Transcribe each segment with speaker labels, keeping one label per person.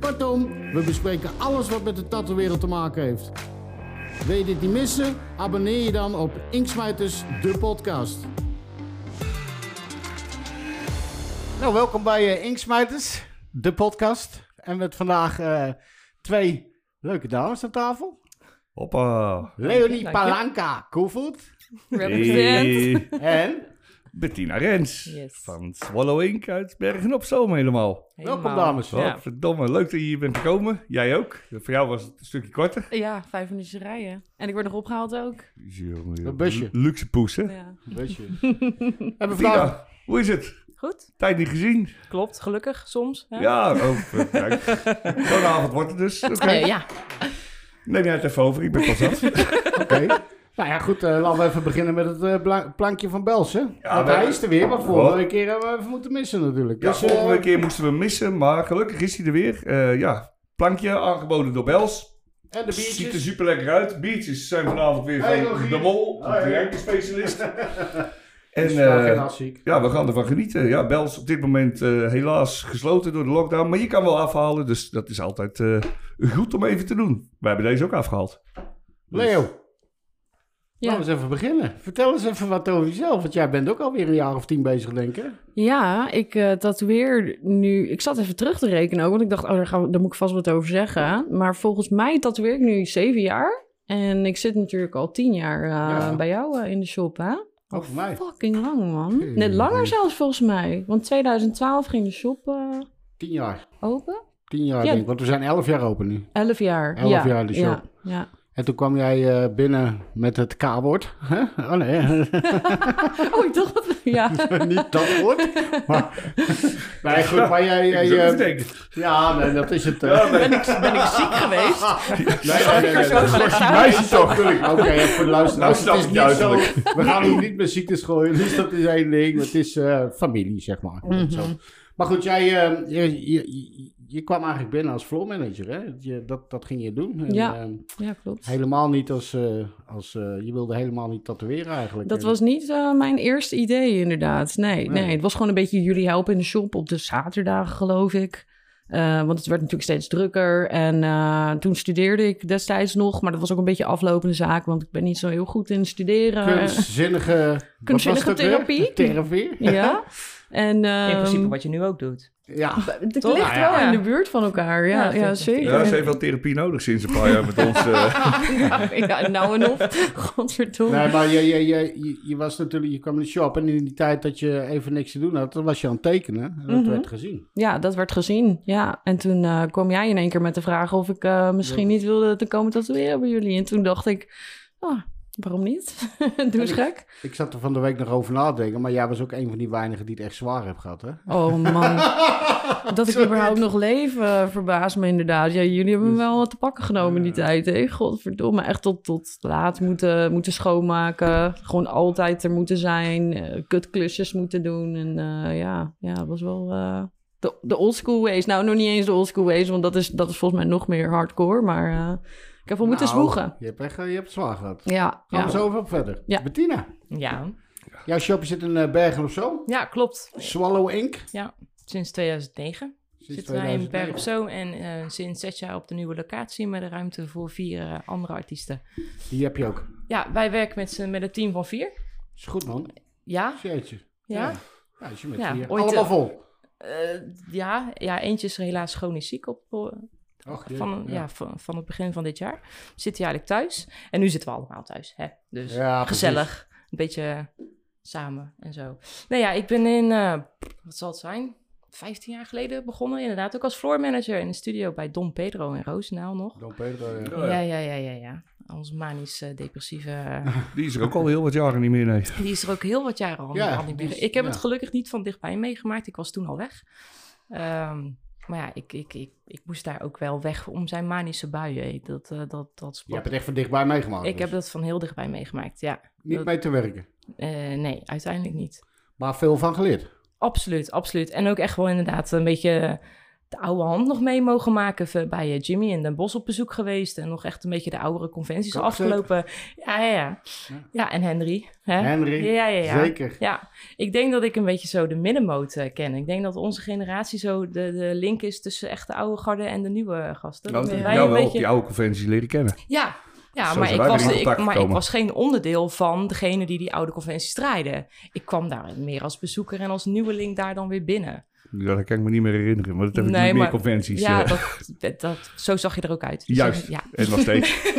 Speaker 1: Kortom, we bespreken alles wat met de tattoo-wereld te maken heeft. Wil je dit niet missen? Abonneer je dan op Inksmijters, de podcast. Nou, welkom bij eh, Inksmijters, de podcast. En met vandaag eh, twee leuke dames aan tafel.
Speaker 2: Hoppa.
Speaker 1: Leonie
Speaker 3: Dank je.
Speaker 1: Palanka Koevoet
Speaker 3: Represent.
Speaker 1: en
Speaker 2: Bettina Rens.
Speaker 3: Yes.
Speaker 2: Van Swallow Inc. uit Bergen op Zoom helemaal.
Speaker 1: welkom dames.
Speaker 3: Ja.
Speaker 2: Verdomme, leuk dat je hier bent gekomen. Jij ook. Voor jou was het een stukje korter.
Speaker 3: Ja, vijf minuutjes rijden. En ik word nog opgehaald ook.
Speaker 2: Jongen,
Speaker 1: Een busje.
Speaker 2: lu- Luxe poes, hè?
Speaker 3: Ja.
Speaker 1: Beetje. en we vandaag
Speaker 2: Bettina, hoe is het?
Speaker 3: Goed,
Speaker 2: Tijd niet gezien.
Speaker 3: klopt. Gelukkig, soms. Hè?
Speaker 2: Ja, oh, eh, kijk. Zo'n avond wordt het dus. Oké.
Speaker 3: Eh, ja.
Speaker 2: Neem jij het even over, ik ben pas af.
Speaker 1: Oké. Nou ja, goed, eh, laten we even beginnen met het eh, bla- plankje van Bels, hè? Want
Speaker 2: maar-
Speaker 1: hij is er weer, maar vorige
Speaker 2: Wat?
Speaker 1: keer hebben we even moeten missen natuurlijk.
Speaker 2: Ja,
Speaker 1: Dus, eh,
Speaker 2: volgende keer moesten we hem missen, maar gelukkig is hij er weer. Eh, ja, plankje aangeboden door Bels.
Speaker 1: en de
Speaker 2: Ziet er
Speaker 1: biertjes.
Speaker 2: super lekker uit. Biertjes zijn vanavond weer
Speaker 1: Hey,
Speaker 2: van
Speaker 1: Rogier.
Speaker 2: de Mol, de
Speaker 1: Hoi.
Speaker 2: drankenspecialist. En
Speaker 1: Dus vandaag
Speaker 2: eh,
Speaker 1: geen afziek.
Speaker 2: ja, we gaan ervan genieten. Ja, Bels op dit moment eh, helaas gesloten door de lockdown. Maar je kan wel afhalen, dus dat is altijd eh, goed om even te doen. Wij hebben deze ook afgehaald. dus-
Speaker 1: Leo,
Speaker 3: Ja.
Speaker 1: laten we eens even beginnen. Vertel eens even wat over jezelf, want jij bent ook alweer een jaar of tien bezig, denk ik. hè?
Speaker 3: Ja, ik eh tatoeëer nu... Ik zat even terug te rekenen ook, want ik dacht, oh, daar, gaan we- daar moet ik vast wat over zeggen. Maar volgens mij tatoeëer ik nu zeven jaar. En ik zit natuurlijk al tien jaar eh,
Speaker 1: Ja.
Speaker 3: bij jou eh, in de shop, hè?
Speaker 1: Ook voor mij.
Speaker 3: Fucking lang, man.
Speaker 1: Hey.
Speaker 3: Net langer zelfs, volgens mij. Want 2012 ging de shop eh,
Speaker 1: Tien jaar.
Speaker 3: open.
Speaker 1: Tien jaar,
Speaker 3: Ja.
Speaker 1: denk ik. Want we zijn elf jaar open nu.
Speaker 3: Elf jaar.
Speaker 1: Elf
Speaker 3: ja.
Speaker 1: jaar de shop.
Speaker 3: Ja, ja.
Speaker 1: En toen kwam jij eh, binnen met het K-woord. hè? Oh nee,
Speaker 3: Oh, ik dacht dat... Ja.
Speaker 1: niet dat woord. Maar, nee, goed, maar jij...
Speaker 2: Ik
Speaker 1: jij,
Speaker 2: zou
Speaker 1: eh,
Speaker 2: het denken.
Speaker 1: ja, nee, dat is het. eh.
Speaker 2: Ja, nee.
Speaker 3: Ben ik, ben ik ziek geweest?
Speaker 1: Nee, nee, nee, nee,
Speaker 3: Zo
Speaker 1: dat
Speaker 3: slecht
Speaker 1: was die
Speaker 3: zijn.
Speaker 1: meisje toch? Oké, even voor de
Speaker 2: Nou,
Speaker 1: luisteraars.
Speaker 2: snap
Speaker 1: het is
Speaker 2: ik
Speaker 1: niet
Speaker 2: duidelijk.
Speaker 1: zo. We gaan hier niet met ziektes gooien, dus dat is één ding. Maar het is eh, familie, zeg maar. Zo.
Speaker 2: Mhm.
Speaker 1: Maar goed, jij eh, je, je, je kwam eigenlijk binnen als floor manager, hè? Je, dat, dat ging je doen. En,
Speaker 3: Ja.
Speaker 1: eh,
Speaker 3: Ja, klopt.
Speaker 1: helemaal niet als... eh, als eh, je wilde helemaal niet tatoeëren eigenlijk.
Speaker 3: Dat
Speaker 1: En-
Speaker 3: was niet eh, mijn eerste idee, inderdaad. Nee,
Speaker 1: Nee.
Speaker 3: nee. het was gewoon een beetje jullie helpen in de shop op de zaterdagen, geloof ik. Eh, want het werd natuurlijk steeds drukker. En eh, toen studeerde ik destijds nog, maar dat was ook een beetje aflopende zaak, want ik ben niet zo heel goed in studeren.
Speaker 1: Kunstzinnige... wat was
Speaker 3: eh, Kunstzinnige
Speaker 1: het ook weer?
Speaker 3: therapie?
Speaker 1: Therapie?
Speaker 3: Ja. En,
Speaker 4: In principe
Speaker 3: ehm,
Speaker 4: wat je nu ook doet.
Speaker 1: Ja.
Speaker 3: het ligt
Speaker 4: Toch?
Speaker 3: wel
Speaker 1: Nou ja.
Speaker 3: in de buurt van elkaar.
Speaker 4: Ja,
Speaker 3: Ja, ja,
Speaker 4: vind ik.
Speaker 3: zeker.
Speaker 2: Ja, ze heeft wel therapie nodig sinds een paar jaar met ons. eh.
Speaker 3: Ja, ja, nou en of. Godverdomme.
Speaker 1: Nee, maar je, je, je, je, je was natuurlijk, je kwam in de shop en in die tijd dat je even niks te doen had, dan was je aan het tekenen. En dat
Speaker 3: Mhm.
Speaker 1: werd gezien.
Speaker 3: Ja, dat werd gezien. Ja. En toen eh, kwam jij in één keer met de vraag of ik eh, misschien niet wilde te komen tatoeëren bij jullie. En toen dacht ik, ah, waarom niet? Doe eens gek.
Speaker 1: Ik zat er van de week nog over na te denken, maar jij was ook een van die weinigen die het echt zwaar heeft gehad, hè?
Speaker 3: Oh man, dat ik überhaupt nog leef eh, verbaast me inderdaad. Ja, jullie hebben me
Speaker 2: Dus-
Speaker 3: wel wat te pakken genomen in die tijd. Hè? Godverdomme, echt tot, tot laat moeten, moeten schoonmaken. Gewoon altijd er moeten zijn. eh, kutklusjes moeten doen. En eh, ja, ja, het was wel... eh, de, de old school ways. Nou, nog niet eens de old school ways, want dat is, dat is volgens mij nog meer hardcore. Maar eh, ik heb wel moeten
Speaker 1: Nou,
Speaker 3: zwoegen.
Speaker 1: Je hebt echt eh, je hebt het zwaar gehad.
Speaker 3: Ja, Oh,
Speaker 1: Gaan
Speaker 3: ja.
Speaker 1: we zo even op verder.
Speaker 3: Ja.
Speaker 1: Bettina,
Speaker 4: Ja.
Speaker 1: jouw shop zit in eh, Bergen op Zoom.
Speaker 4: Ja, klopt.
Speaker 1: Swallow Inc.
Speaker 4: Sinds 2009
Speaker 1: Sinds
Speaker 4: zitten wij in Berg op
Speaker 1: 2009.
Speaker 4: Zoom en eh, sinds zes jaar op de nieuwe locatie met een ruimte voor vier eh, andere artiesten.
Speaker 1: Die heb je ook.
Speaker 4: Ja, wij werken met, z'n- met een team van vier.
Speaker 1: Is goed, man.
Speaker 4: Ja,
Speaker 1: Jeetje.
Speaker 4: ja.
Speaker 1: Ja, Ja, is je met
Speaker 4: Ja,
Speaker 1: vier.
Speaker 4: ooit,
Speaker 1: Allemaal
Speaker 4: eh,
Speaker 1: vol.
Speaker 4: Eh, ja, ja, eentje is er helaas chronisch ziek op, eh,
Speaker 1: Och, jee.
Speaker 4: van, ja. van, van het begin van dit jaar. Zit hij eigenlijk thuis. En nu zitten we allemaal thuis. Hè? Dus
Speaker 1: Ja, precies.
Speaker 4: gezellig. Een beetje samen en zo. Nou ja, ik ben in, eh, wat zal het zijn? 15 jaar geleden begonnen, inderdaad. Ook als floor manager in de studio bij Don Pedro en Roosendaal nog.
Speaker 1: Don Pedro, Oh ja.
Speaker 2: Ja, ja.
Speaker 4: Ja, ja, ja, ja, ja. Ons manisch eh, depressieve. eh,
Speaker 2: Die is er ook al heel wat jaren niet meer, nee.
Speaker 4: die is er ook heel wat jaren al,
Speaker 1: Ja,
Speaker 4: al niet
Speaker 1: die
Speaker 4: meer.
Speaker 1: is-
Speaker 4: Ik heb
Speaker 1: ja.
Speaker 4: het gelukkig niet van dichtbij meegemaakt. Ik was toen al weg. Ehm, Maar ja, ik, ik, ik, ik moest daar ook wel weg om zijn manische buien. Dat, eh, dat, dat
Speaker 1: Je hebt
Speaker 4: sprak.
Speaker 1: het echt van dichtbij meegemaakt.
Speaker 4: ik
Speaker 1: dus.
Speaker 4: heb dat van heel dichtbij meegemaakt, ja.
Speaker 1: Niet
Speaker 4: dat-
Speaker 1: mee te werken.
Speaker 4: Eh, nee, uiteindelijk niet.
Speaker 1: Maar veel van geleerd.
Speaker 4: Absoluut, absoluut. En ook echt wel inderdaad een beetje de oude hand nog mee mogen maken. Even Bij eh, Jimmy in Den Bosch op bezoek geweest. En nog echt een beetje de oudere conventies
Speaker 1: Ook
Speaker 4: afgelopen. Ja, ja, ja.
Speaker 1: Ja.
Speaker 4: Ja, en Henry. Hè?
Speaker 1: Henry,
Speaker 4: Ja, ja, ja.
Speaker 1: Zeker.
Speaker 4: Ja, ik denk dat ik een beetje zo de middenmoot eh, ken. Ik denk dat onze generatie zo de, de link is tussen echt de oude garde en de nieuwe eh, gasten.
Speaker 2: Nou,
Speaker 4: Dat
Speaker 2: ik heb
Speaker 4: wij
Speaker 2: jou
Speaker 4: een
Speaker 2: wel op
Speaker 4: beetje-
Speaker 2: die oude conventie leren kennen.
Speaker 4: Ja, ja
Speaker 2: Zo
Speaker 4: maar,
Speaker 2: zijn
Speaker 4: ik
Speaker 2: wij
Speaker 4: was,
Speaker 2: weer in
Speaker 4: ik,
Speaker 2: contact
Speaker 4: maar ik
Speaker 2: gekomen.
Speaker 4: was geen onderdeel van degene die die oude conventies draaiden. Ik kwam daar meer als bezoeker en als nieuweling daar dan weer binnen.
Speaker 2: Ja, dat kan ik me niet meer herinneren, maar dat heb ik
Speaker 4: Nee,
Speaker 2: niet meer
Speaker 4: maar-
Speaker 2: conventies.
Speaker 4: ja,
Speaker 2: eh,
Speaker 4: dat, dat, dat- zo zag je er ook uit. Dus
Speaker 2: Juist.
Speaker 4: Ja,
Speaker 2: En nog steeds.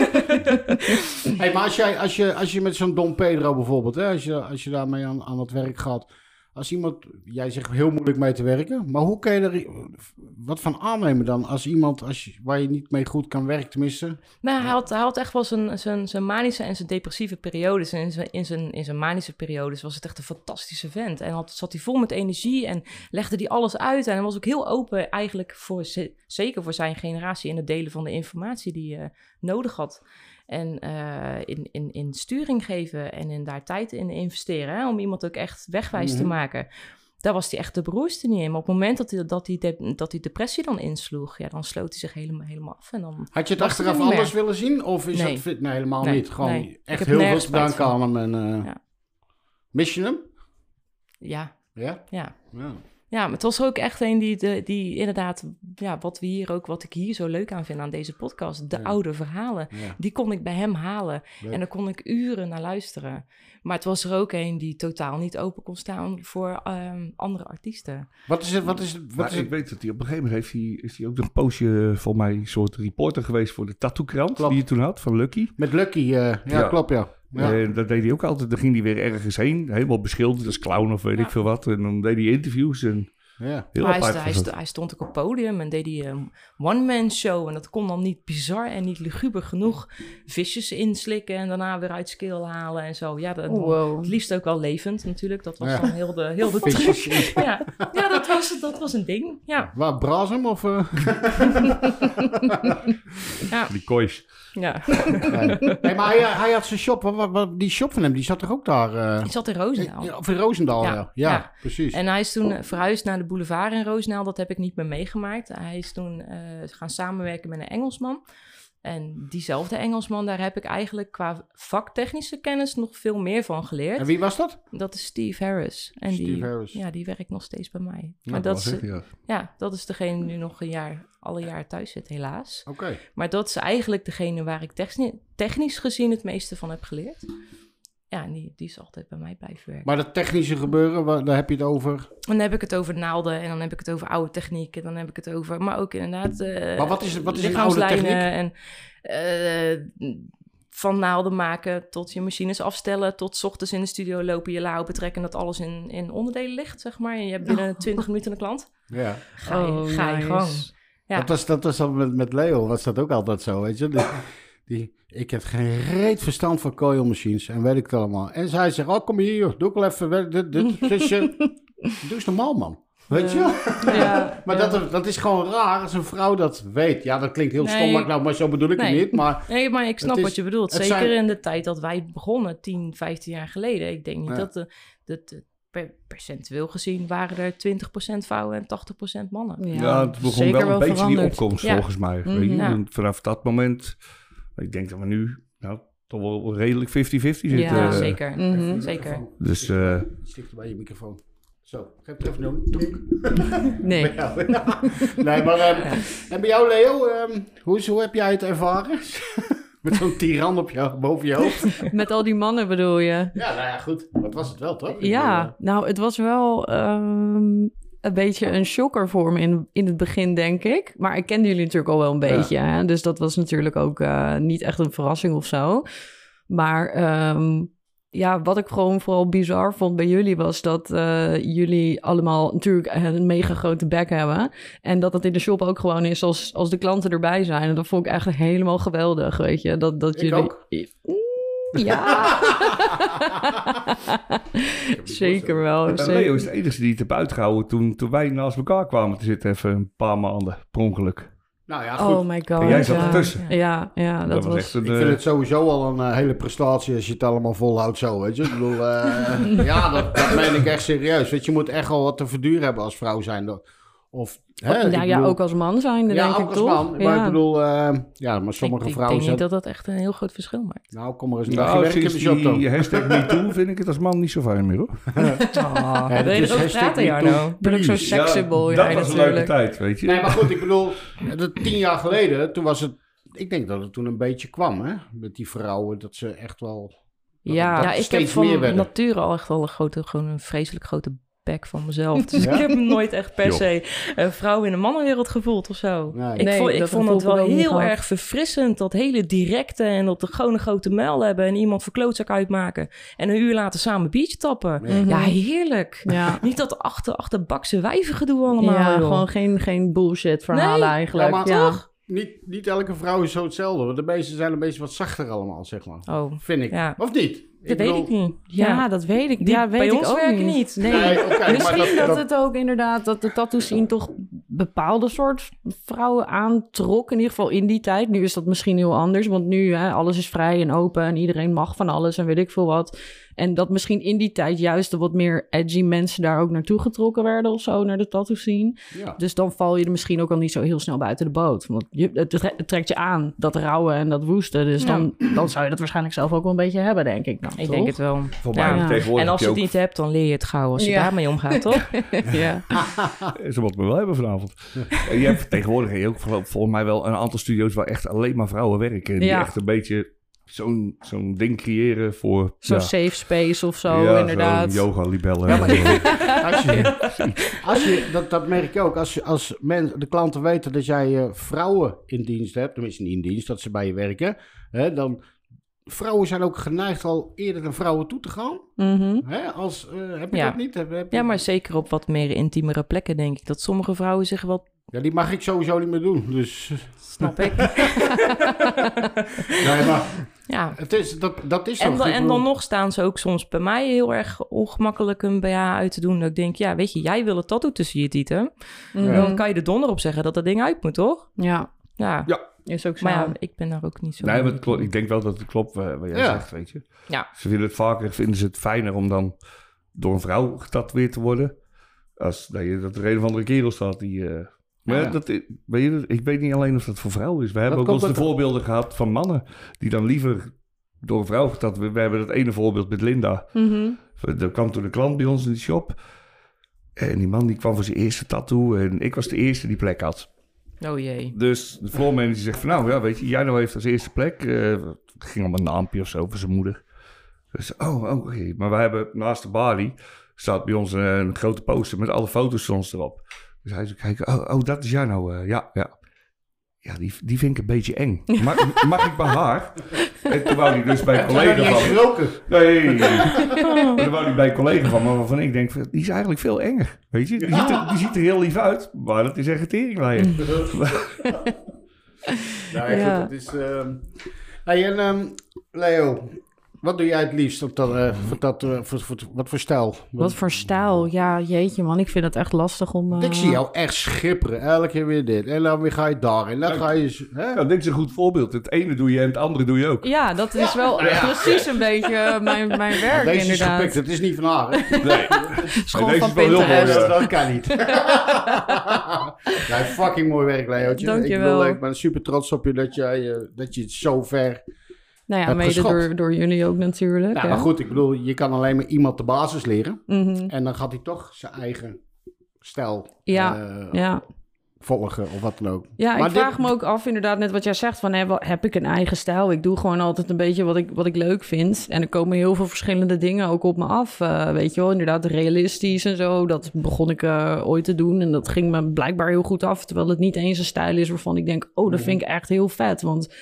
Speaker 1: Hey, maar als, jij, als, je, als je met zo'n Don Pedro bijvoorbeeld, hè, als, je, als je daarmee aan, aan het werk gaat. Als iemand, jij zegt heel moeilijk mee te werken, maar hoe kan je er wat van aannemen dan? Als iemand als je, waar je niet mee goed kan werken, tenminste.
Speaker 4: Nou, hij had, hij had echt wel zijn, zijn, zijn manische en zijn depressieve periodes. En in zijn, in, zijn, in zijn manische periodes was het echt een fantastische vent. En had, zat hij vol met energie en legde hij alles uit. En hij was ook heel open eigenlijk, voor, ze- zeker voor zijn generatie... in het delen van de informatie die je nodig had. En eh, in, in, in sturing geven en in daar tijd in investeren... Hè, om iemand ook echt wegwijs
Speaker 1: Mhm.
Speaker 4: te maken... Daar was hij echt de beroerste niet in. Maar op het moment dat hij, dat hij, de- dat hij depressie dan insloeg... Ja, dan sloot hij zich helemaal, helemaal af en dan...
Speaker 1: Had je het
Speaker 4: Was
Speaker 1: achteraf
Speaker 4: er niet
Speaker 1: anders
Speaker 4: meer.
Speaker 1: willen zien? Of is
Speaker 4: Nee.
Speaker 1: dat fit? Nee, helemaal
Speaker 4: Nee,
Speaker 1: niet. Gewoon
Speaker 4: nee. Ik
Speaker 1: echt
Speaker 4: heb
Speaker 1: heel veel
Speaker 4: nergens
Speaker 1: gedaan
Speaker 4: spijt van.
Speaker 1: kan hem en eh,
Speaker 4: Ja.
Speaker 1: mis je hem?
Speaker 4: Ja,
Speaker 1: Ja?
Speaker 4: ja.
Speaker 1: ja.
Speaker 4: Ja, maar het was ook echt een die, de, die inderdaad, ja, wat we hier ook, wat ik hier zo leuk aan vind aan deze podcast, de
Speaker 1: Ja.
Speaker 4: oude verhalen.
Speaker 1: ja.
Speaker 4: Die kon ik bij hem halen
Speaker 1: Leuk.
Speaker 4: en daar kon ik uren naar luisteren. Maar het was er ook een die totaal niet open kon staan voor ehm, andere artiesten.
Speaker 1: Wat is het? Wat is het? Wat
Speaker 2: Maar
Speaker 1: is
Speaker 2: ik
Speaker 1: het?
Speaker 2: weet dat hij op een gegeven moment heeft hij, is hij ook een poosje voor mij een soort reporter geweest voor de tattoo krant
Speaker 1: Klopt.
Speaker 2: die je toen had van Lucky.
Speaker 1: Met Lucky, eh, ja,
Speaker 2: Ja.
Speaker 1: klopt ja. ja.
Speaker 2: En dat deed hij ook altijd. Dan ging hij weer ergens heen, helemaal beschilderd als clown of weet
Speaker 4: Ja.
Speaker 2: ik veel wat. En dan deed hij interviews en
Speaker 1: ja.
Speaker 2: heel
Speaker 4: Maar hij,
Speaker 2: apart.
Speaker 4: st-
Speaker 2: was
Speaker 4: hij,
Speaker 2: dat.
Speaker 4: st- hij stond ook op het podium en deed die ehm, one-man show. En dat kon dan niet bizar en niet luguber genoeg. Visjes inslikken en daarna weer uit skeel halen en zo. Ja, dat,
Speaker 3: Wow.
Speaker 4: het liefst ook wel levend natuurlijk. Dat was
Speaker 1: Ja.
Speaker 4: dan heel de, heel de truc.
Speaker 1: Visjes in-
Speaker 4: Ja, ja dat, was, dat was een ding. Ja,
Speaker 1: Waar, Brazem of... eh?
Speaker 4: ja,
Speaker 2: Die koois.
Speaker 4: ja.
Speaker 1: Nee. Nee, maar hij, hij had zijn shop, wat, wat- wat- die shop van hem, die zat toch ook daar? eh
Speaker 4: Ik zat in Roosendaal.
Speaker 1: ja, of in Roosendaal, ja.
Speaker 4: Ja,
Speaker 1: Ja,
Speaker 4: ja.
Speaker 1: precies.
Speaker 4: En hij is toen eh, verhuisd naar de boulevard in Roosendaal. Dat heb ik niet meer meegemaakt. Hij is toen eh, gaan samenwerken met een Engelsman. En diezelfde Engelsman, daar heb ik eigenlijk qua vaktechnische kennis nog veel meer van
Speaker 1: En
Speaker 4: geleerd.
Speaker 1: wie was dat?
Speaker 4: Dat is Steve Harris. En
Speaker 1: Steve
Speaker 4: die,
Speaker 1: Harris.
Speaker 4: Ja, die werkt nog steeds bij mij.
Speaker 1: Ja,
Speaker 4: Maar
Speaker 2: Dat
Speaker 4: dat,
Speaker 2: was
Speaker 4: is,
Speaker 2: echt, ja.
Speaker 4: ja, dat is degene die nu nog een jaar, alle jaar thuis zit, helaas.
Speaker 1: Oké.
Speaker 4: Maar dat is eigenlijk degene waar ik techni- technisch gezien het meeste van heb geleerd. Ja, en die, die is altijd bij mij blijven werken.
Speaker 1: Maar dat technische gebeuren, waar, daar heb je het over.
Speaker 4: Dan heb ik het over naalden en dan heb ik het over oude techniek en dan heb ik het over, maar ook inderdaad. eh,
Speaker 1: Maar wat is- wat is een oude
Speaker 4: lichaamslijnen En eh, van naalden maken tot je machines afstellen, tot 's ochtends in de studio lopen, je la betrekken, dat alles in, in onderdelen ligt, zeg maar. En je hebt binnen 20 minuten een klant.
Speaker 1: Ja.
Speaker 4: Ga je,
Speaker 3: Oh,
Speaker 4: ga je
Speaker 3: nice.
Speaker 4: gang. Ja.
Speaker 1: Dat was, dat was dan met, met Leo, was dat ook altijd zo, weet je. Die, die, ik heb geen reet verstand van coil machines en weet ik het allemaal. En zij zegt, oh kom hier, joh, doe ik wel even, weet- dit, dit, zusje. Doe eens normaal, man. Weet je?
Speaker 4: Ja,
Speaker 1: Maar dat, dat is gewoon raar als een vrouw dat weet. Ja, dat klinkt heel stom,
Speaker 4: Nee.
Speaker 1: maar, ik- nou, maar zo bedoel ik het
Speaker 4: Nee.
Speaker 1: niet. Maar
Speaker 4: Nee, maar ik snap
Speaker 1: Het is-
Speaker 4: wat je bedoelt.
Speaker 1: het
Speaker 4: Zeker
Speaker 1: zijn-
Speaker 4: in de tijd dat wij begonnen, 10, 15 jaar geleden. Ik denk niet
Speaker 1: Ja.
Speaker 4: dat, de, dat de- per, percentueel gezien waren er 20% vrouwen en 80% mannen.
Speaker 2: Ja, het begon wel een beetje die opkomst
Speaker 4: Ja.
Speaker 2: volgens mij. Weet je?
Speaker 3: Mhm.
Speaker 4: Ja.
Speaker 2: En Vanaf dat moment, ik denk dat we nu nou, toch wel redelijk 50-50 zitten.
Speaker 4: Ja,
Speaker 2: eh,
Speaker 4: zeker.
Speaker 3: Mhm.
Speaker 4: Zeker.
Speaker 2: Dus eh,
Speaker 1: Iets dichter bij je microfoon. Zo, geef het even doen. Doek.
Speaker 3: Nee.
Speaker 1: Ja, ja. Nee, maar... ehm, En bij jou, Leo, ehm, hoe, is- hoe heb jij het ervaren? Met zo'n tiran op jou, boven je hoofd.
Speaker 3: Met al die mannen bedoel je?
Speaker 1: Ja, nou ja, goed. Dat was het wel, toch? eh,
Speaker 3: Ja, nou, het was wel ehm, een beetje een shocker voor me in, in het begin, denk ik. Maar ik kende jullie natuurlijk al wel een
Speaker 1: Ja.
Speaker 3: beetje. Hè? Dus dat was natuurlijk ook eh, niet echt een verrassing of zo. Maar ehm, ja, wat ik gewoon vooral bizar vond bij jullie was dat eh, jullie allemaal natuurlijk een mega grote bek hebben. En dat dat in de shop ook gewoon is als, als de klanten erbij zijn. En dat vond ik echt helemaal geweldig, weet je. Dat, dat
Speaker 1: Ik
Speaker 3: jullie...
Speaker 1: ook.
Speaker 3: Mm, Ja. Zeker wel.
Speaker 2: En
Speaker 3: zeker.
Speaker 2: Leo is de enige die het heeft uitgehouden toen, toen wij naast elkaar kwamen te zitten. Even een paar maanden, per ongeluk.
Speaker 1: Nou ja, goed.
Speaker 3: Oh my god.
Speaker 2: En jij zat
Speaker 3: ja.
Speaker 2: ertussen.
Speaker 3: Ja, ja, dat, was...
Speaker 2: echt een...
Speaker 1: Ik vind
Speaker 2: eh,
Speaker 1: het sowieso al een eh, hele prestatie als je het allemaal volhoudt zo, weet je. Ik bedoel, eh, ja, dat, dat meen ik echt serieus. Weet je, je moet echt wel wat te verduren hebben als vrouw zijn. Of, hè, ik
Speaker 3: nou ja,
Speaker 1: bedoel-
Speaker 3: ook als man zijn,
Speaker 1: ja,
Speaker 3: denk
Speaker 1: ook
Speaker 3: ik
Speaker 1: als
Speaker 3: toch?
Speaker 1: man. Maar ik
Speaker 3: Ja.
Speaker 1: bedoel, eh, ja, maar sommige
Speaker 4: ik, ik
Speaker 1: vrouwen
Speaker 4: denk niet
Speaker 1: zijn...
Speaker 4: dat dat echt een heel groot verschil maakt.
Speaker 1: Nou, kom maar eens naar
Speaker 2: Nou,
Speaker 1: je werk in de
Speaker 2: sinds
Speaker 1: shop dan.
Speaker 2: die hashtag MeToo vind ik het als man niet zo fijn meer, hoor.
Speaker 1: Ja, Oh, dat
Speaker 4: Wil je
Speaker 1: is
Speaker 4: erover
Speaker 1: hashtag
Speaker 4: praten,
Speaker 1: MeToo.
Speaker 4: Jarno?
Speaker 3: ben ook zo sexable, ja,
Speaker 2: dat was een leuke
Speaker 3: natuurlijk.
Speaker 2: tijd, weet je.
Speaker 1: Nee, maar goed, ik bedoel, dat tien jaar geleden, toen was het... Ik denk dat het toen een beetje kwam, hè? Met die vrouwen, dat ze echt wel...
Speaker 3: Ja,
Speaker 1: dat
Speaker 4: ja, ik heb
Speaker 1: steeds meer
Speaker 4: van
Speaker 1: werden.
Speaker 4: nature al echt wel een, grote, gewoon een vreselijk grote bek van mezelf. Dus
Speaker 1: Ja?
Speaker 4: ik heb me nooit echt per
Speaker 2: Joh.
Speaker 4: se een vrouw in de mannenwereld gevoeld of zo.
Speaker 1: Nee.
Speaker 4: Ik
Speaker 3: Nee,
Speaker 4: vond, ik
Speaker 3: dat
Speaker 4: vond
Speaker 3: gevoel
Speaker 4: het wel
Speaker 3: heb ik ook niet
Speaker 4: heel
Speaker 3: gehad.
Speaker 4: erg verfrissend. Dat hele directe en dat de gewoon een grote muil hebben. En iemand voor klootzak uitmaken. En een uur later samen biertje tappen.
Speaker 1: Ja.
Speaker 4: Ja, heerlijk.
Speaker 3: Ja,
Speaker 4: Niet dat achter, achterbakse wijven gedoe allemaal.
Speaker 3: ja
Speaker 4: joh.
Speaker 3: gewoon geen, geen bullshit verhalen
Speaker 4: Nee,
Speaker 3: eigenlijk.
Speaker 1: ja, maar
Speaker 3: ja.
Speaker 1: Niet, niet elke vrouw is zo hetzelfde. want De meesten zijn een beetje wat zachter allemaal, zeg maar.
Speaker 4: Oh, dat
Speaker 1: Vind ik.
Speaker 4: Ja.
Speaker 1: Of niet?
Speaker 4: weet ik niet.
Speaker 3: Ja,
Speaker 4: Ja,
Speaker 3: dat weet ik.
Speaker 4: Die
Speaker 3: ja, weet
Speaker 4: bij
Speaker 3: ik
Speaker 4: ons
Speaker 3: ook
Speaker 4: werken
Speaker 3: niet.
Speaker 4: niet.
Speaker 3: Nee.
Speaker 1: Nee, oké, maar
Speaker 3: Misschien
Speaker 1: dat-
Speaker 3: dat,
Speaker 1: dat-
Speaker 3: het ook inderdaad, dat de tattoo scene toch bepaalde soort vrouwen aantrok. In ieder geval in die tijd. Nu is dat misschien heel anders. Want nu, hè, alles is vrij en open en iedereen mag van alles en weet ik veel wat. En dat misschien in die tijd juist de wat meer edgy mensen daar ook naartoe getrokken werden of zo, naar de tattoo scene.
Speaker 1: Ja.
Speaker 3: Dus dan val je er misschien ook al niet zo heel snel buiten de boot. Want je, het, tre- het trekt je aan, dat rauwe en dat woeste. Dus dan, dan zou je dat waarschijnlijk zelf ook wel een beetje hebben, denk ik. Dan,
Speaker 4: ik
Speaker 3: toch?
Speaker 4: denk het wel.
Speaker 2: Voor mij
Speaker 4: Ja.
Speaker 2: ja. tegenwoordig
Speaker 4: En als je het
Speaker 2: ook-
Speaker 4: niet hebt, dan leer je het gauw als je
Speaker 3: Ja.
Speaker 4: daarmee omgaat, toch?
Speaker 3: ja.
Speaker 2: Ze wat me wel hebben vanavond. En je hebt tegenwoordig heb je ook geloof- volgens mij wel een aantal studio's waar echt alleen maar vrouwen werken. Die
Speaker 3: Ja.
Speaker 2: echt een beetje zo'n zo'n ding creëren voor...
Speaker 3: Zo'n
Speaker 2: ja,
Speaker 3: safe space of zo,
Speaker 2: ja,
Speaker 3: inderdaad.
Speaker 2: Zo'n yoga-libellen.
Speaker 1: Ja, maar Als je, als je, dat, dat merk je ook. Als, je- als men, de klanten weten dat jij eh, vrouwen in dienst hebt, tenminste niet in dienst, dat ze bij je werken, hè, dan. Vrouwen zijn ook geneigd al eerder naar vrouwen toe te gaan.
Speaker 3: Mhm.
Speaker 1: Hè, als, eh, heb je
Speaker 4: Ja.
Speaker 1: dat niet? Heb, heb je-
Speaker 4: Ja, maar zeker op wat meer intiemere plekken, denk ik. Dat sommige vrouwen zeggen wel,
Speaker 1: Ja, die mag ik sowieso niet meer doen. Dus.
Speaker 4: snap ik.
Speaker 1: Nee, maar
Speaker 4: Ja.
Speaker 1: het is, dat, dat is
Speaker 4: En
Speaker 1: toch,
Speaker 4: dan,
Speaker 1: ik
Speaker 4: en
Speaker 1: bedoel-
Speaker 4: dan nog staan ze ook soms bij mij heel erg ongemakkelijk een BH uit te doen. Dat ik denk, ja, weet je, jij wil het tattoo tussen je
Speaker 2: Mm.
Speaker 4: tieten.
Speaker 3: Mhm.
Speaker 4: Dan kan je er donder op zeggen dat dat ding uit moet, toch?
Speaker 3: Ja,
Speaker 4: Ja.
Speaker 3: is ook zo.
Speaker 4: Maar ja, ik ben daar ook niet zo...
Speaker 2: nou. Nee, maar het klopt. ik denk wel dat het klopt eh, wat jij
Speaker 1: Ja.
Speaker 2: zegt, weet je.
Speaker 4: Ja.
Speaker 2: Ze vinden het vaker, vinden ze het fijner om dan door een vrouw getatoeëerd te worden, als dat je dat er een of andere kerel staat die... eh, maar
Speaker 1: Ja.
Speaker 2: dat, i- weet je, dat- ik weet niet alleen of dat voor vrouwen is. We hebben
Speaker 1: Dat
Speaker 2: ook
Speaker 1: komt
Speaker 2: wel eens de
Speaker 1: ook-
Speaker 2: voorbeelden gehad van mannen die dan liever door een vrouw getatoeëerd We hebben dat ene voorbeeld met Linda.
Speaker 3: Mhm.
Speaker 2: Er kwam toen een klant bij ons in de shop. En die man die kwam voor zijn eerste tattoo. En ik was de eerste die plek had.
Speaker 4: Oh jee.
Speaker 2: Dus de floormanager zegt van nou ja, weet je, Jano heeft als eerste plek. eh, het ging om een naampje of zo voor zijn moeder. Dus oh, oké. Maar we hebben naast de balie staat bij ons een, een grote poster met alle foto's van ons erop. Dus hij zo kijken, oh, oh dat is Jano. eh, ja, ja. Ja, die, die vind ik een beetje eng. Mag, mag ik bij haar? En toen wou hij dus bij
Speaker 1: Ik
Speaker 2: een
Speaker 1: heb
Speaker 2: collega
Speaker 1: niet eens
Speaker 2: van...
Speaker 1: geroken.
Speaker 2: Nee, Maar toen wou hij bij een collega van me, waarvan ik denk, van, die is eigenlijk veel enger. Weet je, die ziet er, die ziet er heel lief uit, maar dat is echt een teringleier.
Speaker 1: Nou ja,
Speaker 3: Ja.
Speaker 1: goed, het is... ehm, Hey, en ehm, Leo, wat doe jij het liefst op dat, eh, voor dat, eh, voor, voor, wat voor stijl?
Speaker 3: Wat voor stijl. Ja, jeetje man, ik vind het echt lastig om... eh,
Speaker 1: Ik zie jou echt schipperen, elke keer weer dit. En dan weer ga je daar en dan ga je... z- Hè?
Speaker 2: Ja, dit is een goed voorbeeld. Het ene doe je en het andere doe je ook.
Speaker 3: Ja, dat is wel precies een beetje eh, mijn, mijn werk
Speaker 1: Deze is
Speaker 3: inderdaad.
Speaker 1: gepikt, het is niet van haar. hè?
Speaker 2: Nee.
Speaker 3: Schoon
Speaker 2: Deze
Speaker 3: van
Speaker 2: is wel heel mooi,
Speaker 3: Pinterest.
Speaker 1: dat, dat kan niet. ja, fucking mooi werk, Leootje. Ik,
Speaker 3: Dankjewel.
Speaker 1: bedoel, ik ben super trots op je dat, jij, eh, dat je het zo ver...
Speaker 3: Nou ja,
Speaker 1: Heb
Speaker 3: mede
Speaker 1: geschat.
Speaker 3: door, door jullie ook natuurlijk.
Speaker 1: Nou,
Speaker 3: hè.
Speaker 1: maar goed, ik bedoel, je kan alleen maar iemand de basis leren.
Speaker 3: Mhm.
Speaker 1: En dan gaat hij toch zijn eigen stijl
Speaker 3: Ja,
Speaker 1: eh,
Speaker 3: Ja,
Speaker 1: volgen of wat dan ook.
Speaker 3: Ja,
Speaker 1: Maar
Speaker 3: ik
Speaker 1: dit-
Speaker 3: vraag me ook af inderdaad net wat jij zegt van hè, wat- heb ik een eigen stijl? Ik doe gewoon altijd een beetje wat ik, wat ik leuk vind. En er komen heel veel verschillende dingen ook op me af. eh, weet je wel, inderdaad realistisch en zo. Dat begon ik eh, ooit te doen en dat ging
Speaker 1: Mhm.
Speaker 3: me blijkbaar heel goed af. Terwijl het niet eens een stijl is waarvan ik denk, oh dat vind ik echt heel vet. Want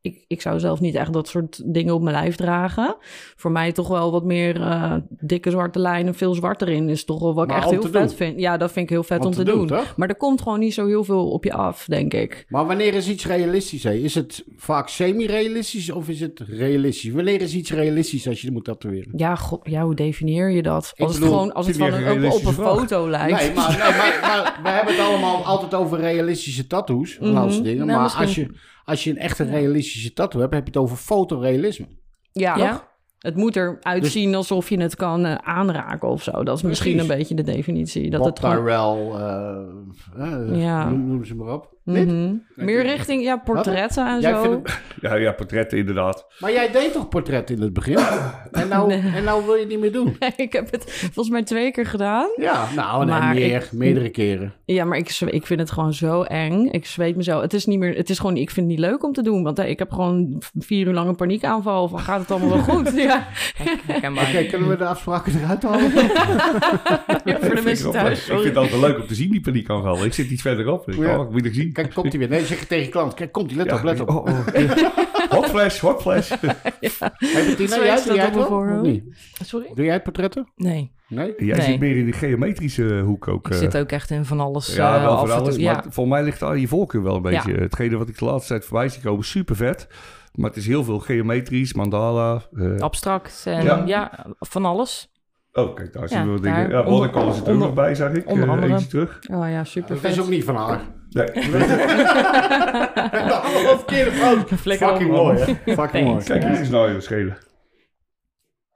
Speaker 3: ik, ik zou zelf niet echt dat soort dingen op mijn lijf dragen. Voor mij toch wel wat meer eh, dikke zwarte lijnen, veel zwart erin is toch wel wat
Speaker 1: Maar
Speaker 3: ik echt
Speaker 1: om
Speaker 3: heel
Speaker 1: te
Speaker 3: vet
Speaker 1: doen.
Speaker 3: vind. Ja, dat vind ik heel vet om, te, doen.
Speaker 1: toch?
Speaker 3: Maar er komt gewoon niet zo heel veel op je af, denk ik.
Speaker 1: Maar wanneer is iets realistisch? Hè? Is het vaak semi-realistisch of is het realistisch? Wanneer is iets realistisch als je het moet tatoeëren?
Speaker 3: Ja, god, ja, hoe definieer je dat?
Speaker 1: Ik
Speaker 3: Als het
Speaker 1: bedoel,
Speaker 3: gewoon als het
Speaker 2: vind
Speaker 3: van
Speaker 2: je
Speaker 3: een,
Speaker 2: een
Speaker 3: op- op, een
Speaker 2: realistische vraag?
Speaker 3: foto lijkt.
Speaker 1: Nee, maar, nee, maar, maar we hebben het allemaal altijd over realistische tattoos.
Speaker 3: Mhm.
Speaker 1: en dat soort dingen.
Speaker 4: Nou,
Speaker 1: maar
Speaker 4: misschien-
Speaker 1: als je, als je een echte realistische tattoo hebt, heb je het over fotorealisme.
Speaker 3: Ja,
Speaker 4: Ja.
Speaker 3: toch? het moet
Speaker 1: Dus-
Speaker 3: eruit zien alsof je het kan eh, aanraken of zo. Dat is misschien
Speaker 1: Precies.
Speaker 3: een beetje de definitie. Dat
Speaker 1: Bob
Speaker 3: het gewoon,
Speaker 1: Tyrell, eh, eh,
Speaker 3: Ja.
Speaker 1: noem, noem ze maar op. Dit?
Speaker 3: Mhm. Meer richting ja, portretten en
Speaker 1: Jij
Speaker 3: zo.
Speaker 1: vindt het-
Speaker 2: eh, Ja, ja, portretten inderdaad.
Speaker 1: maar jij deed toch portret in het begin? En nou, en nou wil je het niet meer doen?
Speaker 3: ik heb het volgens mij twee keer gedaan.
Speaker 1: Ja, nou, nee,
Speaker 3: Maar
Speaker 1: meer, meerdere keren.
Speaker 3: Ja, maar ik, zwe- ik vind het gewoon zo eng. Ik zweet me zo. Het is niet meer. Het is gewoon. Ik vind het niet leuk om te doen. Want hè, ik heb gewoon vier uur lang een paniekaanval. Van gaat het allemaal wel goed? ja.
Speaker 4: Herkenbaar.
Speaker 1: Oké, kunnen we de afspraken eruit halen?
Speaker 3: Ja, voor de
Speaker 2: Vind ik
Speaker 3: mensen
Speaker 2: wel
Speaker 3: thuis.
Speaker 2: leuk. Ik vind
Speaker 3: Sorry.
Speaker 2: het altijd leuk om te zien, die paniek aanval. Ik zit iets verderop. Ik,
Speaker 1: Ja.
Speaker 2: oh, ik moet nog zien.
Speaker 1: Kijk, komt hij weer. Nee, zeg het tegen je klant. Kijk, komt hij. Let
Speaker 2: Ja,
Speaker 1: op, let op.
Speaker 2: oh, oh. hot flash, hot flash.
Speaker 1: Hey, Bettina,
Speaker 3: Zo
Speaker 1: jij,
Speaker 3: is
Speaker 1: doe jij
Speaker 3: dat
Speaker 1: het
Speaker 3: op mijn
Speaker 1: wel?
Speaker 3: voorhoofd.
Speaker 1: Of niet?
Speaker 4: Sorry?
Speaker 1: Doe jij het portretten?
Speaker 4: Nee.
Speaker 1: Nee?
Speaker 2: Jij
Speaker 4: Nee.
Speaker 2: zit meer in die geometrische hoek ook.
Speaker 4: Ik
Speaker 2: eh.
Speaker 4: zit ook echt in van alles.
Speaker 2: Ja,
Speaker 4: eh,
Speaker 2: wel
Speaker 4: af
Speaker 2: voor
Speaker 4: en toe.
Speaker 2: alles.
Speaker 4: Ja.
Speaker 2: Maar voor mij ligt al je voorkeur wel een
Speaker 4: Ja.
Speaker 2: beetje. Hetgene wat ik de laatste tijd voorbij zie komen, super vet. Maar het is heel veel geometrisch, mandala. eh,
Speaker 4: Oh. Abstract en
Speaker 2: Ja.
Speaker 4: ja. van alles.
Speaker 2: Oh, kijk, daar zien
Speaker 4: Ja,
Speaker 2: we wat
Speaker 4: daar.
Speaker 2: dingen. Ja,
Speaker 4: Onder-
Speaker 2: Watercolor zit er ook
Speaker 4: onder-
Speaker 2: nog bij, zag ik.
Speaker 4: onder
Speaker 2: Eh,
Speaker 4: andere.
Speaker 2: Eentje terug.
Speaker 3: Oh ja, super
Speaker 1: Dat is ook niet van haar.
Speaker 2: Nee.
Speaker 1: De verkeerde fout.
Speaker 3: Flikker
Speaker 1: Fucking
Speaker 3: om.
Speaker 1: mooi, hè? Fucking mooi.
Speaker 2: Kijk, dit is nou je schelen.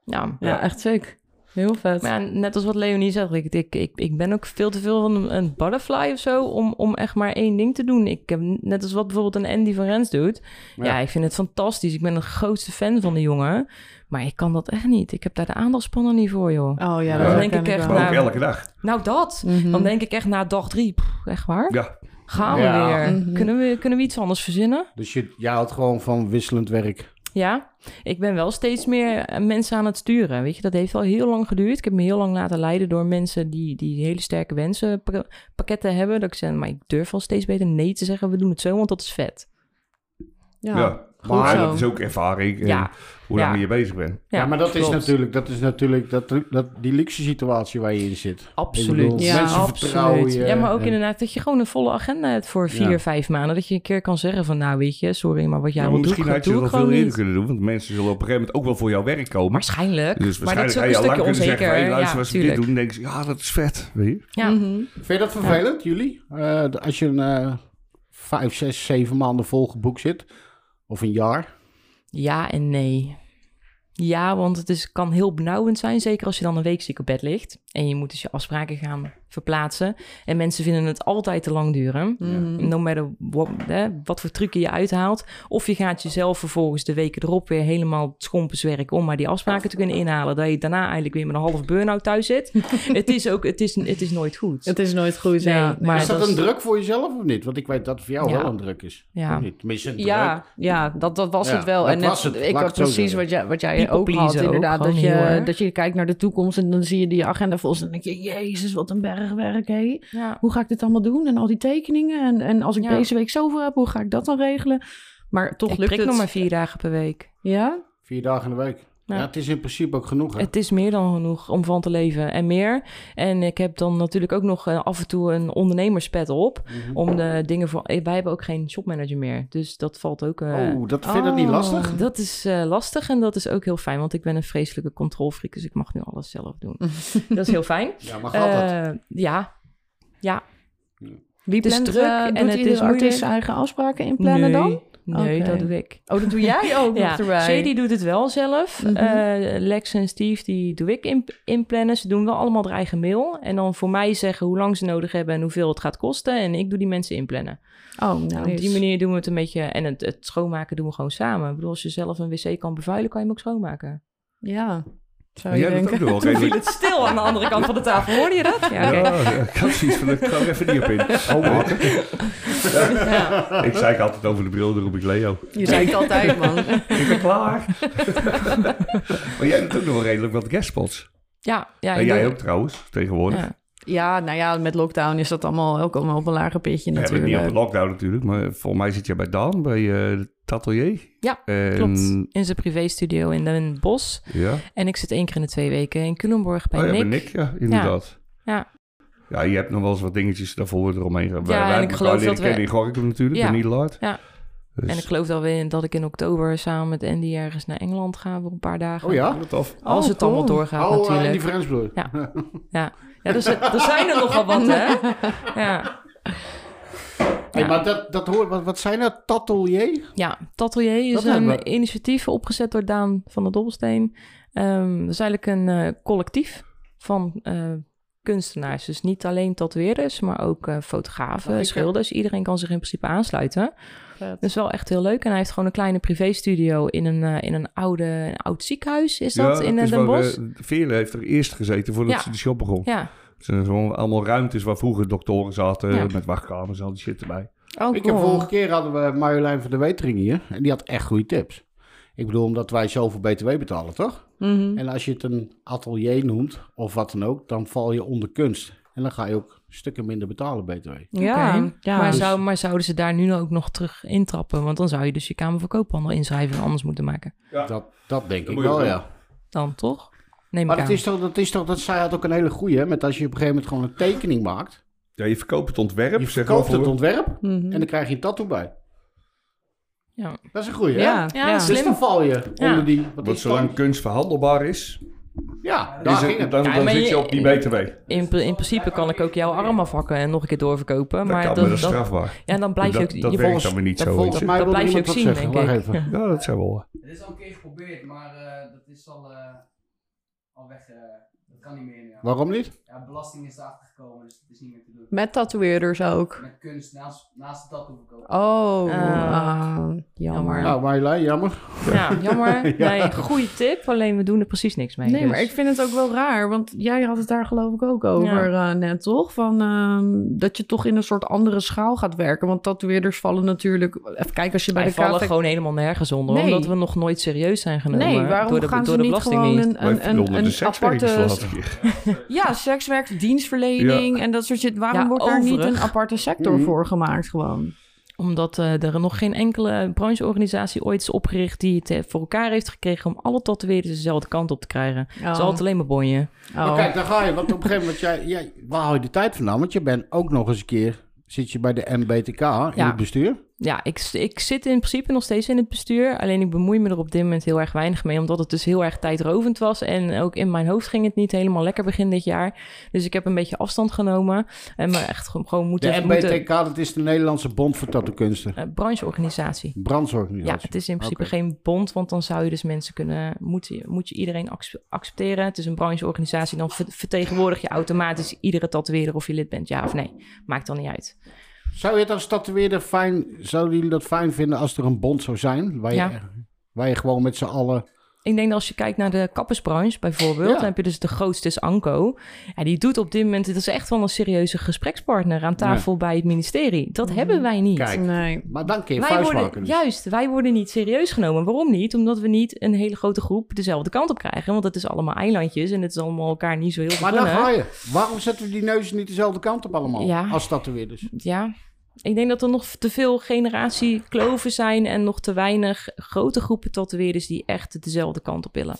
Speaker 4: Ja.
Speaker 3: Ja, echt sick. Heel vet.
Speaker 4: Maar ja, net als wat Leonie zegt, ik, ik, ik, ik ben ook veel te veel van een, een butterfly of zo om, om echt maar één ding te doen. Ik heb net als wat bijvoorbeeld een Andy van Rens doet. Ja. ik vind het fantastisch. Ik ben de grootste fan van de jongen. Maar ik kan dat echt niet. Ik heb daar de aandachtspannen niet voor, joh.
Speaker 3: Oh ja,
Speaker 2: Dan
Speaker 3: dat
Speaker 2: denk
Speaker 3: herken
Speaker 4: ik
Speaker 2: Maar
Speaker 4: echt
Speaker 3: wel.
Speaker 4: naar-
Speaker 2: ook
Speaker 4: Nou.
Speaker 2: elke dag.
Speaker 4: Nou, dat.
Speaker 3: Mhm.
Speaker 4: Dan denk ik echt na dag drie, pff, echt waar?
Speaker 2: Ja.
Speaker 4: Gaan we
Speaker 1: Ja.
Speaker 4: weer.
Speaker 3: Mhm.
Speaker 4: Kunnen, we, kunnen we iets anders verzinnen?
Speaker 1: Dus je, jij houdt gewoon van wisselend werk.
Speaker 4: Ja, ik ben wel steeds meer eh, mensen aan het sturen. Weet je, dat heeft wel heel lang geduurd. Ik heb me heel lang laten leiden door mensen die, die hele sterke wensenpakketten hebben. Dat ik zei, maar ik durf wel steeds beter nee te zeggen. We doen het zo, want dat is vet.
Speaker 2: Ja.
Speaker 3: Ja. goed
Speaker 2: Maar
Speaker 3: zo.
Speaker 2: dat is ook ervaring. en
Speaker 4: Ja.
Speaker 2: Hoe lang
Speaker 4: Ja.
Speaker 2: je bezig bent.
Speaker 1: Ja, maar dat
Speaker 4: klopt.
Speaker 1: is natuurlijk, dat is natuurlijk dat, dat, die luxe situatie waar je in zit. Ik
Speaker 4: Absoluut.
Speaker 1: bedoel,
Speaker 3: Ja,
Speaker 1: mensen vertrouwen je.
Speaker 4: Ja, maar ook
Speaker 1: En-
Speaker 4: inderdaad dat je gewoon een volle agenda hebt voor vier,
Speaker 1: Ja.
Speaker 4: vijf maanden. Dat je een keer kan zeggen van, nou weet je, sorry, maar wat jij
Speaker 2: Ja,
Speaker 4: wil
Speaker 2: maar
Speaker 4: doen,
Speaker 2: misschien
Speaker 4: dat
Speaker 2: had je
Speaker 4: doe
Speaker 2: dat
Speaker 4: ik
Speaker 2: veel
Speaker 4: gewoon
Speaker 2: eerder
Speaker 4: niet.
Speaker 2: kunnen doen. Want mensen zullen op een gegeven moment ook wel voor jouw werk komen.
Speaker 4: Waarschijnlijk.
Speaker 2: Dus
Speaker 4: maar dit
Speaker 2: waarschijnlijk
Speaker 4: is ook
Speaker 2: ga
Speaker 4: een
Speaker 2: je al lang
Speaker 4: stukje
Speaker 2: kunnen
Speaker 4: onzeker.
Speaker 2: zeggen... Hey,
Speaker 4: ja, Oh,
Speaker 2: luister, als we dit
Speaker 4: natuurlijk.
Speaker 2: doen, denken ze... Ja, dat is vet. Weet je?
Speaker 4: Ja.
Speaker 3: Mhm.
Speaker 1: Vind je dat vervelend, jullie? Eh, d- als je een eh, vijf, zes, zeven maanden vol geboekt zit, of een jaar.
Speaker 4: Ja en nee. Ja, want het is, kan heel benauwend zijn, zeker als je dan een week ziek op bed ligt. En je moet dus je afspraken gaan verplaatsen. En mensen vinden het altijd te lang duren. Mm-hmm. No matter what, hè, wat voor trucje je uithaalt. Of je gaat jezelf vervolgens de weken erop weer helemaal schompenswerk om maar die afspraken te kunnen inhalen. Dat je daarna eigenlijk weer met een half burn-out thuis zit. het, is ook, het, is, het is nooit goed.
Speaker 3: Het is nooit goed,
Speaker 4: Nee,
Speaker 3: ja.
Speaker 4: maar
Speaker 1: is dat,
Speaker 4: dat
Speaker 1: een
Speaker 4: is-
Speaker 1: druk voor jezelf of niet? Want ik weet dat het voor jou
Speaker 4: Ja.
Speaker 1: wel een druk is.
Speaker 4: Ja.
Speaker 1: Of niet? Tenminste, een druk.
Speaker 3: Ja, ja dat, dat was
Speaker 1: Ja,
Speaker 3: het wel.
Speaker 1: dat
Speaker 3: en net,
Speaker 1: was het, laat
Speaker 3: ik
Speaker 1: ik
Speaker 3: had
Speaker 1: het zo
Speaker 3: precies
Speaker 1: zeggen.
Speaker 3: wat jij, wat jij
Speaker 4: People
Speaker 3: ook had,
Speaker 4: pleasen ook,
Speaker 3: inderdaad. dat,
Speaker 4: gewoon heel
Speaker 3: je,
Speaker 4: erg.
Speaker 3: dat je kijkt naar de toekomst en dan zie je die agenda volgens en dan denk je... Jezus, wat een bergwerk, hé.
Speaker 4: Ja.
Speaker 3: Hoe ga ik dit allemaal doen? En al die tekeningen. En, en als ik
Speaker 4: Ja.
Speaker 3: deze week zoveel heb, hoe ga ik dat dan regelen? Maar toch
Speaker 4: Ik
Speaker 3: lukt
Speaker 4: prik
Speaker 3: het.
Speaker 4: nog maar vier dagen per week.
Speaker 3: Ja?
Speaker 1: Vier dagen in de week. Ja.
Speaker 4: Ja.
Speaker 1: het is in principe ook genoeg. Hè?
Speaker 4: Het is meer dan genoeg om van te leven en meer. En ik heb dan natuurlijk ook nog eh, af en toe een ondernemerspet op.
Speaker 1: Mhm.
Speaker 4: Om de dingen voor. eh, Wij hebben ook geen shopmanager meer. Dus dat valt ook. eh,
Speaker 1: Oh, dat vind ik niet lastig?
Speaker 4: Dat is eh, lastig en dat is ook heel fijn. Want ik ben een vreselijke controlfreak. Dus ik mag nu alles zelf doen. dat is heel fijn.
Speaker 1: Ja, maar gaat dat?
Speaker 4: Eh, ja. Ja.
Speaker 3: Wie
Speaker 4: Het is
Speaker 3: plant
Speaker 4: druk
Speaker 3: eh,
Speaker 4: en
Speaker 3: doet
Speaker 4: het
Speaker 3: iedere
Speaker 4: is
Speaker 3: artiest
Speaker 4: moeilijk.
Speaker 3: zijn eigen afspraken inplannen
Speaker 4: nee.
Speaker 3: dan?
Speaker 4: Nee,
Speaker 3: Oké.
Speaker 4: dat doe ik.
Speaker 3: Oh, dat doe jij ook
Speaker 4: Ja,
Speaker 3: nog erbij.
Speaker 4: Shady doet het wel zelf.
Speaker 3: Mhm.
Speaker 4: Eh, Lex en Steve, die doe ik in- inplannen. Ze doen wel allemaal haar eigen mail. En dan voor mij zeggen hoe lang ze nodig hebben en hoeveel het gaat kosten. En ik doe die mensen inplannen.
Speaker 3: Oh, nou.
Speaker 4: Op die manier doen we het een beetje... En het, het schoonmaken doen we gewoon samen. Ik bedoel, als je zelf een wc kan bevuilen, kan je hem ook schoonmaken.
Speaker 3: Ja, zou
Speaker 2: Maar
Speaker 3: je
Speaker 2: jij bent
Speaker 3: denken.
Speaker 2: ook nog wel redelijk...
Speaker 4: Het stil aan de andere kant van de tafel, hoorde je dat? Ja, oké.
Speaker 2: Ja, ik had zoiets van, ik ga er even niet op in.
Speaker 4: Ja.
Speaker 2: Ik zei altijd over de bril, dan roep ik Leo.
Speaker 3: Je zei het altijd, man.
Speaker 2: Ik ben klaar. maar jij doet ook nog wel redelijk wat guestspots.
Speaker 4: ja, ja,
Speaker 2: en
Speaker 4: ik
Speaker 2: jij
Speaker 4: doe-
Speaker 2: ook trouwens, tegenwoordig.
Speaker 4: Ja.
Speaker 3: Ja, nou ja, met lockdown is dat allemaal ook allemaal op een lager pitje
Speaker 2: We hebben het
Speaker 3: natuurlijk.
Speaker 2: niet op de lockdown natuurlijk, maar volgens mij zit jij bij Daan, bij eh het atelier.
Speaker 4: Ja,
Speaker 2: En-
Speaker 4: Klopt. In zijn privéstudio in Den Bosch.
Speaker 2: Ja.
Speaker 4: En ik zit één keer in de twee weken in Culemborg bij
Speaker 2: oh, ja,
Speaker 4: Nick.
Speaker 2: bij Nick, ja, inderdaad.
Speaker 4: Ja.
Speaker 2: Ja, je hebt nog wel eens wat dingetjes daarvoor eromheen. Ja,
Speaker 4: en ik geloof dat we-
Speaker 2: kennen in Gorkum natuurlijk,
Speaker 4: Ja.
Speaker 2: bij Nederland.
Speaker 4: Ja.
Speaker 2: Dus,
Speaker 4: En ik geloof dat, we, dat ik in oktober samen met Andy ergens naar Engeland ga voor een paar dagen.
Speaker 1: Oh ja?
Speaker 2: Wat af.
Speaker 4: Als
Speaker 3: Oh,
Speaker 4: het allemaal
Speaker 3: cool.
Speaker 4: doorgaat
Speaker 1: Oh, eh,
Speaker 4: natuurlijk.
Speaker 1: die Friendsbloed.
Speaker 4: Ja. Ja, dus er er zijn er nogal wat, hè? Ja,
Speaker 1: Hey,
Speaker 4: Ja.
Speaker 1: maar dat, dat hoort, wat, wat zijn dat? Tatelier?
Speaker 4: ja Tatelier
Speaker 1: Dat
Speaker 4: is
Speaker 1: lijkt
Speaker 4: een
Speaker 1: me-
Speaker 4: initiatief opgezet door Daan van de Dobbelsteen. Ehm dat is eigenlijk een eh, collectief van eh, kunstenaars. Dus niet alleen tatoeëerders, maar ook eh, fotografen,
Speaker 1: Lekker.
Speaker 4: schilders. Iedereen kan zich in principe aansluiten. Dat
Speaker 3: Dus,
Speaker 4: is wel echt heel leuk. En hij heeft gewoon een kleine privéstudio in een, eh, in een, oude, een oud ziekenhuis, is dat, in eh,
Speaker 2: is
Speaker 4: Den
Speaker 2: waar we-
Speaker 4: Bosch?
Speaker 2: Veerle heeft er eerst gezeten voordat
Speaker 4: Ja.
Speaker 2: ze de shop begon.
Speaker 4: Ja,
Speaker 2: Het zijn gewoon allemaal ruimtes waar vroeger doktoren zaten,
Speaker 4: Ja.
Speaker 2: met wachtkamers, al die shit erbij.
Speaker 3: Oh,
Speaker 1: Ik heb
Speaker 3: cool.
Speaker 1: vorige keer hadden we Marjolein van der Wetering hier. En die had echt goede tips. Ik bedoel, omdat wij zoveel BTW betalen, toch?
Speaker 3: Mhm.
Speaker 1: En als je het een atelier noemt, of wat dan ook, dan val je onder kunst. En dan ga je ook stukken minder betalen BTW.
Speaker 3: Ja,
Speaker 4: Oké.
Speaker 3: ja.
Speaker 4: Maar,
Speaker 3: Dus-
Speaker 4: zou, maar zouden ze daar nu ook nog terug intrappen? Want dan zou je dus je Kamer van Koophandel inschrijven en anders moeten maken.
Speaker 1: Dat, dat denk
Speaker 2: Dat
Speaker 1: ik
Speaker 2: moet je
Speaker 1: wel,
Speaker 2: ook
Speaker 1: ja.
Speaker 4: Dan toch? Neem
Speaker 1: Maar
Speaker 4: ik
Speaker 1: dat
Speaker 4: aan.
Speaker 1: is, toch, dat is toch, dat zij had ook een hele goeie, hè, met als je op een gegeven moment gewoon een tekening maakt.
Speaker 2: Ja, je verkoopt het ontwerp.
Speaker 1: Je
Speaker 2: zeg maar
Speaker 1: verkoopt het
Speaker 2: voor-
Speaker 1: ontwerp
Speaker 3: Mhm.
Speaker 1: en dan krijg je een tattoo bij.
Speaker 4: Ja.
Speaker 1: Dat is een goeie, hè?
Speaker 3: ja,
Speaker 4: Ja,
Speaker 3: ja.
Speaker 4: slim.
Speaker 1: Dus dan val je
Speaker 4: Ja.
Speaker 1: onder die... Wat
Speaker 2: Want
Speaker 1: is dat?
Speaker 2: zolang kunst verhandelbaar is,
Speaker 1: Ja, daar
Speaker 2: is
Speaker 1: ging
Speaker 2: het,
Speaker 1: het.
Speaker 2: dan,
Speaker 4: Ja,
Speaker 2: dan
Speaker 4: maar
Speaker 2: zit
Speaker 4: je-
Speaker 2: je op die BTW.
Speaker 4: In, in principe kan ik ook jouw arm afhakken en nog een keer doorverkopen.
Speaker 2: Dat
Speaker 4: maar
Speaker 2: kan,
Speaker 4: dat,
Speaker 2: maar dat is
Speaker 4: dat-
Speaker 2: strafbaar.
Speaker 4: ja, dan blijf je
Speaker 2: Dat-
Speaker 4: ook...
Speaker 2: dat
Speaker 4: je
Speaker 2: werkt
Speaker 4: volgens-
Speaker 2: dan weer niet
Speaker 4: dat
Speaker 2: zo,
Speaker 4: volgens-
Speaker 2: weet
Speaker 1: Volgens mij wilde
Speaker 4: dat blijf je ook
Speaker 1: iemand
Speaker 4: zien,
Speaker 1: wat zeggen.
Speaker 4: denk ik.
Speaker 1: Wacht even.
Speaker 2: Ja, dat zijn wel.
Speaker 5: Het is al een keer geprobeerd, maar eh, dat is al, eh, al weg. eh, dat kan niet meer. Ja.
Speaker 1: Waarom niet?
Speaker 5: Ja, belasting is erachter gekomen, dus het is niet meer te doen.
Speaker 3: Met tatoeëerders ook.
Speaker 5: Met kunst naast, naast de tattoo verkopen.
Speaker 3: Oh,
Speaker 4: Eh,
Speaker 3: ah, jammer.
Speaker 4: jammer.
Speaker 1: Nou, Marjolein,
Speaker 4: Oh.
Speaker 1: jammer.
Speaker 4: Ja, jammer. Nee, goede tip. Alleen we doen er precies niks mee.
Speaker 3: Nee,
Speaker 4: dus.
Speaker 3: maar ik vind het ook wel raar, want jij had het daar geloof ik ook over eh, net, toch? Van, ehm, dat je toch in een soort andere schaal gaat werken. Want tatoeëerders vallen natuurlijk... Even kijken, als je bij
Speaker 4: Wij
Speaker 3: de
Speaker 4: vallen
Speaker 3: KVK
Speaker 4: gewoon helemaal nergens onder.
Speaker 3: Nee.
Speaker 4: Omdat we nog nooit serieus zijn genomen
Speaker 3: Nee, waarom
Speaker 4: door de,
Speaker 3: gaan
Speaker 4: door
Speaker 3: ze
Speaker 4: de
Speaker 3: niet gewoon eh,
Speaker 4: Belastingdienst.
Speaker 3: een, een, een, een aparte... Ja, sekswerk, dienstverlening en dat soort shit. Waarom
Speaker 4: Ja,
Speaker 3: wordt daar niet
Speaker 4: overig.
Speaker 3: een aparte sector
Speaker 1: Mhm.
Speaker 3: voor gemaakt gewoon?
Speaker 4: Omdat eh, er nog geen enkele brancheorganisatie ooit is opgericht die het eh, voor elkaar heeft gekregen om alle tatoeëerders dezelfde kant op te krijgen. Ze is altijd alleen maar bonje.
Speaker 1: Maar
Speaker 3: Oh.
Speaker 1: kijk, daar ga je. Want op een gegeven moment, jij, jij, waar hou je de tijd vandaan? Want je bent ook nog eens een keer, zit je bij de MBTK in
Speaker 4: Ja.
Speaker 1: het bestuur.
Speaker 4: Ja, ik, ik zit in principe nog steeds in het bestuur. Alleen ik bemoei me er op dit moment heel erg weinig mee. Omdat het dus heel erg tijdrovend was. En ook in mijn hoofd ging het niet helemaal lekker begin dit jaar. Dus ik heb een beetje afstand genomen. En me echt gewoon- gewoon
Speaker 1: De
Speaker 4: moeten...
Speaker 1: MBTK, dat is de Nederlandse Bond voor Tattookunsten.
Speaker 4: moeten- eh, brancheorganisatie. Ja,
Speaker 1: Brandsorganisatie.
Speaker 4: het is in principe
Speaker 1: Oké.
Speaker 4: geen bond, want dan zou je dus mensen kunnen, moet je, moet je iedereen ac- accepteren. Het is een brancheorganisatie, dan ver- vertegenwoordig je automatisch iedere tatoeëerder of je lid bent, ja of nee. Maakt dan niet uit.
Speaker 1: Zou je het als tatoeëerder fijn, zouden jullie dat fijn vinden als er een bond zou zijn? Waar je,
Speaker 4: Ja.
Speaker 1: waar je gewoon met z'n allen...
Speaker 4: Ik denk dat als je kijkt naar de kappersbranche bijvoorbeeld,
Speaker 1: Ja.
Speaker 4: dan heb je dus de grootste is Anko. Ja, die doet op dit moment, het is echt wel een serieuze gesprekspartner aan tafel bij het ministerie. Dat hebben wij niet.
Speaker 1: Kijk,
Speaker 3: Oh, Nee.
Speaker 1: maar dan kun je
Speaker 4: Wij
Speaker 1: vuist
Speaker 4: worden,
Speaker 1: maken. dus.
Speaker 4: juist, wij worden niet serieus genomen. Waarom niet? Omdat we niet een hele grote groep dezelfde kant op krijgen. Want het is allemaal eilandjes en het is allemaal elkaar niet zo heel veel
Speaker 1: Maar dan
Speaker 4: gunnen.
Speaker 1: ga je. Waarom zetten we die neuzen niet dezelfde kant op allemaal?
Speaker 4: Ja.
Speaker 1: Als tatoeëerders.
Speaker 4: Ja, ik denk dat er nog te veel generatiekloven zijn en nog te weinig grote groepen tatoeëerders die echt dezelfde kant op willen.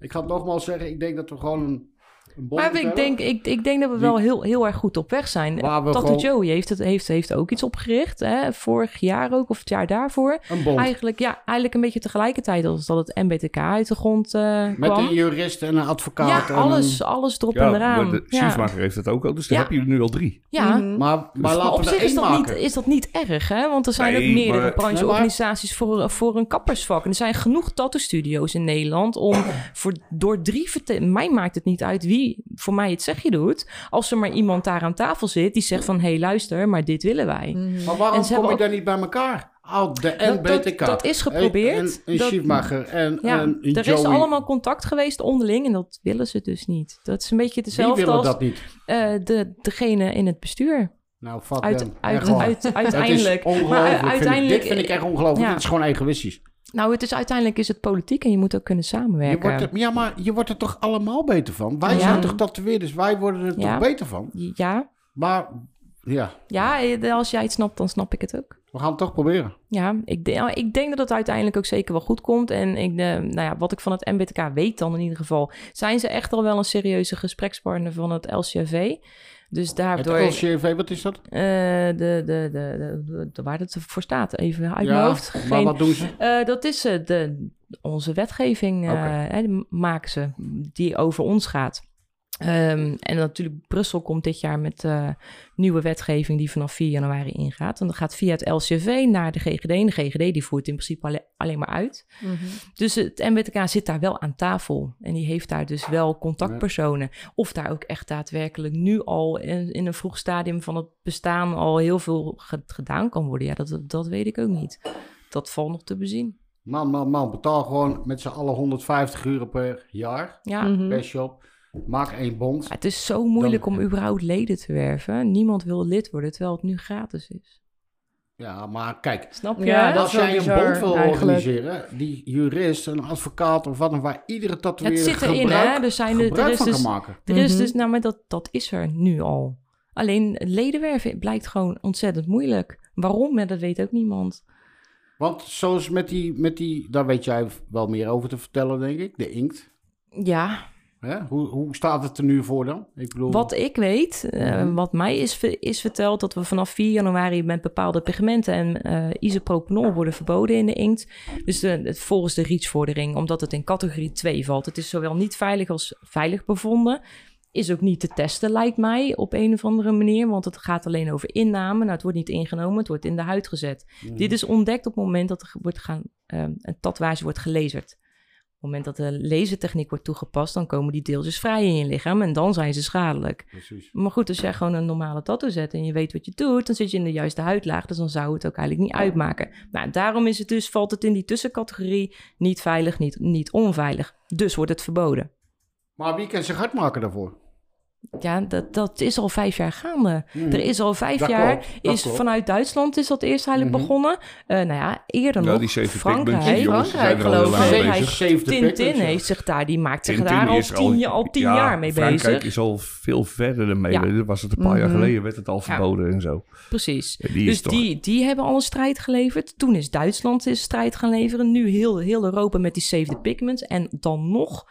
Speaker 1: Ik ga het nogmaals zeggen, ik denk dat we gewoon een, een bond
Speaker 4: Maar ik
Speaker 1: moeten
Speaker 4: denk, ik, ik denk dat we wel heel, heel erg goed op weg zijn.
Speaker 1: Waar we
Speaker 4: Tattoo
Speaker 1: gewoon-
Speaker 4: Joey heeft, het, heeft, heeft ook iets opgericht, hè? vorig jaar ook, of het jaar daarvoor.
Speaker 1: hebben. Een bond.
Speaker 4: Eigenlijk, ja, eigenlijk een beetje tegelijkertijd als dat het MBTK uit de grond eh,
Speaker 1: Met
Speaker 4: kwam.
Speaker 1: een jurist en een advocaat. en
Speaker 4: ja, alles, alles erop en
Speaker 2: Ja, maar
Speaker 4: eraan.
Speaker 2: de
Speaker 4: ja,
Speaker 2: Sinsmaker heeft dat ook al, dus daar
Speaker 4: Ja.
Speaker 2: heb je er nu al drie.
Speaker 4: ja.
Speaker 3: Mhm.
Speaker 1: een- maar, maar
Speaker 4: Maar
Speaker 1: laten
Speaker 4: op
Speaker 1: we er
Speaker 4: zich is
Speaker 1: één
Speaker 4: dat, niet,
Speaker 1: maken.
Speaker 4: is dat niet erg, hè? Want er zijn
Speaker 2: Nee,
Speaker 4: ook meerdere
Speaker 2: maar-
Speaker 4: brancheorganisaties voor, eh, voor een kappersvak. En er zijn genoeg tattoo-studio's in Nederland om voor, door drie... verte- Mij maakt het niet uit wie voor mij het zegje doet. Als er maar iemand daar aan tafel zit die zegt van... hé, hey, luister, maar dit willen wij.
Speaker 1: Maar waarom
Speaker 4: En ze
Speaker 1: kom je
Speaker 4: hebben
Speaker 1: daar niet bij elkaar? Al de
Speaker 4: dat-
Speaker 1: NBTK.
Speaker 4: dat is geprobeerd.
Speaker 1: En een
Speaker 4: Dat-
Speaker 1: Schiefmacher en
Speaker 4: Ja,
Speaker 2: Ehm,
Speaker 1: een
Speaker 4: er
Speaker 1: Joey.
Speaker 4: is allemaal contact geweest onderling en dat willen ze dus niet. Dat is een
Speaker 1: Die
Speaker 4: beetje hetzelfde
Speaker 1: willen
Speaker 4: als
Speaker 1: dat niet.
Speaker 4: eh, de, degene in het bestuur.
Speaker 1: Nou, fuck
Speaker 4: Uit,
Speaker 1: them.
Speaker 4: uit,
Speaker 1: Echt waar.
Speaker 4: uit,
Speaker 1: Dat is
Speaker 4: uiteindelijk.
Speaker 1: ongelooflijk.
Speaker 4: Maar, eh,
Speaker 1: Vind ik-
Speaker 4: uiteindelijk-
Speaker 1: dit vind ik echt ongelooflijk.
Speaker 4: Ja.
Speaker 1: Dit is gewoon egoïstisch.
Speaker 4: Nou, het is, uiteindelijk is het politiek en je moet ook kunnen
Speaker 1: Je
Speaker 4: samenwerken.
Speaker 1: wordt er- ja, maar je wordt er toch allemaal beter van? Wij
Speaker 4: Ja.
Speaker 1: zijn toch tatoeëerders, wij worden er
Speaker 4: Ja.
Speaker 1: toch beter van?
Speaker 4: Ja,
Speaker 1: Maar ja,
Speaker 4: ja, eh, als jij het snapt, dan snap ik het ook.
Speaker 1: we gaan het toch proberen.
Speaker 4: Ja, ik, de- nou, ik denk dat het uiteindelijk ook zeker wel goed komt. En ik, eh, nou ja, wat ik van het MBTK weet dan in ieder geval... zijn ze echt al wel een serieuze gesprekspartner van het LCV. Dus
Speaker 1: Het
Speaker 4: daardoor...
Speaker 1: LCV, wat is dat?
Speaker 4: eh, de, de, de, de, de- waar het voor staat, even uit
Speaker 1: Ja,
Speaker 4: mijn hoofd.
Speaker 1: Maar
Speaker 4: Geen-
Speaker 1: wat doen ze?
Speaker 4: eh, dat is eh, de, onze wetgeving, eh,
Speaker 1: Oké.
Speaker 4: hè, die maken ze, die over ons gaat. Ehm, en natuurlijk, Brussel komt dit jaar met eh, nieuwe wetgeving die vanaf 4 januari ingaat. En dat gaat via het LCV naar de GGD. En de GGD die voert in principe alle- alleen maar uit. Dus het MBTK zit daar wel aan tafel. En die heeft daar dus wel contactpersonen. Of daar ook echt daadwerkelijk nu al in, in een vroeg stadium van het bestaan al heel veel ge- gedaan kan worden. Ja, dat, dat weet ik ook niet. Dat valt nog te bezien.
Speaker 1: Man, man, man, betaal gewoon met z'n allen 150 euro per jaar.
Speaker 4: Ja.
Speaker 3: Mhm.
Speaker 1: Per shop. Maak één bond.
Speaker 4: Maar Het is zo moeilijk om überhaupt leden te werven. Niemand wil lid worden, terwijl het nu gratis is.
Speaker 1: Ja, maar kijk,
Speaker 4: Snap je?
Speaker 3: Ja, dat
Speaker 1: als
Speaker 3: is wel
Speaker 1: jij een
Speaker 3: bizar,
Speaker 1: bond wil
Speaker 3: eigenlijk.
Speaker 1: organiseren, die jurist, een advocaat of wat dan waar iedere
Speaker 4: het
Speaker 1: tatoeëerder
Speaker 4: zit erin,
Speaker 1: gebruik,
Speaker 4: hè? Er, zijn de, er
Speaker 1: gebruik
Speaker 4: is
Speaker 1: van
Speaker 4: dus,
Speaker 1: kan maken.
Speaker 4: er is
Speaker 3: Mhm.
Speaker 4: dus, nou, maar dat, dat is er nu al. Alleen ledenwerven blijkt gewoon ontzettend moeilijk. Waarom? Ja, Dat weet ook niemand.
Speaker 1: Want zoals met die, met die, daar weet jij wel meer over te vertellen, denk ik, de inkt.
Speaker 4: Ja,
Speaker 1: Hè? Hoe, hoe staat het er nu voor dan? Ik bedoel,
Speaker 4: wat ik weet, eh,
Speaker 1: Mhm.
Speaker 4: wat mij is, ve- is verteld, dat we vanaf 4 januari met bepaalde pigmenten en eh isopropanol worden verboden in de inkt. Dus de, het, volgens de REACH-vordering, omdat het in categorie 2 valt. Het is zowel niet veilig als veilig bevonden. Is ook niet te testen, lijkt mij, op een of andere manier. Want het gaat alleen over inname. Nou, het wordt niet ingenomen, het wordt in de huid gezet.
Speaker 1: Mhm.
Speaker 4: Dit is ontdekt op het moment dat er wordt gaan, ehm, een tatoeage wordt gelezerd. Op het moment dat de lasertechniek wordt toegepast, dan komen die deeltjes vrij in je lichaam en dan zijn ze schadelijk.
Speaker 1: Precies.
Speaker 4: Maar goed, als jij gewoon een normale tattoo zet en je weet wat je doet, dan zit je in de juiste huidlaag. Dus dan zou het ook eigenlijk niet uitmaken. Nou, daarom is het dus, valt het in die tussencategorie niet veilig, niet, niet onveilig. Dus wordt het verboden.
Speaker 1: Maar wie kan zich hard maken daarvoor?
Speaker 4: Ja, dat, dat is al vijf jaar gaande.
Speaker 1: Mhm.
Speaker 4: Er is al vijf
Speaker 1: Dat
Speaker 4: jaar,
Speaker 1: klopt, dat
Speaker 4: is
Speaker 1: klopt.
Speaker 4: vanuit Duitsland is dat eerst eigenlijk
Speaker 1: Mhm.
Speaker 4: begonnen. Eh, nou ja, eerder
Speaker 2: Ja,
Speaker 4: nog
Speaker 2: die zeven
Speaker 4: Frankrijk.
Speaker 2: pikpunten, die jongens die zijn er al heel
Speaker 4: Frankrijk,
Speaker 2: lang mee
Speaker 4: geloof ik.
Speaker 2: bezig.
Speaker 1: Save the
Speaker 4: Tintin
Speaker 1: pictures, ja.
Speaker 4: heeft zich daar, die maakt zich
Speaker 2: Tintin
Speaker 4: daar al
Speaker 2: is
Speaker 4: tien, jaar- al tien
Speaker 2: ja,
Speaker 4: jaar mee
Speaker 2: Frankrijk
Speaker 4: bezig.
Speaker 2: is al veel verder ermee.
Speaker 4: Ja.
Speaker 2: Dat was het een paar jaar
Speaker 3: Mhm.
Speaker 2: geleden, werd het al verboden en zo.
Speaker 4: Precies.
Speaker 2: Ja, die is
Speaker 4: dus
Speaker 2: toch-
Speaker 4: die, die hebben al een strijd geleverd. Toen is Duitsland is strijd gaan leveren. Nu heel, heel Europa met die Save the Pigments. En dan nog,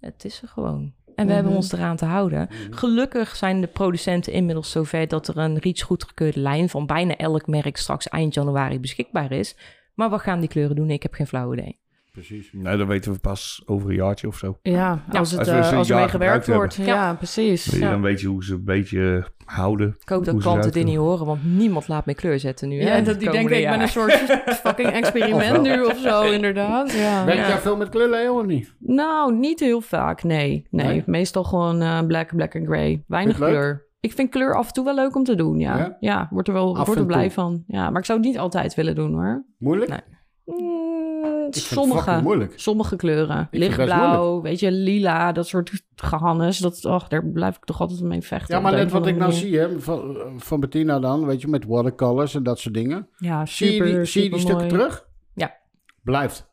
Speaker 4: het is er gewoon. En we hebben
Speaker 3: Mhm.
Speaker 4: ons eraan te houden.
Speaker 2: Mhm.
Speaker 4: Gelukkig zijn de producenten inmiddels zover dat er een reach goedgekeurde lijn van bijna elk merk straks eind januari beschikbaar is. Maar wat gaan die kleuren doen? Ik heb geen flauw idee.
Speaker 1: Precies.
Speaker 2: Nou, dat weten we pas over een jaartje of zo.
Speaker 3: Ja, als,
Speaker 2: Als
Speaker 3: het,
Speaker 2: we
Speaker 3: eh,
Speaker 2: ze een
Speaker 3: als er
Speaker 2: jaar
Speaker 3: mee gewerkt
Speaker 2: gebruikt
Speaker 3: wordt. Ja, precies.
Speaker 2: Dan weet je hoe ze een beetje eh, houden.
Speaker 4: Ik hoop dat
Speaker 2: Hoe ze
Speaker 4: klanten
Speaker 2: eruit
Speaker 4: dit
Speaker 2: doen.
Speaker 4: niet horen, want niemand laat meer kleur zetten nu. hè,
Speaker 3: Ja,
Speaker 4: het
Speaker 3: dat die
Speaker 4: komende
Speaker 3: denken, ik ben
Speaker 4: jaar.
Speaker 3: een soort fucking experiment nu of zo, inderdaad. Ja.
Speaker 1: Werk jij veel met kleuren, Leo, of niet?
Speaker 3: Nou, niet heel vaak, nee. Nee,
Speaker 1: Nee?
Speaker 3: meestal gewoon eh, black, black en grey. Weinig
Speaker 1: Vind je het
Speaker 3: kleur. Ik vind kleur af en toe wel leuk om te doen, ja.
Speaker 1: Ja?
Speaker 3: Ja, word er wel
Speaker 1: Af
Speaker 3: word er
Speaker 1: en toe.
Speaker 3: blij van. Ja, maar ik zou het niet altijd willen doen, hoor.
Speaker 1: Moeilijk?
Speaker 3: Nee. Mm,
Speaker 1: Ik vind het fucking
Speaker 3: Nou, sommige,
Speaker 1: moeilijk.
Speaker 3: sommige kleuren.
Speaker 1: het best
Speaker 3: Lichtblauw, weet je, lila, dat soort gehannes. Dat, och, daar blijf ik toch altijd mee vechten.
Speaker 1: Ja, maar
Speaker 3: op de
Speaker 1: net
Speaker 3: een
Speaker 1: wat
Speaker 3: of
Speaker 1: ik nou
Speaker 3: andere
Speaker 1: zie, hè, van, eh, van Bettina dan, weet je, met watercolors en dat soort dingen.
Speaker 3: manier. Ja,
Speaker 1: Zie je
Speaker 3: super,
Speaker 1: die, zie je die
Speaker 3: supermooi.
Speaker 1: stukken terug?
Speaker 4: Ja.
Speaker 1: Blijft.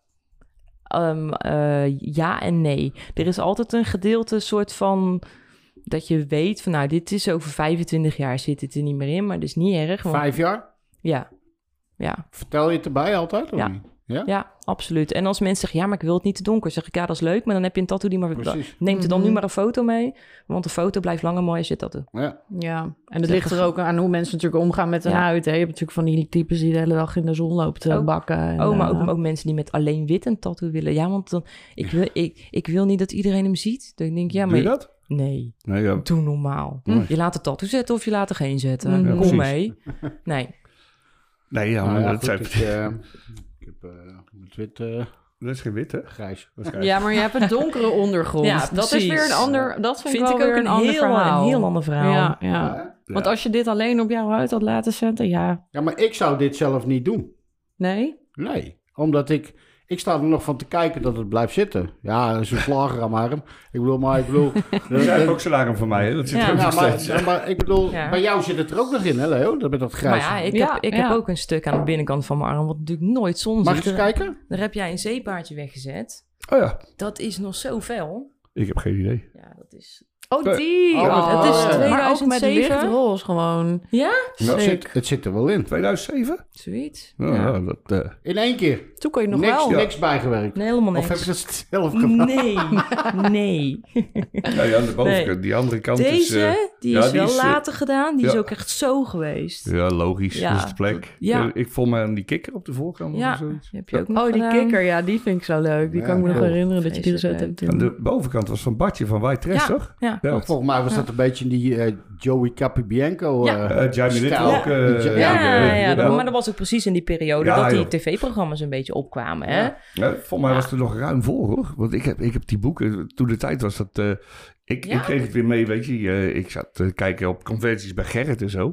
Speaker 4: Ehm, eh, ja en nee. Er is altijd een gedeelte soort van dat je weet van nou, dit is over 25 jaar zit het er niet meer in, maar dat is niet erg. want-
Speaker 1: Vijf jaar?
Speaker 4: ja. Ja,
Speaker 1: Vertel je het erbij altijd, of
Speaker 4: Ja.
Speaker 1: niet? Ja?
Speaker 4: ja, absoluut. En als mensen zeggen, ja, maar ik wil het niet te donker, zeg ik, ja, dat is leuk, maar dan heb je een tattoo die maar...
Speaker 1: Precies.
Speaker 4: Neemt er dan nu
Speaker 3: Mhm.
Speaker 4: maar een foto mee, want een foto blijft langer mooi als je het tattoo.
Speaker 1: Ja.
Speaker 3: Ja, en het
Speaker 4: Zeg
Speaker 3: ligt er
Speaker 4: eens.
Speaker 3: ook aan hoe mensen natuurlijk omgaan met hun
Speaker 4: Ja.
Speaker 3: huid. Hè. Je hebt natuurlijk van die types die de hele dag in de zon lopen te
Speaker 4: Ook.
Speaker 3: bakken. En,
Speaker 4: Oh, maar
Speaker 3: eh,
Speaker 4: ook, ook mensen die met alleen wit een tattoo willen. Ja, want dan, ik, wil, ik, ik wil niet dat iedereen hem ziet. Dan denk ik, ja,
Speaker 2: Doe
Speaker 4: maar...
Speaker 2: je dat?
Speaker 4: Nee,
Speaker 2: Nee, ja.
Speaker 4: doe normaal.
Speaker 2: Nee.
Speaker 4: Je laat het tattoo zetten of je laat er geen zetten.
Speaker 3: Mhm. Ja,
Speaker 4: Kom
Speaker 2: precies.
Speaker 4: mee. Nee.
Speaker 2: Nee, ja,
Speaker 1: Nou
Speaker 2: maar
Speaker 1: ja,
Speaker 2: dat,
Speaker 1: goed,
Speaker 2: zijn,
Speaker 1: ik, eh, ik heb eh, mijn wit eh,
Speaker 2: dat is geen wit, hè?
Speaker 1: grijs.
Speaker 2: Waarschijnlijk.
Speaker 3: Ja, maar je hebt een donkere ondergrond.
Speaker 4: Ja,
Speaker 3: dat
Speaker 4: precies.
Speaker 3: is weer een ander. Dat vind,
Speaker 4: vind,
Speaker 3: ik
Speaker 4: ik
Speaker 3: wel
Speaker 4: ook
Speaker 3: weer
Speaker 4: een,
Speaker 3: ander
Speaker 4: heel,
Speaker 3: verhaal.
Speaker 4: een heel ander verhaal.
Speaker 3: Ja, ja.
Speaker 1: Ja.
Speaker 3: Want als je dit alleen op jouw huid had laten zetten, ja,
Speaker 1: ja, maar ik zou dit zelf niet doen.
Speaker 3: nee.
Speaker 1: Nee. Omdat ik, Ik sta er nog van te kijken dat het blijft zitten. Ja, dat is een slager aan mijn arm. Ik bedoel, maar ik bedoel... eh,
Speaker 2: Die zijn ook salaris van mij, hè? Dat zit
Speaker 4: Ja.
Speaker 2: er ook
Speaker 1: Ja,
Speaker 2: nog steeds.
Speaker 1: maar, maar ik bedoel,
Speaker 4: Ja.
Speaker 1: bij jou zit het er ook nog in, hè Leo? Dat met dat
Speaker 4: Maar
Speaker 1: grijs.
Speaker 4: ja, ik,
Speaker 3: Ja,
Speaker 4: heb, ik
Speaker 3: ja.
Speaker 4: heb ook een stuk aan de binnenkant van mijn arm, wat natuurlijk nooit zon
Speaker 1: Mag
Speaker 4: ziet.
Speaker 1: ik eens kijken?
Speaker 4: Daar heb jij een zeepaardje weggezet.
Speaker 2: Oh ja,
Speaker 4: Dat is nog zo fel.
Speaker 2: ik heb geen idee.
Speaker 4: Ja, dat is...
Speaker 3: Oh, die.
Speaker 1: Oh,
Speaker 3: Oh,
Speaker 1: het is
Speaker 3: Maar ook met
Speaker 4: 2007.
Speaker 3: lichtroze gewoon.
Speaker 4: Ja?
Speaker 1: Het
Speaker 3: Sick.
Speaker 1: zit, het zit er wel in.
Speaker 2: 2007?
Speaker 4: Zoiets.
Speaker 2: Ja,
Speaker 4: Ja.
Speaker 2: dat... eh,
Speaker 1: In één keer.
Speaker 3: Toen kon je nog
Speaker 1: niks,
Speaker 3: wel.
Speaker 1: niks bijgewerkt.
Speaker 4: Nee, helemaal
Speaker 1: Of heb je
Speaker 4: niks.
Speaker 1: dat zelf gedaan?
Speaker 4: Nee, nee.
Speaker 2: nou ja, aan de bovenkant.
Speaker 4: Nee.
Speaker 2: Die andere kant is... eh,
Speaker 4: Deze, die
Speaker 2: ja,
Speaker 4: is
Speaker 2: die
Speaker 4: wel
Speaker 2: is, eh,
Speaker 4: later gedaan. Die is
Speaker 2: ja.
Speaker 4: ook echt zo geweest.
Speaker 2: ja, logisch.
Speaker 4: Ja.
Speaker 2: Dat is de plek.
Speaker 4: Ja.
Speaker 2: Eh, Ik vond me aan die kikker op de voorkant
Speaker 4: Ja,
Speaker 2: of zoiets.
Speaker 4: die heb je ook nog
Speaker 3: Oh, die
Speaker 4: gedaan.
Speaker 3: kikker, ja, die vind ik zo leuk. Die
Speaker 1: Ja,
Speaker 3: kan ik me nog
Speaker 1: cool.
Speaker 3: herinneren dat je die gezet hebt.
Speaker 4: Vreselijk
Speaker 2: Aan
Speaker 3: toen.
Speaker 2: de bovenkant was van Bartje van White Trash,
Speaker 4: Ja,
Speaker 2: toch?
Speaker 4: ja.
Speaker 2: ja.
Speaker 1: Maar volgens mij was dat een beetje die eh, Joey Capibianco.
Speaker 4: Ja.
Speaker 1: eh,
Speaker 2: Eh, Jamie Little
Speaker 1: Stijl.
Speaker 2: ook. eh,
Speaker 1: Ja,
Speaker 4: Ja, ja,
Speaker 2: eh,
Speaker 4: ja,
Speaker 2: ja.
Speaker 4: maar dat was ook precies in die periode
Speaker 2: Ja,
Speaker 4: dat die
Speaker 2: joh.
Speaker 4: tv-programma's een beetje opkwamen. Hè?
Speaker 2: Ja, volgens mij was het er nog ruim voor, hoor. Want ik heb, ik heb die boeken, toen de tijd was dat... eh, ik,
Speaker 4: Ja.
Speaker 2: ik kreeg het weer mee, weet je. eh, ik zat te kijken op conventies bij Gerrit en zo.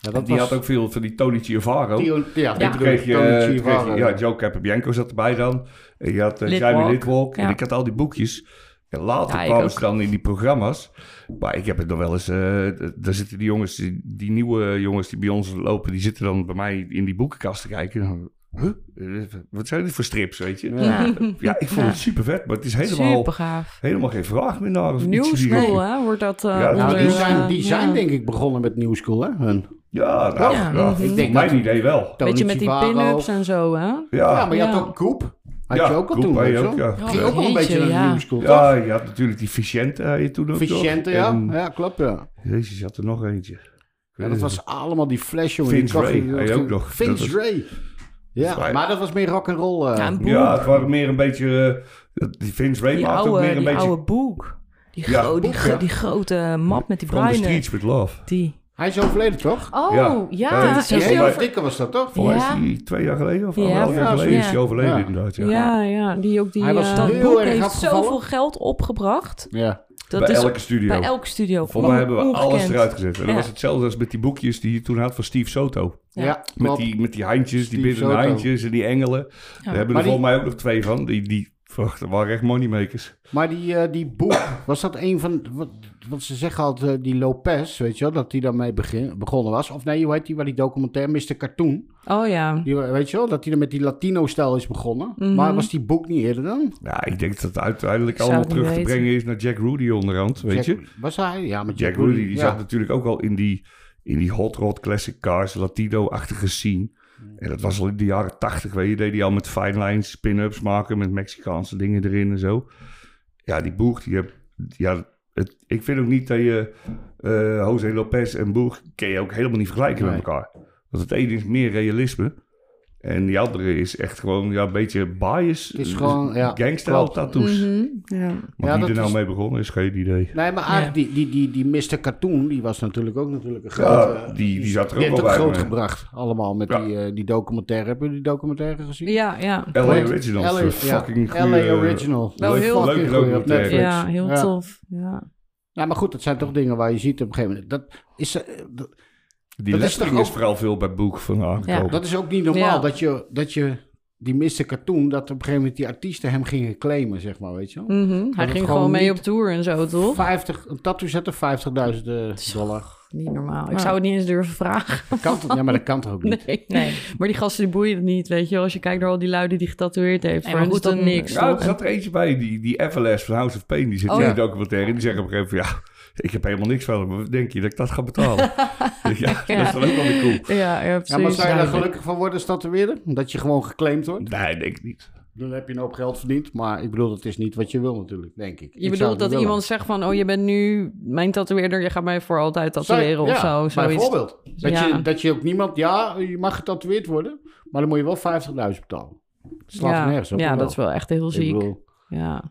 Speaker 1: ja, dat
Speaker 2: die
Speaker 1: was
Speaker 2: had ook veel van die Tony Chiavaro.
Speaker 1: Theo- ja,
Speaker 2: En
Speaker 1: die
Speaker 2: toen kreeg je,
Speaker 1: Tony
Speaker 2: toen kreeg
Speaker 1: Chiavara.
Speaker 2: je- ja, Joe Capabianco zat erbij dan. En je had uh,
Speaker 4: Lidwalk.
Speaker 2: Jamie Lidwalk. En
Speaker 4: Ja.
Speaker 2: ik had al die boekjes. En later
Speaker 4: Ja, ik
Speaker 2: kwamen
Speaker 4: ook.
Speaker 2: ze dan in die programma's. Maar ik heb het nog wel eens... eh, d- daar zitten die jongens, die, die nieuwe jongens die bij ons lopen... die zitten dan bij mij in die boekenkast te kijken. En dan, Huh? Eh, Wat zijn dit voor strips, weet je? Ja,
Speaker 4: Ja.
Speaker 2: ik vond het super vet. Maar het is helemaal,
Speaker 4: Super gaaf.
Speaker 2: helemaal geen vraag meer naar. Of iets
Speaker 3: New
Speaker 2: in die
Speaker 3: School,
Speaker 2: richting.
Speaker 3: hè? Wordt dat... eh,
Speaker 2: Ja,
Speaker 1: Nou,
Speaker 3: onder,
Speaker 1: die
Speaker 3: eh,
Speaker 1: zijn, die zijn
Speaker 3: ja.
Speaker 1: denk ik begonnen met New School, hè? Hun.
Speaker 2: Ja, nou,
Speaker 4: Ja.
Speaker 2: ja,
Speaker 1: Ik denk
Speaker 2: mijn
Speaker 1: dat-
Speaker 2: idee wel.
Speaker 1: Tony
Speaker 3: Beetje met die
Speaker 1: Chivaro.
Speaker 3: pin-ups en zo, hè?
Speaker 1: Ja, maar je had
Speaker 3: Ja.
Speaker 1: ook Koep. Had
Speaker 2: Ja,
Speaker 1: je ook al
Speaker 2: Koep
Speaker 1: toen,
Speaker 2: had je
Speaker 1: weet je
Speaker 2: ook,
Speaker 1: wel?
Speaker 2: ja.
Speaker 1: Die ging ook wel een
Speaker 4: Jeetje,
Speaker 1: beetje naar de
Speaker 4: ja.
Speaker 1: New School,
Speaker 2: Ja,
Speaker 1: toch?
Speaker 2: je had natuurlijk die Ficiente had je toen ook nog.
Speaker 1: Vicente, ja.
Speaker 2: En-
Speaker 1: Ja, klopt, ja.
Speaker 2: Jezus, je had er nog eentje. Ik
Speaker 1: Ja,
Speaker 2: weet
Speaker 1: dat
Speaker 2: het
Speaker 1: was
Speaker 2: niet.
Speaker 1: allemaal die flash, jongen.
Speaker 2: Vince
Speaker 1: die
Speaker 2: Ray,
Speaker 1: koffie-
Speaker 2: hij ook nog.
Speaker 1: Vince
Speaker 2: Dat was-
Speaker 1: Ray. Ja,
Speaker 2: Zwaai.
Speaker 1: maar dat was meer rock'n'roll. eh
Speaker 4: Ja, een boek.
Speaker 2: Ja, het waren meer een beetje... eh, die Vince Ray
Speaker 4: die
Speaker 2: maakte ook
Speaker 4: oude,
Speaker 2: meer een
Speaker 4: die oude
Speaker 2: beetje...
Speaker 4: boek. Die,
Speaker 2: Ja,
Speaker 4: gro-
Speaker 2: boek,
Speaker 4: die, gro-
Speaker 2: ja.
Speaker 4: die grote map met die
Speaker 2: From the
Speaker 4: bruine.
Speaker 2: Streets with Love.
Speaker 4: Die.
Speaker 1: Hij is overleden, toch?
Speaker 3: Oh,
Speaker 2: Ja.
Speaker 3: ja.
Speaker 2: Ja, dat is
Speaker 1: Die
Speaker 2: Is
Speaker 3: is
Speaker 2: die
Speaker 1: hele
Speaker 2: over-
Speaker 1: dikke was dat, toch?
Speaker 2: Volgens
Speaker 4: Ja.
Speaker 2: mij is die twee jaar geleden of
Speaker 4: Ja,
Speaker 2: anderhalf jaar
Speaker 1: volgens
Speaker 2: geleden
Speaker 4: mij.
Speaker 2: is die overleden
Speaker 1: Ja.
Speaker 2: inderdaad. Ja.
Speaker 3: ja, ja, die ook die...
Speaker 1: Hij was
Speaker 3: eh,
Speaker 1: heel
Speaker 4: Dat boek
Speaker 1: erg
Speaker 4: heeft
Speaker 1: afgevallen.
Speaker 4: zoveel geld opgebracht.
Speaker 1: Ja.
Speaker 4: Dat
Speaker 2: bij
Speaker 4: is
Speaker 2: elke studio.
Speaker 4: bij elk studio.
Speaker 2: Volgens mij hebben we alles
Speaker 4: Ongekend.
Speaker 2: eruit gezet. En dat
Speaker 4: Ja.
Speaker 2: was hetzelfde als met die boekjes die je toen had van Steve Soto.
Speaker 1: Ja,
Speaker 4: Ja.
Speaker 2: Met
Speaker 1: klopt.
Speaker 2: die, met die handjes, die
Speaker 1: Steve
Speaker 2: binnen
Speaker 1: Soto.
Speaker 2: handjes en die engelen. Daar hebben
Speaker 1: Maar
Speaker 2: er
Speaker 1: die-
Speaker 2: volgens mij ook nog twee van. Die, die wacht, dat waren echt moneymakers.
Speaker 1: Maar die, eh, die boek, was dat een van... Wat, wat ze zeggen altijd, eh, die Lopez, weet je wel? Dat die daarmee begin, begonnen was. Of nee, hoe heet die? Waar die documentaire, Mr. Cartoon.
Speaker 3: Oh ja.
Speaker 1: Die, eh, weet je wel? Dat die er met die Latino-stijl is begonnen.
Speaker 3: Mhm.
Speaker 1: Maar was die boek niet eerder dan?
Speaker 2: Ja, ik denk dat het uiteindelijk
Speaker 4: zou
Speaker 2: allemaal
Speaker 4: het
Speaker 2: terug
Speaker 4: niet
Speaker 2: te
Speaker 4: weten.
Speaker 2: brengen is naar Jack Rudy onderhand,
Speaker 1: Jack-
Speaker 2: weet je.
Speaker 1: Was hij? Ja, met
Speaker 2: Jack Rudy, die
Speaker 1: ja.
Speaker 2: zat natuurlijk ook al in die, in die hot rod classic cars, Latino-achtige scene.
Speaker 1: Mm.
Speaker 2: En dat was al in de jaren tachtig, weet je. Deed hij al met fine lines, spin-ups maken, met Mexicaanse dingen erin en zo. Ja, die Boeg, die heb... Ja, het, ik vind ook niet dat je eh Jose Lopez en Boeg... kan je ook helemaal niet vergelijken
Speaker 1: Nee.
Speaker 2: met elkaar. Want het ene is meer realisme... En die andere is echt gewoon ja, een beetje bias.
Speaker 1: Het is gewoon, ja,
Speaker 2: Gangstyle
Speaker 1: klopt.
Speaker 2: tattoos.
Speaker 3: Mhm, ja.
Speaker 2: Maar
Speaker 1: Ja,
Speaker 2: wie
Speaker 1: dat
Speaker 2: er nou
Speaker 1: is-
Speaker 2: mee begonnen is, geen idee.
Speaker 1: Nee, maar eigenlijk die, die, die, die Mr. Cartoon, die was natuurlijk ook natuurlijk een grote...
Speaker 2: Ja, die, die zat er
Speaker 1: die heeft
Speaker 2: ook al
Speaker 1: ook
Speaker 2: bij.
Speaker 1: groot
Speaker 2: maar-
Speaker 1: gebracht, allemaal, met
Speaker 2: Ja.
Speaker 1: die, eh, die documentaire. Hebben jullie die documentaire gezien?
Speaker 3: Ja, ja.
Speaker 2: LA
Speaker 1: Goed.
Speaker 2: Originals.
Speaker 1: LA,
Speaker 2: een
Speaker 1: ja,
Speaker 2: fucking goeie-
Speaker 1: LA Original.
Speaker 3: Wel
Speaker 1: Leuk-
Speaker 3: heel-
Speaker 1: fucking
Speaker 2: leuke
Speaker 1: goeie op
Speaker 2: documentaire.
Speaker 1: Netflix.
Speaker 3: Ja, heel
Speaker 1: Ja.
Speaker 3: tof. Ja.
Speaker 1: Nou, maar goed, dat zijn toch dingen waar je ziet op een gegeven moment. Dat is, eh, dat,
Speaker 2: Die
Speaker 1: Dat is
Speaker 2: lettering
Speaker 1: toch
Speaker 2: is,
Speaker 1: ook-
Speaker 2: vooral veel bij Boek van aangekomen.
Speaker 1: dat is ook niet normaal
Speaker 3: Ja.
Speaker 1: dat, je, dat je die Mr. Cartoon, dat op een gegeven moment die artiesten hem gingen claimen, zeg maar, weet je wel.
Speaker 3: Mhm, Hij
Speaker 1: het
Speaker 3: ging
Speaker 1: gewoon
Speaker 3: gewoon mee
Speaker 1: niet-
Speaker 3: op tour en zo, toch?
Speaker 1: 50, een tattoo zetten, 50.000 eh, dollar.
Speaker 3: Niet normaal. Ik
Speaker 4: Maar-
Speaker 3: zou het niet eens durven vragen.
Speaker 1: Dat Kan toch, ja, maar dat kan toch ook niet?
Speaker 3: Nee.
Speaker 4: Nee.
Speaker 3: Maar die gasten die boeien het niet, weet je wel. Als je kijkt naar al die luiden die getatoeëerd heeft.
Speaker 4: Nee,
Speaker 3: voor
Speaker 4: maar
Speaker 3: hen is
Speaker 4: goed,
Speaker 3: dat
Speaker 4: een-
Speaker 3: niks,
Speaker 2: Ja,
Speaker 3: toch?
Speaker 2: er zat er eentje bij, die, die FLS van House of Pain, die zit
Speaker 3: Oh,
Speaker 2: in
Speaker 3: ja.
Speaker 2: de documentaire. En die zeggen op een gegeven moment, ja, ik heb helemaal niks van hem. Wat denk je dat ik dat ga betalen? ja, dat is dan ook wel weer cool.
Speaker 3: Ja, ja,
Speaker 1: Ja, maar
Speaker 3: precies.
Speaker 1: zou je daar
Speaker 3: duidelijk.
Speaker 1: gelukkig van worden als tatoeëerder? Omdat je gewoon geclaimd wordt?
Speaker 2: Nee, denk ik niet.
Speaker 1: Dan heb je een hoop geld verdiend, maar ik bedoel, dat is niet wat je wil natuurlijk, denk ik.
Speaker 3: Je bedoelt dat iemand zegt van, oh, je bent nu mijn tatoeëerder. Je gaat mij voor altijd tatoeëren of zo. Zoiets.
Speaker 1: Bijvoorbeeld. Dat,
Speaker 3: Ja.
Speaker 1: je, dat je ook niemand, ja, je mag getatoeëerd worden, maar dan moet je wel 50.000 betalen. Dat slaat
Speaker 3: ja,
Speaker 1: er nergens op.
Speaker 3: ja
Speaker 1: of
Speaker 3: dat is wel echt heel
Speaker 1: Ik
Speaker 3: ziek.
Speaker 1: bedoel,
Speaker 3: Ja.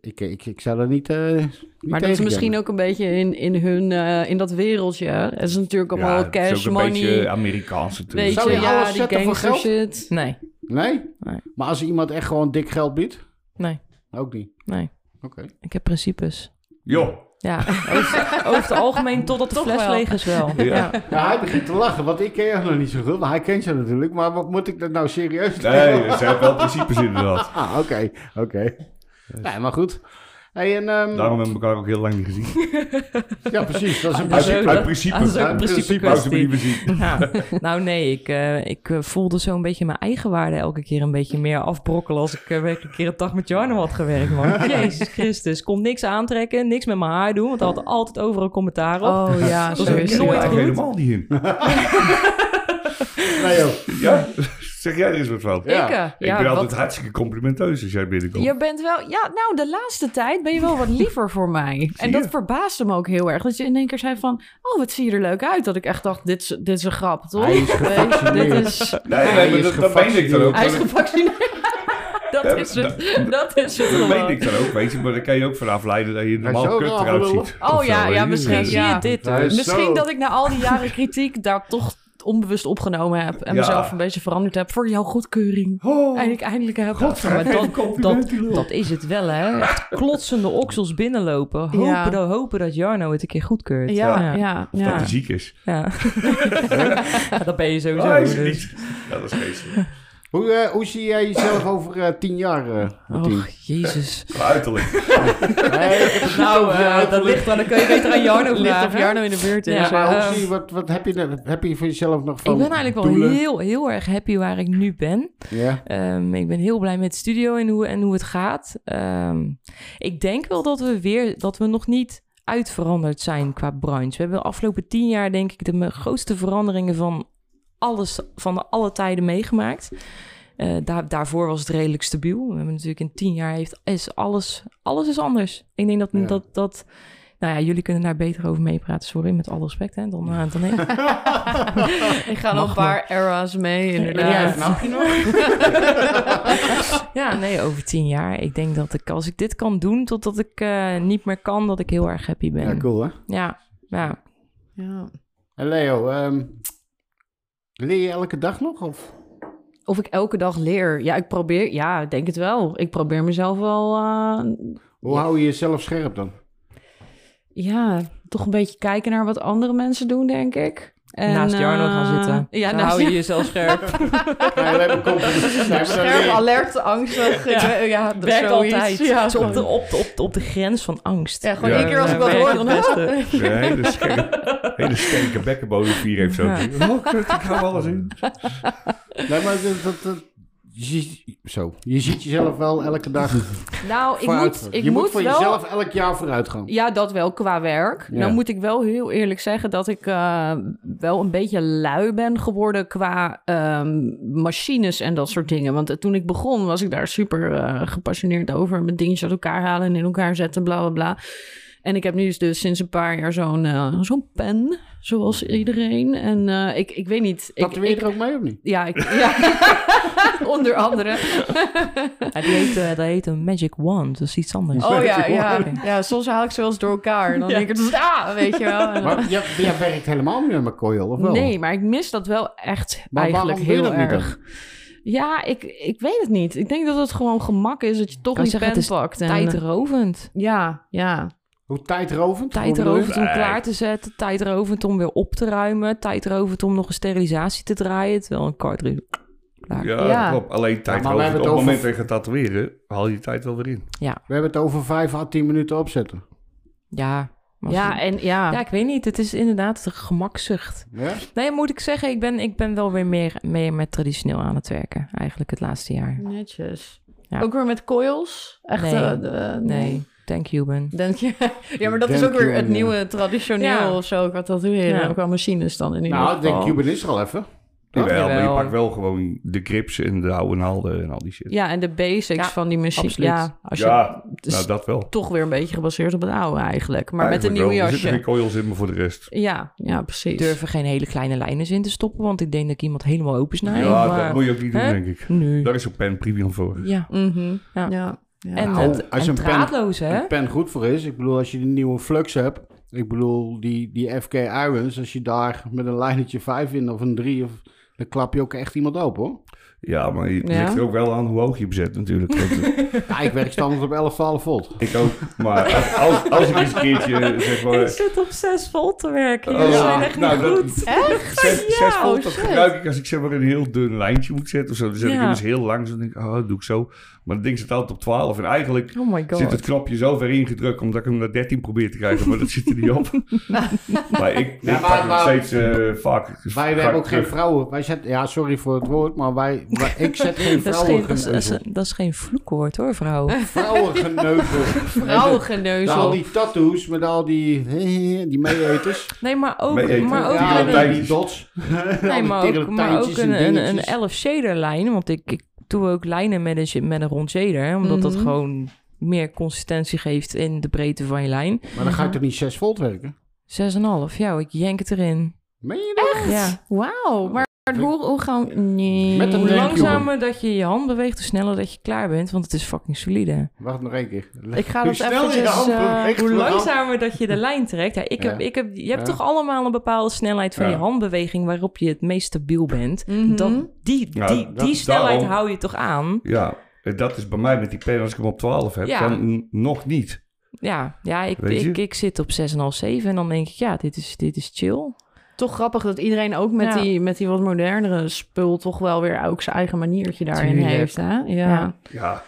Speaker 1: ik, ik, ik zou daar niet, eh niet
Speaker 3: Maar dat is misschien ook een beetje in, in hun, eh, in dat wereldje. hè. Het is natuurlijk allemaal
Speaker 2: het is
Speaker 3: cash,
Speaker 2: ook een
Speaker 3: money.
Speaker 2: beetje Amerikaans
Speaker 3: Weet
Speaker 2: natuurlijk.
Speaker 1: Zou
Speaker 3: je,
Speaker 1: je alles
Speaker 3: ja, die
Speaker 1: zetten voor
Speaker 3: gangster
Speaker 1: geld?
Speaker 3: shit.
Speaker 4: Nee,
Speaker 1: Nee?
Speaker 4: Nee.
Speaker 1: Maar als iemand echt gewoon dik geld biedt?
Speaker 4: Nee.
Speaker 1: Ook niet?
Speaker 4: nee.
Speaker 1: Oké.
Speaker 4: Ik heb principes.
Speaker 2: Joh,
Speaker 4: Ja, over, over het algemeen totdat de
Speaker 3: Toch
Speaker 4: fles
Speaker 3: wel.
Speaker 4: leeg is wel.
Speaker 2: Ja.
Speaker 1: Ja, hij begint te lachen, want ik ken jou nog niet zo goed. Maar hij kent je natuurlijk, maar wat moet ik dat nou serieus doen?
Speaker 2: Nee, ze hebben wel principes inderdaad.
Speaker 1: Ah, oké, oké. Nee, maar goed. Hey, en, ehm,
Speaker 2: Daarom hebben we elkaar ook heel lang niet gezien.
Speaker 1: Ja, precies. Dat is een
Speaker 4: Ah,
Speaker 1: principe.
Speaker 2: Uit, uit principe.
Speaker 4: Ah, dat is ook een
Speaker 2: Uit
Speaker 4: principe
Speaker 2: wou ze me niet meer
Speaker 4: kwestie.
Speaker 2: zien.
Speaker 4: Ja. Nou nee, ik, eh, ik eh, voelde zo'n beetje mijn eigen waarde elke keer een beetje meer afbrokkelen als ik eh, werkelijk een keer een dag met Jarno had gewerkt. Man. Jezus Christus, kon niks aantrekken, niks met mijn haar doen, want hij had altijd overal commentaar op.
Speaker 3: Oh ja,
Speaker 4: Dat is
Speaker 3: zo
Speaker 4: ook
Speaker 3: is het.
Speaker 2: Ik
Speaker 4: nooit
Speaker 2: krijg
Speaker 4: goed.
Speaker 2: helemaal niet in.
Speaker 1: Nee, joh.
Speaker 2: Ja, zeg jij er eens wat van.
Speaker 1: Ja.
Speaker 3: Ik, eh,
Speaker 2: Ik
Speaker 3: ja,
Speaker 2: ben altijd
Speaker 3: wat-
Speaker 2: hartstikke complimenteus als jij binnenkomt.
Speaker 3: Je bent wel, ja, nou, de laatste tijd ben je wel wat liever voor mij. En
Speaker 2: je?
Speaker 3: dat verbaasde me ook heel erg. Dat je in één keer zei van, oh, wat zie je er leuk uit. Dat ik echt dacht, dit is, dit is een grap, toch?
Speaker 1: Hij is
Speaker 3: Weet je,
Speaker 1: gevaccineerd.
Speaker 3: dit is,
Speaker 2: Nee,
Speaker 1: Hij
Speaker 2: nee, maar
Speaker 1: is
Speaker 2: dat, dat meen ik dan
Speaker 1: gevaccineerd.
Speaker 2: ook.
Speaker 3: hij is
Speaker 2: Maar dat-
Speaker 3: gevaccineerd. dat
Speaker 2: Ja,
Speaker 3: is
Speaker 2: dat-
Speaker 3: het. Dat is eh, het.
Speaker 2: Dat meen
Speaker 3: gewoon.
Speaker 2: ik dan ook, weet je. Maar daar kan je ook van afleiden dat je normaal
Speaker 1: zou
Speaker 2: kut
Speaker 1: wel
Speaker 2: eruit
Speaker 1: lullen.
Speaker 2: ziet.
Speaker 3: Oh
Speaker 2: Of zo,
Speaker 3: ja, ja,
Speaker 2: weet je.
Speaker 3: misschien.
Speaker 2: Dus-
Speaker 3: Ja.
Speaker 4: Zie je dit?
Speaker 1: Hij is zo-
Speaker 3: Misschien dat ik na al die jaren kritiek daar toch onbewust opgenomen heb. En
Speaker 2: Ja.
Speaker 3: mezelf een beetje veranderd heb voor jouw goedkeuring.
Speaker 2: Oh,
Speaker 3: En ik eindelijk heb.
Speaker 2: godver,
Speaker 4: Maar
Speaker 2: geen
Speaker 4: dat-
Speaker 2: compliment, die lul.
Speaker 4: Dat is het wel, hè? Echt klotsende oksels binnenlopen. Hopen,
Speaker 3: Ja.
Speaker 4: dat, hopen dat Jarno het een keer goedkeurt.
Speaker 3: Ja, ja,
Speaker 4: ja.
Speaker 3: ja.
Speaker 2: Of dat hij ziek is.
Speaker 4: Ja. Ja, dat ben je
Speaker 2: Oh,
Speaker 4: sowieso.
Speaker 2: hij is het
Speaker 4: dus.
Speaker 2: niet. Ja, dat is geestelijk.
Speaker 1: Hoe, eh, hoe zie jij jezelf over eh, tien jaar, eh, Martien?
Speaker 4: Och, jezus.
Speaker 2: Qua Uiterlijk.
Speaker 1: Nee, ik heb het niet
Speaker 4: Nou,
Speaker 1: over je
Speaker 4: eh, dat
Speaker 1: uiterlijk.
Speaker 4: ligt wel. Dan kun je beter aan Jarno
Speaker 3: Ligt
Speaker 4: vragen.
Speaker 3: of Jarno in de buurt is.
Speaker 4: Ja,
Speaker 1: Maar
Speaker 4: eh,
Speaker 1: hoe zie je, wat, wat heb, je, er- heb je voor jezelf nog van
Speaker 4: Ik ben eigenlijk wel
Speaker 1: doelen?
Speaker 4: Oh. heel, heel erg happy waar ik nu ben.
Speaker 1: Ja,
Speaker 4: Ehm, ik ben heel blij met de studio en hoe, en hoe het gaat. Ehm, ik denk wel dat we weer dat we nog niet uitveranderd zijn qua branche. We hebben de afgelopen tien jaar denk ik de me- grootste veranderingen van alles van de alle tijden meegemaakt. Eh, daar, daarvoor was het redelijk stabiel. We hebben natuurlijk in tien jaar heeft, is alles, alles is anders. Ik denk dat,
Speaker 1: Ja.
Speaker 4: dat, dat nou ja, jullie kunnen daar beter over meepraten. Sorry, met alle respect. Hè, dan, eh, dan ik.
Speaker 3: Ik ga nog een paar era's mee, inderdaad.
Speaker 4: Ja.
Speaker 1: snap je nog?
Speaker 4: Ja, Oh, nee, over tien jaar. Ik denk dat ik, als ik dit kan doen totdat ik eh, niet meer kan, dat ik heel erg happy ben.
Speaker 1: Ja, cool hè.
Speaker 4: ja, ja.
Speaker 3: Ja.
Speaker 1: En Leo, ehm, leer je elke dag nog? Of?
Speaker 3: Of ik elke dag leer. Ja, ik probeer. Ja, ik denk het wel. Ik probeer mezelf wel. eh,
Speaker 1: Hoe hou je jezelf scherp dan?
Speaker 3: ja, toch een beetje kijken naar wat andere mensen doen, denk ik. En,
Speaker 4: naast Jarno gaan
Speaker 3: eh,
Speaker 4: zitten.
Speaker 3: Ja,
Speaker 4: Dan
Speaker 3: naast
Speaker 4: hou je jezelf scherp.
Speaker 1: Nee, we hebben complimenten. Nee, maar dan leer
Speaker 3: Scherp,
Speaker 1: je-
Speaker 3: alert, angstig. Ja,
Speaker 4: Ja.
Speaker 3: ja dat
Speaker 4: Werkt
Speaker 3: zoiets.
Speaker 4: altijd.
Speaker 3: Ja,
Speaker 4: Zo op, de, op, de- op, de- op de grens van angst.
Speaker 3: Ja, gewoon
Speaker 2: Ja,
Speaker 3: één keer als ik dat
Speaker 4: werkt
Speaker 3: hoor,
Speaker 4: het
Speaker 3: dan
Speaker 4: beste.
Speaker 2: Een hele sterke, hele sterke bekkenbodemvier heeft zo. Oh, kut, ik hou alles in.
Speaker 1: Nee, maar dat, dat, dat- je, ziet- zo. je ziet jezelf wel elke dag
Speaker 3: Nou, ik
Speaker 1: vooruit.
Speaker 3: moet, ik
Speaker 1: je moet,
Speaker 3: moet
Speaker 1: voor
Speaker 3: wel...
Speaker 1: jezelf elk jaar vooruit gaan.
Speaker 3: Ja, dat wel qua werk.
Speaker 1: Ja.
Speaker 3: Nou moet ik wel heel eerlijk zeggen dat ik eh, wel een beetje lui ben geworden qua ehm, machines en dat soort dingen. Want eh, toen ik begon was ik daar super eh, gepassioneerd over. Mijn dingetjes uit elkaar halen en in elkaar zetten, bla bla bla. En ik heb nu dus sinds een paar jaar zo'n eh, zo'n pen, zoals iedereen. En eh, ik, ik weet niet. Ik,
Speaker 1: Tatoeëer je
Speaker 3: ik,
Speaker 1: er ook mee of niet?
Speaker 3: ja, ik, ja, onder andere.
Speaker 4: Ja, die, heet, eh, dat heet een magic wand. Dat is iets anders.
Speaker 3: Oh ja, ja, ja, soms haal ik ze wel eens door elkaar. En dan denk ik, ah, weet je wel.
Speaker 4: Eh.
Speaker 3: En dan-
Speaker 1: Maar jij, jij werkt helemaal niet met mijn coil, of wel?
Speaker 3: Nee, maar ik mis dat wel echt
Speaker 1: Maar
Speaker 3: eigenlijk
Speaker 1: waarom wil
Speaker 3: heel
Speaker 1: je dat niet
Speaker 3: erg. Ja, ik, ik weet het niet. Ik denk dat het gewoon gemak is dat je toch
Speaker 4: Kan
Speaker 3: die
Speaker 4: zeggen,
Speaker 3: pen
Speaker 4: het is
Speaker 3: pakt. En, eh,
Speaker 4: Tijdrovend.
Speaker 3: Ja, ja.
Speaker 1: Hoe tijdrovend? Hoe bedoel
Speaker 4: Tijdrovend om
Speaker 2: Nee.
Speaker 4: klaar te zetten. Tijdrovend om weer op te ruimen. Tijdrovend om nog een sterilisatie te draaien. Terwijl een cartridge... Klaar.
Speaker 2: Ja,
Speaker 3: Ja.
Speaker 2: klopt. Alleen tijd
Speaker 1: maar we
Speaker 2: over. Op
Speaker 1: hebben
Speaker 2: het
Speaker 1: het
Speaker 2: moment
Speaker 1: over-
Speaker 2: dat je gaat tatoeëren, haal je je tijd wel weer in.
Speaker 1: je? We hebben het over 5 à 10 minuten opzetten.
Speaker 4: Ja. maar
Speaker 3: Ja,
Speaker 4: goed.
Speaker 3: en ja.
Speaker 4: ja, ik weet niet. Het is inderdaad de gemakzucht.
Speaker 1: Ja?
Speaker 4: Nee, moet ik zeggen, ik ben, ik ben wel weer meer, meer met traditioneel aan het werken. Eigenlijk het laatste jaar.
Speaker 3: Netjes.
Speaker 4: Ja.
Speaker 3: Ook weer met coils? Echt,
Speaker 4: Nee.
Speaker 3: eh, de-
Speaker 4: Nee, thank you, Ben.
Speaker 3: Denk je? Ja, maar dat is
Speaker 1: Denk
Speaker 3: ook weer
Speaker 1: je,
Speaker 3: het
Speaker 1: ja.
Speaker 3: nieuwe traditioneel
Speaker 4: Ja.
Speaker 3: of zo. Wat dat weer
Speaker 4: Ja.
Speaker 3: ja. qua machines dan in ieder
Speaker 1: Nou, ik
Speaker 3: geval.
Speaker 1: denk Cuban is er al even.
Speaker 2: Jawel, maar je
Speaker 4: Jawel.
Speaker 2: pakt wel gewoon de grips en de oude naalden en al die shit.
Speaker 3: Ja, en de basics
Speaker 4: Ja,
Speaker 3: van die machine.
Speaker 4: absoluut.
Speaker 3: Ja, als je,
Speaker 2: Ja,
Speaker 3: dus
Speaker 2: nou dat wel.
Speaker 3: toch weer een beetje gebaseerd op het oude eigenlijk. Maar met een
Speaker 2: Eigenlijk
Speaker 3: nieuw
Speaker 2: wel. Er zitten
Speaker 3: jasje.
Speaker 2: geen coils in, maar voor de rest.
Speaker 3: Ja, ja, precies.
Speaker 4: Ik durf er geen hele kleine lijnen in te stoppen, want ik denk dat ik iemand helemaal open snij.
Speaker 2: ja, dat
Speaker 4: maar
Speaker 2: moet je ook niet doen,
Speaker 4: Hè?
Speaker 2: denk ik.
Speaker 4: nu.
Speaker 2: Daar is een pen premium voor.
Speaker 4: Ja.
Speaker 3: Mhm.
Speaker 4: Ja.
Speaker 3: ja. Ja. Oh,
Speaker 4: En,
Speaker 1: Nou,
Speaker 4: het,
Speaker 1: als je
Speaker 4: en
Speaker 1: een pen-
Speaker 4: draadloos, hè?
Speaker 1: Een pen goed voor is. Ik bedoel, als je die nieuwe Flux hebt. Ik bedoel, die, die FK Irons. Als je daar met een lijnetje 5 in of een 3. Of, dan klap je ook echt iemand open hoor.
Speaker 2: Ja, maar je
Speaker 3: Ja.
Speaker 2: ligt er ook wel aan hoe hoog je bezet natuurlijk. Want,
Speaker 1: Ja, ik werk standaard op 11, 12 volt.
Speaker 2: eh, ik ook. Maar als, als, als ik eens een keertje zeg
Speaker 3: Ik
Speaker 2: maar...
Speaker 3: zit op 6 volt te werken.
Speaker 2: Oh,
Speaker 3: Jullie
Speaker 1: ja.
Speaker 3: zijn echt
Speaker 2: Nou,
Speaker 3: niet
Speaker 2: dat-
Speaker 3: goed.
Speaker 2: Zes,
Speaker 3: Ja,
Speaker 2: zes volt,
Speaker 3: oh,
Speaker 2: dat
Speaker 3: shit.
Speaker 2: gebruik ik als ik zeg maar een heel dun lijntje moet zetten of zo. Dan zet ik
Speaker 3: Ja.
Speaker 2: hem dus heel lang. Dan denk ik, oh, dat doe ik zo. Maar dat ding zit altijd op 12. En eigenlijk
Speaker 3: Oh my
Speaker 2: zit
Speaker 3: god.
Speaker 2: het knopje zo ver ingedrukt omdat ik hem naar 13 probeer te krijgen. Maar dat zit er niet op. maar ik, ik
Speaker 1: Ja, maar-
Speaker 2: pak nog
Speaker 1: maar-
Speaker 2: steeds eh, vaak. dus
Speaker 1: Wij,
Speaker 2: ga
Speaker 1: wij hebben
Speaker 2: ik
Speaker 1: ook geen
Speaker 2: terug.
Speaker 1: vrouwen. Wij zetten, ja, sorry voor het woord, maar wij, wij- ik zet geen
Speaker 4: Dat is geen, dat is- dat is-
Speaker 1: vrouwengeneuzel.
Speaker 4: dat is geen vloekwoord hoor, vrouw.
Speaker 1: Vrouwengeneuzel. Met Nou, al
Speaker 3: Vrouwengeneuzel.
Speaker 1: die tattoos, met al die, die meeeters.
Speaker 4: Nee, maar ook,
Speaker 2: Nee, ik-
Speaker 4: maar ook,
Speaker 2: Ja,
Speaker 4: een-
Speaker 2: dat-
Speaker 1: die, die dus. dots.
Speaker 4: nee, maar ook, maar ook een, een, een
Speaker 1: elf.
Speaker 4: 11 shader lijn. Want ik, ik doe ook lijnen met een, sh- met een rond shader. hè, Omdat dat
Speaker 3: Mhm.
Speaker 4: gewoon meer consistentie geeft in de breedte van je lijn. 6,5.
Speaker 1: Maar dan ga je toch niet 6 volt werken?
Speaker 4: Ja, ik jenk het erin.
Speaker 1: Meen je dat?
Speaker 4: Ja.
Speaker 3: Wauw. Maar hoe, hoe gaan... Nee.
Speaker 1: Met een
Speaker 4: Hoe
Speaker 1: Thank you.
Speaker 4: langzamer dat je je hand beweegt, hoe sneller dat je klaar bent. Want het is fucking solide.
Speaker 1: Wacht nog één keer.
Speaker 4: Ik ga
Speaker 1: Hoe
Speaker 4: dat
Speaker 1: snel je
Speaker 4: eventjes...
Speaker 1: hand
Speaker 4: eh,
Speaker 1: beweegt,
Speaker 4: hoe
Speaker 1: hoe lang-
Speaker 4: langzamer dat je de lijn trekt. Ja, ik
Speaker 1: Ja.
Speaker 4: heb, ik heb, je hebt
Speaker 1: Ja.
Speaker 4: toch allemaal een bepaalde snelheid van
Speaker 2: Ja.
Speaker 4: je handbeweging... waarop je het meest stabiel bent.
Speaker 3: Mhm.
Speaker 4: Dan, die,
Speaker 2: Ja,
Speaker 4: die,
Speaker 2: dat-
Speaker 4: die snelheid
Speaker 2: daarom-
Speaker 4: hou je toch aan?
Speaker 2: Ja, en dat is bij mij met die pen als ik hem op 12 heb.
Speaker 4: Ja.
Speaker 2: Dan n- nog niet.
Speaker 4: Ja, ja ik,
Speaker 2: Weet je?
Speaker 4: ik, ik zit op 6,5, 7 en dan denk ik... ja, dit is, dit is chill.
Speaker 3: Toch grappig dat iedereen ook met,
Speaker 4: Ja.
Speaker 3: die, met die wat modernere spul... toch wel weer ook zijn eigen maniertje daarin
Speaker 4: Tuurlijk.
Speaker 3: heeft. Hè? Ja.
Speaker 4: Ja.
Speaker 2: Ja,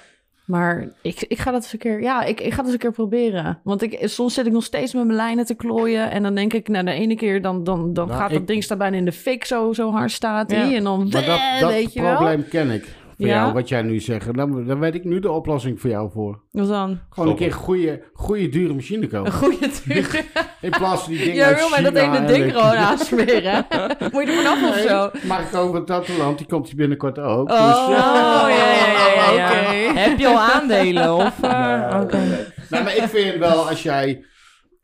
Speaker 3: Maar ik, ik ga dat eens een keer... Ja, ik, ik ga dat eens een keer proberen. Want ik, soms zit ik nog steeds met mijn lijnen te klooien... en dan denk ik, nou, de ene keer... dan, dan, dan
Speaker 1: Nou,
Speaker 3: gaat
Speaker 1: ik-
Speaker 3: dat ding staan bijna in de fik. Zo, zo hard staat hij.
Speaker 4: Ja.
Speaker 3: En dan...
Speaker 1: Maar dat, dat
Speaker 3: weet je wel.
Speaker 1: probleem ken ik. Van
Speaker 3: Ja?
Speaker 1: jou, wat jij nu zegt. Dan, dan weet ik nu de oplossing voor jou voor.
Speaker 3: Wat dan?
Speaker 1: Gewoon een
Speaker 2: Stoppen.
Speaker 1: keer goede, goede dure machine kopen.
Speaker 3: Een goede tuur.
Speaker 1: In plaats van die dingen
Speaker 3: Jij
Speaker 1: uit
Speaker 3: wil mij dat
Speaker 1: China
Speaker 3: ene
Speaker 1: en
Speaker 3: ding
Speaker 1: weet-
Speaker 3: gewoon aansmeren. Moet je er vanaf of
Speaker 1: Nee,
Speaker 3: zo?
Speaker 1: Mark over het Tatteland, die komt hier binnenkort ook.
Speaker 3: Oh,
Speaker 1: Dus,
Speaker 3: ja, ja, ja, ja, ja. Oké.
Speaker 4: Heb je al aandelen? Of, eh,
Speaker 2: Ja.
Speaker 4: oké.
Speaker 1: Nou, maar ik vind wel als jij.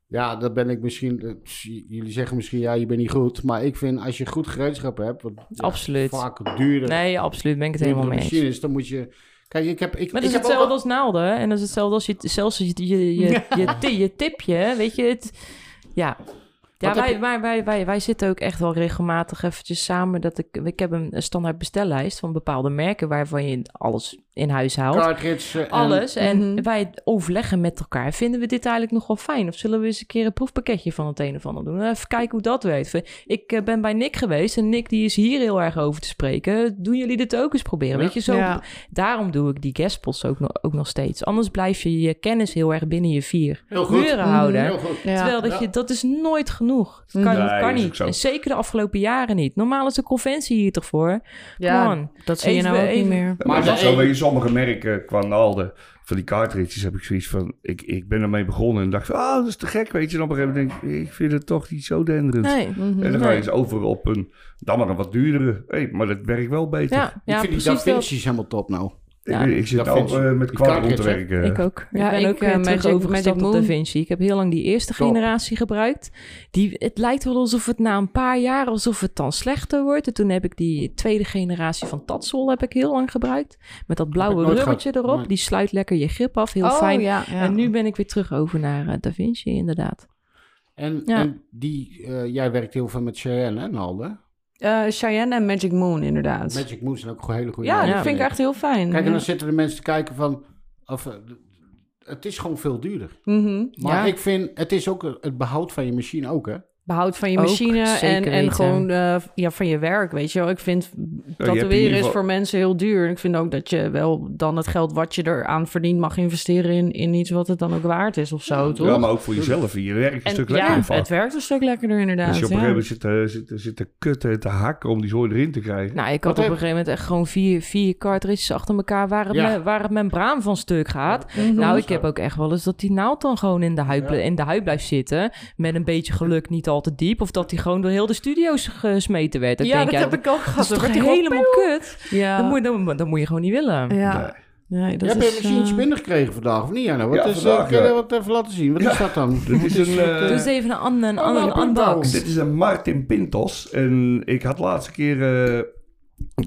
Speaker 1: Ja, dat ben ik misschien. eh, pss, j- Jullie zeggen misschien, ja, je bent niet goed. Maar ik vind als je goed gereedschap hebt, wat ja,
Speaker 4: Absoluut.
Speaker 1: vaak duurder.
Speaker 4: Nee, absoluut. Ben ik het
Speaker 1: duurdere
Speaker 4: helemaal mee eens.
Speaker 1: machine is, dan moet je. Kijk, ik heb. Ik,
Speaker 4: Maar
Speaker 1: ik
Speaker 4: dat is
Speaker 1: heb
Speaker 4: hetzelfde
Speaker 1: ook-
Speaker 4: als naalden. hè? En dat is hetzelfde als je, zelfs als je, je, je, je, ti- je tipje, weet je het. Ja, ja
Speaker 1: Wat heb
Speaker 4: wij, wij, wij, wij, wij zitten ook echt wel regelmatig eventjes samen. Dat ik, ik heb een, een standaard bestellijst van bepaalde merken waarvan je alles in huis haalt.
Speaker 1: cartridge. eh, en-
Speaker 4: alles. En
Speaker 3: Mhm.
Speaker 4: wij overleggen met elkaar. Vinden we dit eigenlijk nog wel fijn? Of zullen we eens een keer een proefpakketje van het een of ander doen? Even kijken hoe dat werkt. Ik eh, ben bij Nick geweest en Nick die is hier heel erg over te spreken. Doen jullie dit ook eens proberen?
Speaker 1: Ja.
Speaker 4: Weet je, zo
Speaker 3: Ja.
Speaker 4: Daarom doe ik die guestpots ook, nog- ook nog steeds. Anders blijf je je kennis heel erg binnen je vier
Speaker 1: heel goed. Mhm,
Speaker 4: muren houden.
Speaker 1: Heel goed.
Speaker 3: Ja.
Speaker 4: Terwijl dat,
Speaker 1: Ja.
Speaker 4: je, dat is nooit genoeg. Dat kan,
Speaker 3: Nee,
Speaker 4: dat kan
Speaker 2: is ook
Speaker 4: niet.
Speaker 2: zo.
Speaker 4: En zeker de afgelopen jaren niet. Normaal is de conventie hier toch voor? Come
Speaker 3: ja,
Speaker 4: on.
Speaker 3: dat zie je
Speaker 4: Even-
Speaker 3: nou ook niet
Speaker 4: even-
Speaker 3: meer.
Speaker 1: Maar
Speaker 2: Maar
Speaker 1: de e-
Speaker 2: dat zo
Speaker 1: een-
Speaker 2: weet je, sommige merken qua naalden van die cartridges heb ik zoiets van, ik, ik ben ermee begonnen en dacht, ah, dat is te gek, weet je. En op een gegeven moment denk ik, ik vind het toch niet zo denderend.
Speaker 4: Nee.
Speaker 3: Mhm.
Speaker 2: En dan ga je
Speaker 4: Nee.
Speaker 2: eens over op een, dan maar een wat duurdere. Hé, maar dat werkt wel beter.
Speaker 4: Ja,
Speaker 1: Ik
Speaker 4: ja
Speaker 1: vind die
Speaker 4: precies dat.
Speaker 1: DaVinci's helemaal top nou.
Speaker 2: Ik,
Speaker 4: Ja.
Speaker 2: ik zit
Speaker 1: Dat
Speaker 2: ook
Speaker 1: vind ik.
Speaker 2: eh, met
Speaker 1: Die
Speaker 2: Quadron te
Speaker 1: cartridge, hè?
Speaker 2: werken.
Speaker 4: Ik ook.
Speaker 3: Ja,
Speaker 4: ik ben
Speaker 3: ik,
Speaker 4: ook
Speaker 3: eh,
Speaker 4: weer terug
Speaker 3: Magic-
Speaker 4: overgestapt
Speaker 3: Magic
Speaker 4: op Da
Speaker 3: Moon.
Speaker 4: Vinci. Ik heb heel lang die eerste
Speaker 1: Top.
Speaker 4: generatie gebruikt. Die, het lijkt wel alsof het na een paar jaar alsof het dan slechter wordt. En toen heb ik die tweede generatie van Tatsol heb ik heel lang gebruikt. Met dat
Speaker 1: ik
Speaker 4: blauwe
Speaker 1: nooit
Speaker 4: rubbertje
Speaker 1: gehad.
Speaker 4: erop.
Speaker 1: Nee.
Speaker 4: Die sluit lekker je grip af. Heel
Speaker 3: oh,
Speaker 4: fijn.
Speaker 3: Ja, ja.
Speaker 4: En nu ben ik weer terug over naar eh, Da Vinci inderdaad.
Speaker 1: En,
Speaker 4: Ja.
Speaker 1: en die, eh, jij werkt heel veel met Cheyenne en Nalde.
Speaker 3: Eh, Cheyenne en Magic Moon, inderdaad.
Speaker 1: Magic Moon zijn ook gewoon hele goede
Speaker 3: ja,
Speaker 1: namen.
Speaker 3: dat vind ik echt heel fijn.
Speaker 1: Kijk, en
Speaker 4: Mhm.
Speaker 3: Ja.
Speaker 1: dan zitten de mensen te kijken van... Of, eh, het is gewoon veel duurder.
Speaker 3: Mhm.
Speaker 1: Maar
Speaker 4: Ja.
Speaker 1: ik vind, het is ook het behoud van je machine ook, hè?
Speaker 3: Behoud van je
Speaker 4: Ook,
Speaker 3: machine en,
Speaker 4: zeker
Speaker 3: en
Speaker 4: weten.
Speaker 3: gewoon eh, ja, van je werk, weet je wel. Ik vind
Speaker 2: ieder
Speaker 3: tatoeëren is
Speaker 2: geval-
Speaker 3: voor mensen heel duur. Ik vind ook dat je wel dan het geld wat je eraan verdient mag investeren in, in iets wat het dan ook waard is of zo, toch?
Speaker 2: Ja, maar ook voor jezelf. Je werkt een
Speaker 3: En
Speaker 2: stuk
Speaker 3: ja,
Speaker 2: lekker van.
Speaker 3: het werkt een stuk lekkerder inderdaad.
Speaker 2: Als je op een
Speaker 3: ja.
Speaker 2: gegeven moment zit, eh, zit, zit te kutten en te hakken om die zooi erin te krijgen.
Speaker 4: Nou, ik had
Speaker 1: Wat
Speaker 4: op
Speaker 1: heb-
Speaker 4: een gegeven moment echt gewoon vier, vier cartridges achter elkaar waar het,
Speaker 1: Ja.
Speaker 4: me- waar het membraan van stuk gaat.
Speaker 3: Mhm.
Speaker 4: Nou, ik heb ook echt wel eens dat die naald dan gewoon in de huid, ble- in de huid blijft zitten. Met een beetje geluk niet al te diep. Of dat die gewoon door heel de studio's gesmeten werd. Dan
Speaker 3: ja,
Speaker 4: denk,
Speaker 3: dat
Speaker 4: ja,
Speaker 3: heb ik ook
Speaker 4: Dat
Speaker 3: gehad.
Speaker 4: is toch
Speaker 3: Dan wordt die gewoon-
Speaker 4: helemaal kut?
Speaker 3: Ja.
Speaker 4: Dat, moet, dat, dat moet je gewoon niet willen. Dus
Speaker 2: Nee.
Speaker 3: Ja. Nee,
Speaker 1: Je
Speaker 3: dat
Speaker 1: hebt een
Speaker 3: is,
Speaker 1: machientje
Speaker 3: eh,
Speaker 1: binnengekregen vandaag, of niet, Janne? Wat
Speaker 2: Ja,
Speaker 1: is, eh,
Speaker 2: vandaag,
Speaker 1: kun je
Speaker 2: ja.
Speaker 1: dat even laten zien? Wat is dat dan?
Speaker 2: Dit is een, eh,
Speaker 4: Dus even een ander een,
Speaker 1: Oh,
Speaker 4: ander
Speaker 1: nou,
Speaker 4: unbox.
Speaker 1: puntbouw.
Speaker 2: Dit is een Martin Pintos. En ik had laatste keer... eh,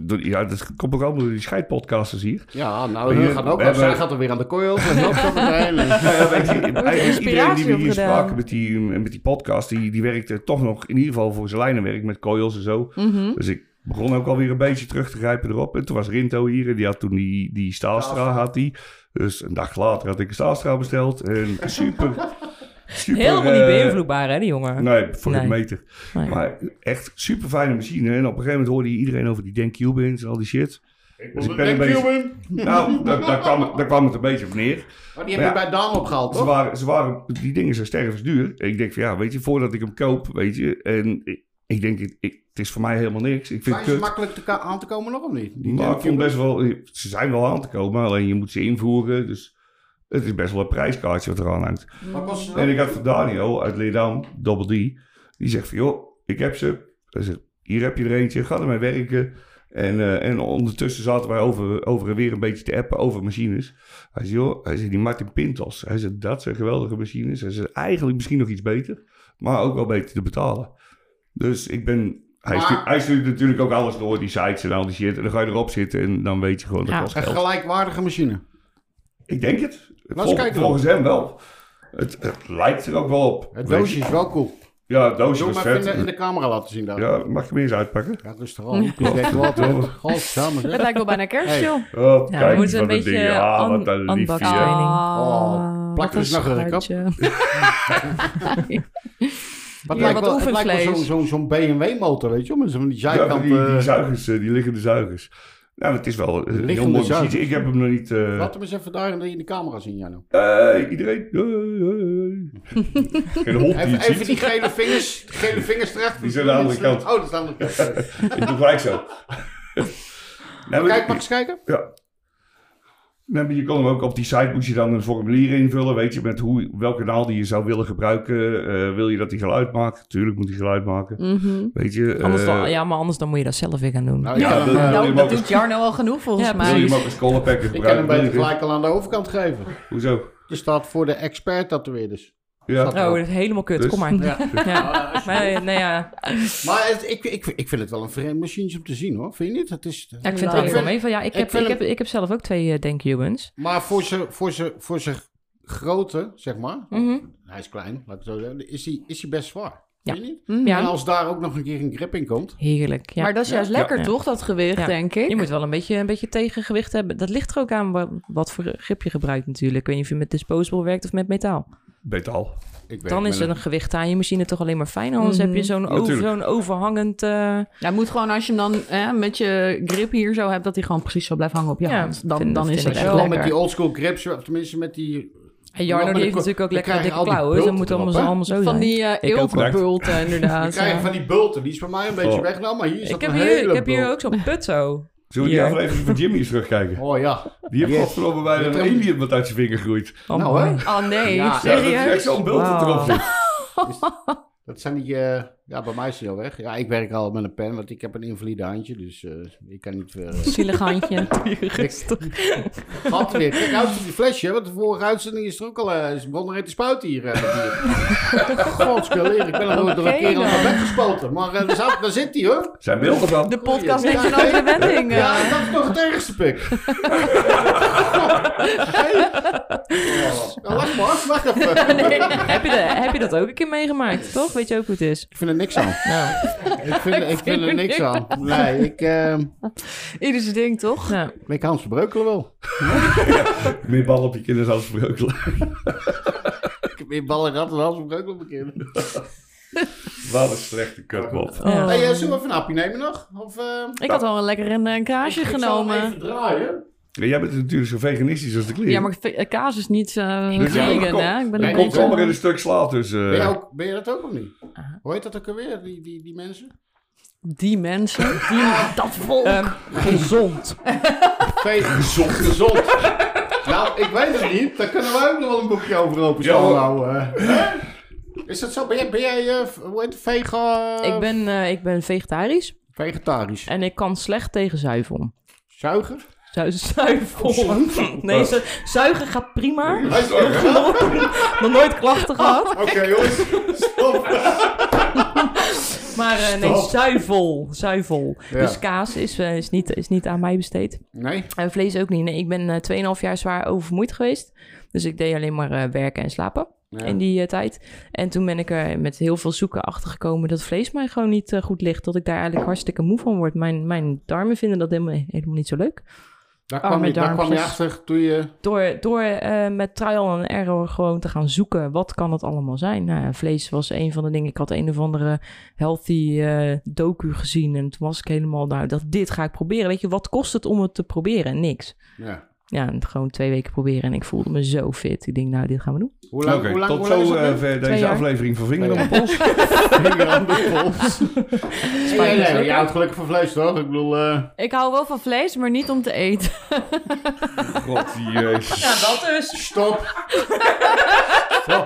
Speaker 2: door- ja, dat komt ook allemaal door die scheidpodcasters hier.
Speaker 1: Ja, nou,
Speaker 2: Maar
Speaker 1: hun
Speaker 2: hier-
Speaker 1: gaan ook
Speaker 2: we
Speaker 1: af. Zij
Speaker 2: hebben-
Speaker 1: gaat er weer aan de coils en dat soort dingen.
Speaker 2: Nou ja, weet je, eigenlijk iedereen die we hier
Speaker 3: opgedaan.
Speaker 2: spraken met die, met die podcast, die, die werkte toch nog in ieder geval voor zijn lijnenwerk met coils en zo.
Speaker 4: Hm?
Speaker 3: mhm.
Speaker 2: Dus ik begon ook alweer een beetje terug te grijpen erop. En toen was Rinto hier en die had toen die, die Staalstra. Had die. Dus een dag later had ik een Staalstra besteld. En super. super
Speaker 4: Helemaal niet
Speaker 2: eh,
Speaker 4: beïnvloedbaar, hè, die jongen?
Speaker 2: Nee, voor
Speaker 4: Nee.
Speaker 2: een meter.
Speaker 4: Nee.
Speaker 2: Maar echt super fijne machine. En op een gegeven moment hoorde je iedereen over die Dan Cubans en al die shit.
Speaker 1: Ik
Speaker 2: Dus ik ben een beetje- Nou, daar, daar, kwam, daar kwam het een beetje op neer.
Speaker 1: Oh, die heb je
Speaker 2: Ja.
Speaker 1: bij Daan opgehaald,
Speaker 2: Ze
Speaker 1: toch?
Speaker 2: waren, ze waren, die dingen zijn stervens duur. En ik denk van ja, weet je, voordat ik hem koop, weet je. En ik, ik denk, ik, ik- het is voor mij helemaal niks. Ik vind
Speaker 1: Zijn
Speaker 2: het
Speaker 1: ze
Speaker 2: kut.
Speaker 1: makkelijk te ka- aan te komen nog of niet? Die
Speaker 2: Maar ik
Speaker 1: Dunkin'
Speaker 2: vond best wel, ze zijn wel aan te komen, alleen je moet ze invoeren. Dus het is best wel een prijskaartje wat eraan hangt.
Speaker 1: Wat kost ze
Speaker 2: En
Speaker 1: nou?
Speaker 2: ik had van Daniel uit Leerdam, Double D, die zegt van joh, ik heb ze. Hij zegt, hier heb je er eentje, ga ermee werken. En, eh, en ondertussen zaten wij over, over en weer een beetje te appen over machines. Hij zegt, joh, hij zegt, die Martin Pintos. Hij zegt, dat zijn geweldige machines. Hij zegt, eigenlijk misschien nog iets beter, maar ook wel beter te betalen. Dus ik ben... Hij,
Speaker 1: Maar-
Speaker 2: stuurt, hij stuurt natuurlijk ook alles door, die sites en al die shit. En dan ga je erop zitten en dan weet je gewoon dat
Speaker 3: Ja.
Speaker 2: kost
Speaker 1: Een
Speaker 2: geld.
Speaker 1: gelijkwaardige machine.
Speaker 2: Ik denk het. Vol-
Speaker 1: kijken.
Speaker 2: volgens hem wel. Het, het lijkt er ook wel op.
Speaker 1: Het
Speaker 2: Weet je.
Speaker 1: doosje is wel cool.
Speaker 2: Ja, het doosje
Speaker 1: Doe
Speaker 2: was
Speaker 1: maar even eh, in
Speaker 2: vet.
Speaker 1: de, in de camera laten zien daar.
Speaker 2: Ja, mag je hem eens uitpakken?
Speaker 1: Ja, rustig al. Ik denk wel wat. Godsamme.
Speaker 3: Het
Speaker 1: zeg.
Speaker 3: lijkt wel bijna kerst,
Speaker 1: Hey.
Speaker 3: joh.
Speaker 2: Oh,
Speaker 4: Ja, we
Speaker 2: kijk,
Speaker 4: moeten
Speaker 2: wat
Speaker 4: een
Speaker 2: een
Speaker 4: beetje eh,
Speaker 2: ding. Ja,
Speaker 4: un-
Speaker 2: wat een
Speaker 4: unboxed
Speaker 2: liefje.
Speaker 4: zijn.
Speaker 1: Oh, plak
Speaker 3: wat
Speaker 1: er eens nog een rek op.
Speaker 3: schuitje.
Speaker 1: Maar het
Speaker 3: Ja,
Speaker 1: lijkt
Speaker 3: wat
Speaker 1: wel, het lijkt wel zo'n
Speaker 3: oefenvlees.
Speaker 1: zo'n zo'n BMW-motor, weet je wel? Met zo'n die
Speaker 2: Ja,
Speaker 1: zijkant...
Speaker 2: die, die
Speaker 1: eh,
Speaker 2: zuigers, eh, die liggende zuigers. Nou, het is wel eh, een heel
Speaker 1: Liggende
Speaker 2: mooi machine.
Speaker 1: zuigers.
Speaker 2: Ik heb hem nog niet... eh,
Speaker 1: Laat hem eens even daar in de, in de camera zien, Janno.
Speaker 2: hey, iedereen... Hey, hey. Geen hond die het
Speaker 1: Even, even
Speaker 2: ziet.
Speaker 1: die gele vingers, die gele vingers erachter.
Speaker 2: Die zijn aan de andere kant.
Speaker 1: Oh, dat is aan de andere kant.
Speaker 2: Ik doe gelijk zo. Nee, maar-
Speaker 1: Kijk, mag ik eens kijken?
Speaker 2: Ja. Nee, maar je kon hem ook op die site moest je dan een formulier invullen, weet je, met hoe, welk kanaal die je zou willen gebruiken. Eh, wil je dat hij geluid maakt? Tuurlijk moet hij geluid maken.
Speaker 3: Mhm.
Speaker 2: Weet je,
Speaker 4: Anders
Speaker 2: eh,
Speaker 4: dan, ja, maar anders dan moet je dat zelf weer gaan doen.
Speaker 1: Nou,
Speaker 2: Ja,
Speaker 1: je kan hem,
Speaker 2: dat-
Speaker 1: eh,
Speaker 2: wil je
Speaker 6: Nou,
Speaker 2: hem
Speaker 6: dat
Speaker 2: ook
Speaker 6: doet Jarno al genoeg volgens
Speaker 4: Ja,
Speaker 2: als- wil je
Speaker 6: mij.
Speaker 2: hem ook als colorpacker
Speaker 1: ik kan hem
Speaker 2: gebruiken?
Speaker 1: beter
Speaker 2: Wil je-
Speaker 1: gelijk al aan de overkant geven.
Speaker 2: Hoezo?
Speaker 1: Er staat voor de expert-tatoeëerders.
Speaker 2: Ja.
Speaker 1: Staat-
Speaker 4: Oh, dat is helemaal kut.
Speaker 2: Dus?
Speaker 4: Kom maar.
Speaker 1: Ja.
Speaker 4: Ja. Nee, nee, ja.
Speaker 1: Maar het- ik, ik, ik vind het wel een vreemd machientje om te zien, hoor. Vind je niet? Het is,
Speaker 4: Ja, ik vind
Speaker 1: Nou,
Speaker 4: het
Speaker 1: ik
Speaker 4: eigenlijk wel
Speaker 1: vind-
Speaker 4: mee. Van, ja, ik,
Speaker 1: ik
Speaker 4: heb,
Speaker 1: vind
Speaker 4: ik,
Speaker 1: het-
Speaker 4: heb, ik heb zelf ook twee eh Denk Cubans.
Speaker 1: Maar voor zijn voor ze, voor ze grootte, zeg maar.
Speaker 4: Mhm.
Speaker 1: Hij is klein, laat ik het zo zeggen. Is hij is hij best zwaar.
Speaker 4: Ja.
Speaker 1: Vind je niet?
Speaker 3: Mhm.
Speaker 1: En
Speaker 4: Ja,
Speaker 1: als daar ook nog een keer een grip in komt.
Speaker 4: heerlijk. Ja.
Speaker 3: Maar dat is juist lekker,
Speaker 4: Ja.
Speaker 3: toch? Dat gewicht,
Speaker 4: Ja.
Speaker 3: denk ik.
Speaker 4: Je moet wel een beetje, een beetje tegengewicht hebben. Dat ligt er ook aan wa- wat voor grip je gebruikt natuurlijk. Ik weet niet of je met disposable werkt of met metaal.
Speaker 2: Betaal.
Speaker 1: Ik weet
Speaker 4: Dan
Speaker 1: het,
Speaker 4: is
Speaker 1: maar-
Speaker 4: er een gewicht aan je machine toch alleen maar fijn. Anders
Speaker 3: Mhm.
Speaker 4: heb je zo'n over,
Speaker 2: Natuurlijk.
Speaker 4: zo'n overhangend... eh,
Speaker 3: Ja, moet gewoon als je hem dan hè, met je grip hier zo hebt, dat hij gewoon precies zo blijft hangen op je
Speaker 4: Ja,
Speaker 3: hand. Dan,
Speaker 4: vind-
Speaker 3: dan
Speaker 4: vind
Speaker 3: is
Speaker 4: ik
Speaker 3: het
Speaker 1: Als
Speaker 3: echt
Speaker 1: je wel met
Speaker 3: lekker.
Speaker 1: die oldschool grips, of tenminste met die...
Speaker 4: En
Speaker 1: Ja, maar
Speaker 4: Jarno die
Speaker 1: dan
Speaker 4: heeft
Speaker 1: ko-
Speaker 4: natuurlijk ook
Speaker 1: dan
Speaker 4: lekker
Speaker 1: krijg je
Speaker 4: dikke
Speaker 1: al die
Speaker 4: klauwen. Dus dan moet
Speaker 1: bulten
Speaker 4: het allemaal, zo-
Speaker 1: erop,
Speaker 4: allemaal zo
Speaker 3: Van
Speaker 4: zijn.
Speaker 3: die eh
Speaker 4: Ik ook.
Speaker 3: eeltbulten,
Speaker 1: Dan
Speaker 3: inderdaad.
Speaker 1: krijg je
Speaker 3: ja.
Speaker 1: van die bulten. Die is bij mij een beetje
Speaker 2: Oh.
Speaker 1: weggenomen, maar hier is
Speaker 4: Ik
Speaker 1: dat
Speaker 4: heb,
Speaker 1: een
Speaker 4: hier,
Speaker 1: hele
Speaker 4: ik heb hier
Speaker 1: bult. Nou,
Speaker 4: ook zo'n put zo.
Speaker 2: Zullen we die
Speaker 4: Ja.
Speaker 2: aflevering van Jimmy eens terugkijken?
Speaker 1: Oh ja.
Speaker 2: Die heeft
Speaker 1: Yes.
Speaker 2: afgelopen bij een
Speaker 1: Dit-
Speaker 2: alien wat uit zijn vinger groeit.
Speaker 4: Oh,
Speaker 1: nou
Speaker 4: mooi.
Speaker 1: hè.
Speaker 3: Oh nee,
Speaker 1: Ja.
Speaker 2: Ja, dat is
Speaker 3: serieus?
Speaker 2: echt zo'n beeld dat erop
Speaker 4: Wow.
Speaker 2: zit.
Speaker 1: Dat zijn die... eh, ja, bij mij is die al weg. Ja, ik werk al met een pen, want ik heb een invalide handje. Dus eh, ik kan niet... eh,
Speaker 4: Zielig handje. Doe je rustig.
Speaker 1: Gaat er weer. Kijk uit voor die flesje, want de vorige uitzending is er ook al... eh, is begonnen met te spuiten hier. eh, hier. Godskeleren, ik ben er nooit door een
Speaker 3: Oké
Speaker 1: kerel
Speaker 3: dan.
Speaker 1: van weggespoten. Maar eh, daar, zat, daar zit hij hoor.
Speaker 2: Zijn beelden dan?
Speaker 3: De podcast
Speaker 1: Ja.
Speaker 3: neemt een andere wending. eh.
Speaker 1: Ja, dat is nog het ergste pik. Hey. Ja, Lach maar, lach even.
Speaker 4: heb, je de- heb je dat ook een keer meegemaakt, toch? Weet je ook hoe het is?
Speaker 1: Ik vind er niks aan.
Speaker 4: Nou,
Speaker 1: Ik vind, ik vind er niks aan. Nee, ik... eh
Speaker 3: Ieder zijn ding, toch?
Speaker 4: nou.
Speaker 1: ik Hans Breukelen wel.
Speaker 2: Meer ballen op je kinderen als breukelen.
Speaker 1: Ik heb meer ballen gehad dan Hans Breukelen op een keer.
Speaker 2: Wat een slechte kutmop.
Speaker 4: Ja.
Speaker 1: Hey, eh, zullen we even een hapje nemen nog? Of, eh,
Speaker 3: Ik had al een lekker een, eh, kaasje
Speaker 1: ik zal hem
Speaker 3: genomen.
Speaker 1: even draaien.
Speaker 2: Ja, Jij bent natuurlijk zo veganistisch als de klier.
Speaker 3: Ja, maar ve- eh, kaas is niet eh
Speaker 2: Dus ja,
Speaker 3: vegan,
Speaker 2: kom.
Speaker 3: hè? Ik
Speaker 1: Nee,
Speaker 3: ben een
Speaker 1: kom,
Speaker 2: Komt
Speaker 3: beetje-
Speaker 1: kom
Speaker 2: zomaar in een stuk sla tussen.
Speaker 1: Ben,
Speaker 2: eh,
Speaker 1: jij ook, ben je dat ook of niet? Hoe heet dat ook alweer, die, die, die mensen?
Speaker 3: Die mensen, die, Eh, dat volk.
Speaker 4: Ehm, gezond.
Speaker 1: Vee, gezond. gezond. nou, ik weet het niet. Daar kunnen wij ook nog wel een boekje over open.
Speaker 2: Ja, hoor.
Speaker 1: nou, eh, hè? Is dat zo? Ben jij, ben jij eh, hoe heet het, vega...
Speaker 4: Ik ben, eh, ik ben vegetarisch
Speaker 1: Vegetarisch.
Speaker 4: en ik kan slecht tegen zuivel.
Speaker 1: Zuiger?
Speaker 4: Zu zuivel?
Speaker 3: Oh.
Speaker 4: Nee, zu- zuigen gaat prima.
Speaker 1: Hij is ook
Speaker 4: Nog nooit klachten
Speaker 3: Oh.
Speaker 4: gehad.
Speaker 1: Oké, jongens. Stop.
Speaker 4: Maar eh, nee,
Speaker 1: Stop.
Speaker 4: zuivel. Zuivel.
Speaker 1: Ja.
Speaker 4: Dus kaas is, eh, is, niet, is niet aan mij besteed.
Speaker 1: Nee?
Speaker 4: En vlees ook niet. Nee, ik ben eh, 2,5 jaar zwaar overmoeid geweest. Dus ik deed alleen maar eh, werken en slapen.
Speaker 1: Ja.
Speaker 4: in die eh, tijd. En toen ben ik er met heel veel zoeken achter gekomen dat vlees mij gewoon niet eh, goed ligt. Dat ik daar eigenlijk hartstikke moe van word. Mijn, mijn darmen vinden dat helemaal, helemaal niet zo leuk.
Speaker 1: Daar,
Speaker 4: Oh,
Speaker 1: kwam
Speaker 4: mijn
Speaker 1: je, daar kwam je
Speaker 4: darmpjes.
Speaker 1: achter toen je...
Speaker 4: Door, door eh, met trial and error gewoon te gaan zoeken, wat kan het allemaal zijn? Nou, ja, vlees was een van de dingen. Ik had een of andere healthy eh, docu gezien en toen was ik helemaal, nou, dat, dit ga ik proberen. Weet je, wat kost het om het te proberen? Niks.
Speaker 1: Ja.
Speaker 4: Ja, en gewoon twee weken proberen en ik voelde me zo fit. Ik denk, nou, dit gaan we doen.
Speaker 1: Hoe lang,
Speaker 2: Oké,
Speaker 1: hoe lang,
Speaker 2: tot
Speaker 1: hoe lang is
Speaker 2: zo
Speaker 1: dat nu?
Speaker 2: eh, ver
Speaker 4: Twee
Speaker 2: deze
Speaker 4: jaar.
Speaker 2: aflevering van Vinger
Speaker 1: Twee
Speaker 2: aan de
Speaker 1: eh,
Speaker 2: Pols.
Speaker 1: Vinger aan de pols. Nee,
Speaker 4: Spijt
Speaker 1: nee,
Speaker 4: me.
Speaker 1: je houdt gelukkig van vlees, toch? Ik bedoel... eh,
Speaker 3: Ik hou wel van vlees, maar niet om te eten.
Speaker 2: God, jezus.
Speaker 4: Ja, dat dus.
Speaker 1: Stop. Stop.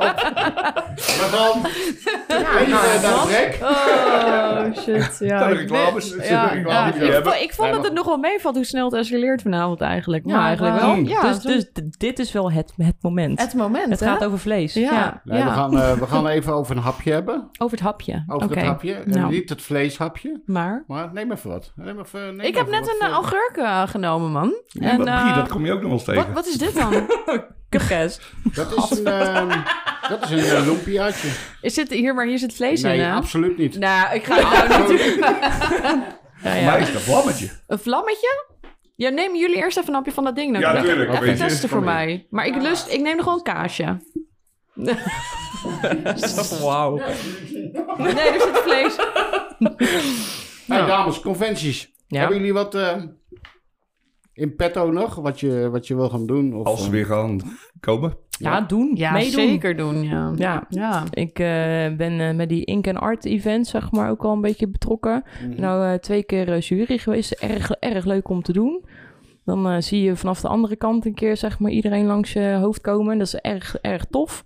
Speaker 1: We gaan. Weet je
Speaker 3: nou,
Speaker 1: eh, naar
Speaker 3: dat-
Speaker 1: de rek?
Speaker 3: Oh, shit. Ja,
Speaker 2: de
Speaker 3: ik
Speaker 2: reclames.
Speaker 3: ben-
Speaker 2: De
Speaker 3: Ja,
Speaker 2: reclames
Speaker 3: ja,
Speaker 2: die we
Speaker 3: ik,
Speaker 2: hebben.
Speaker 3: vond, ik vond
Speaker 2: Nee,
Speaker 3: dat het nog wel meevalt hoe snel het escaleert vanavond eigenlijk.
Speaker 4: Ja,
Speaker 3: maar eigenlijk
Speaker 4: maar-
Speaker 3: wel.
Speaker 1: Mm.
Speaker 3: Ja,
Speaker 4: dus
Speaker 3: zo-
Speaker 4: dus d- dit is wel het, het moment.
Speaker 3: het moment,
Speaker 4: Het
Speaker 3: hè?
Speaker 4: gaat over vlees. Ja.
Speaker 3: Ja,
Speaker 1: Nee,
Speaker 3: ja.
Speaker 1: we, gaan, eh, we gaan even over een hapje hebben.
Speaker 4: Over het hapje.
Speaker 3: Oh.
Speaker 1: Over
Speaker 4: Oké.
Speaker 1: het hapje. En
Speaker 3: nou.
Speaker 1: Niet het vleeshapje,
Speaker 3: maar...
Speaker 1: maar neem even wat. Neem even, neem
Speaker 3: Ik heb
Speaker 1: even
Speaker 3: net
Speaker 1: wat
Speaker 3: een
Speaker 1: voor-
Speaker 3: eh, augurk eh, genomen, man.
Speaker 2: Ja,
Speaker 3: En,
Speaker 2: dat-
Speaker 3: eh,
Speaker 2: Brie, dat kom je ook nog wel eens
Speaker 3: wat,
Speaker 2: tegen.
Speaker 3: wat is dit dan?
Speaker 4: Kuches.
Speaker 1: Dat is een, ehm dat is een eh, lumpiaatje.
Speaker 3: Is dit hier, maar hier zit vlees in,
Speaker 1: Nee,
Speaker 3: hè?
Speaker 1: absoluut niet.
Speaker 3: Nou, ik ga het nou niet doen.
Speaker 4: Ja,
Speaker 2: Voor
Speaker 4: ja.
Speaker 2: mij is dat vlammetje.
Speaker 3: Een vlammetje? Ja, neem jullie eerst even een hapje van dat ding. Dan
Speaker 2: Ja,
Speaker 3: kan ik
Speaker 2: tuurlijk,
Speaker 3: Even
Speaker 2: weet je.
Speaker 3: testen voor
Speaker 1: Kom hier.
Speaker 3: mij. Maar ik lust, ik neem nog wel een kaasje.
Speaker 4: Wauw.
Speaker 3: Nee, er zit vlees. Nou.
Speaker 1: Hey, dames, conventies.
Speaker 4: Ja.
Speaker 1: Hebben jullie wat eh, in petto nog? Wat je, wat je wil gaan doen? Of, eh,
Speaker 2: Als ze weer gaan komen.
Speaker 4: Ja, doen.
Speaker 3: Ja,
Speaker 4: meedoen.
Speaker 3: zeker doen, ja.
Speaker 4: Ja.
Speaker 3: ja.
Speaker 4: Ik eh, ben eh, met die Ink and Art event, zeg maar, ook al een beetje betrokken. Nou, eh, twee keer eh, jury geweest. Erg, erg leuk om te doen. Dan eh, zie je vanaf de andere kant een keer, zeg maar, iedereen langs je hoofd komen. Dat is erg, erg tof.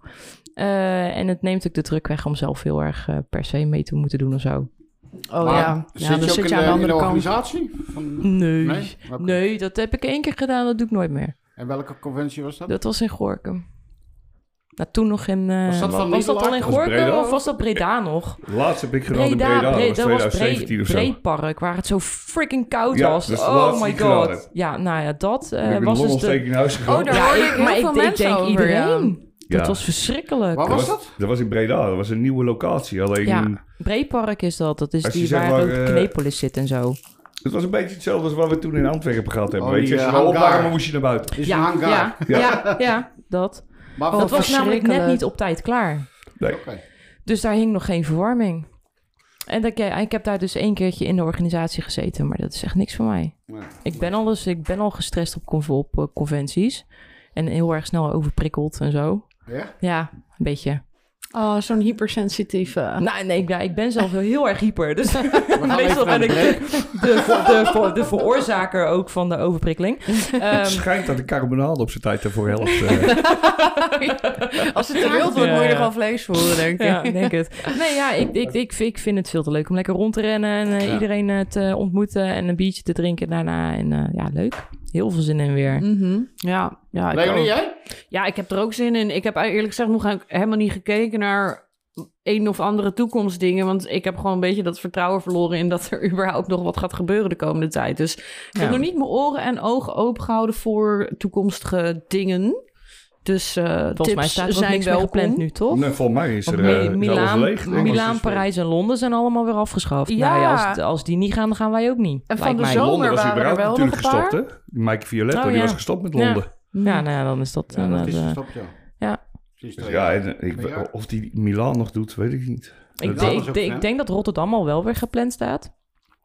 Speaker 4: Eh, en het neemt ook de druk weg om zelf heel erg eh, per se mee te moeten doen of zo.
Speaker 3: Oh
Speaker 1: Maar
Speaker 3: ja.
Speaker 1: Zit
Speaker 3: ja,
Speaker 1: je
Speaker 3: dan
Speaker 1: ook
Speaker 3: zit
Speaker 1: in,
Speaker 3: je aan
Speaker 1: de, in
Speaker 3: de
Speaker 1: de
Speaker 3: andere kant.
Speaker 1: organisatie? Van,
Speaker 4: Nee. Nee?
Speaker 1: nee? Oké.
Speaker 4: dat heb ik één keer gedaan. Dat doe ik nooit meer.
Speaker 1: En welke conventie was dat?
Speaker 4: Dat was in Gorkum. Nou, toen nog in... eh,
Speaker 1: Was dat van
Speaker 4: dat al in
Speaker 1: Nederland?
Speaker 2: Was Breda?
Speaker 4: Gorkum of was dat Breda nog?
Speaker 2: Laatst heb ik gedaan in Breda. Dat was
Speaker 4: Bre- dat was
Speaker 2: 2017 of zo.
Speaker 4: Breed- Breedpark, waar het zo freaking koud
Speaker 2: Ja,
Speaker 4: was.
Speaker 2: dat is de
Speaker 4: oh
Speaker 2: laatste die
Speaker 4: my
Speaker 2: ik gedaan
Speaker 4: god.
Speaker 2: heb.
Speaker 4: Ja, nou ja, dat eh,
Speaker 2: ik heb
Speaker 4: was
Speaker 2: een
Speaker 4: dus de...
Speaker 2: longontsteking in huis gegaan.
Speaker 3: Oh, daar- hoorde ik heel veel mensen over,
Speaker 2: Ja.
Speaker 4: Dat was verschrikkelijk.
Speaker 1: Waar was
Speaker 2: Oh, was-
Speaker 1: dat?
Speaker 2: Dat was in Breda. Dat was een nieuwe locatie. Alleen,
Speaker 4: Ja, Breedpark is dat. Dat is
Speaker 2: Als je
Speaker 4: die
Speaker 2: zeg
Speaker 4: waar
Speaker 2: maar,
Speaker 4: ook
Speaker 2: eh,
Speaker 4: Knepolis zit en zo.
Speaker 2: het was een beetje hetzelfde als wat we toen in Antwerpen gehad hebben.
Speaker 1: Oh,
Speaker 2: Weet je,
Speaker 1: die,
Speaker 2: als je
Speaker 1: eh,
Speaker 2: wel
Speaker 1: hangar.
Speaker 2: opwarmen moest je naar buiten.
Speaker 1: Is
Speaker 4: ja,
Speaker 1: een hangar.
Speaker 4: ja, ja, ja, dat.
Speaker 1: Maar
Speaker 4: dat was namelijk net
Speaker 3: Oh, verschrikkelijk.
Speaker 4: niet op tijd klaar.
Speaker 2: Nee.
Speaker 1: Oké.
Speaker 4: Dus daar hing nog geen verwarming. En dat, ja, ik heb daar dus één keertje in de organisatie gezeten, maar dat is echt niks voor mij.
Speaker 1: Nee.
Speaker 4: Ik ben al, dus, ik ben al gestrest op, conv- op eh, conventies. En heel erg snel overprikkeld en zo.
Speaker 1: Ja?
Speaker 4: Ja, een beetje.
Speaker 3: Oh, zo'n hypersensitieve.
Speaker 4: Nou, nee, ik, nou, ik ben zelf wel heel erg hyper. Dus
Speaker 1: We gaan
Speaker 4: meestal
Speaker 1: even naar
Speaker 4: ben
Speaker 1: de
Speaker 4: ik
Speaker 1: break.
Speaker 4: de, de, de, de, de veroorzaker ook van de overprikkeling.
Speaker 2: Het
Speaker 4: Ehm,
Speaker 2: schijnt dat de carbonade op zijn tijd daarvoor helpt. eh.
Speaker 3: Als het te wild wordt, moet je
Speaker 4: Ja.
Speaker 3: er gewoon vlees voeren, denk ik.
Speaker 4: ja, ik denk het. Nee, ja, ik, ik, ik, ik vind het veel te leuk om lekker rond te rennen en eh,
Speaker 1: Ja.
Speaker 4: iedereen eh, te ontmoeten en een biertje te drinken daarna. En eh, ja, leuk. Heel veel zin in weer.
Speaker 3: Mhm. Ja, ja, ik
Speaker 1: Leonie,
Speaker 3: ook.
Speaker 1: jij?
Speaker 3: ja, ik heb er ook zin in. Ik heb e- eerlijk gezegd nog he- helemaal niet gekeken naar een of andere toekomstdingen. Want ik heb gewoon een beetje dat vertrouwen verloren in dat er überhaupt nog wat gaat gebeuren de komende tijd. Dus ik heb
Speaker 4: Ja.
Speaker 3: nog niet mijn oren en ogen opengehouden voor toekomstige dingen. Dus eh
Speaker 4: Volgens
Speaker 3: tips
Speaker 4: mij staat er ook
Speaker 3: zijn
Speaker 4: niks meer
Speaker 3: wel
Speaker 4: gepland nu, toch?
Speaker 2: Nee, volgens mij is
Speaker 4: Want
Speaker 2: er
Speaker 4: Mi-
Speaker 2: eh, is alles
Speaker 4: Milaan,
Speaker 2: leeg. denk ik.
Speaker 4: Milaan, Parijs en Londen zijn allemaal weer afgeschaft.
Speaker 3: Ja.
Speaker 4: Nou ja, als, als die niet gaan, dan gaan wij ook niet.
Speaker 3: En van
Speaker 4: lijkt
Speaker 3: de
Speaker 4: mij.
Speaker 3: zomer-
Speaker 2: Londen was
Speaker 3: waren er
Speaker 2: überhaupt
Speaker 3: wel
Speaker 2: natuurlijk
Speaker 3: nog een paar.
Speaker 2: gestopt, hè? Die Mike Violetto,
Speaker 4: Oh,
Speaker 2: die
Speaker 4: ja.
Speaker 2: was gestopt met
Speaker 4: Ja.
Speaker 2: Londen.
Speaker 4: Ja, nou ja, dan is dat...
Speaker 1: Ja,
Speaker 4: dan,
Speaker 1: dat is
Speaker 4: eh,
Speaker 1: gestopt, ja.
Speaker 4: ja.
Speaker 1: Precies Oh,
Speaker 2: Dus
Speaker 1: twee
Speaker 2: ja,
Speaker 1: jaar.
Speaker 2: en, ik,
Speaker 1: Twee jaar.
Speaker 2: of die Milaan nog doet, weet ik niet.
Speaker 4: ik,
Speaker 2: Dat
Speaker 4: denk-
Speaker 1: was
Speaker 4: ik
Speaker 1: ook
Speaker 4: denk-
Speaker 1: ver.
Speaker 4: ik denk dat Rotterdam al wel weer gepland staat.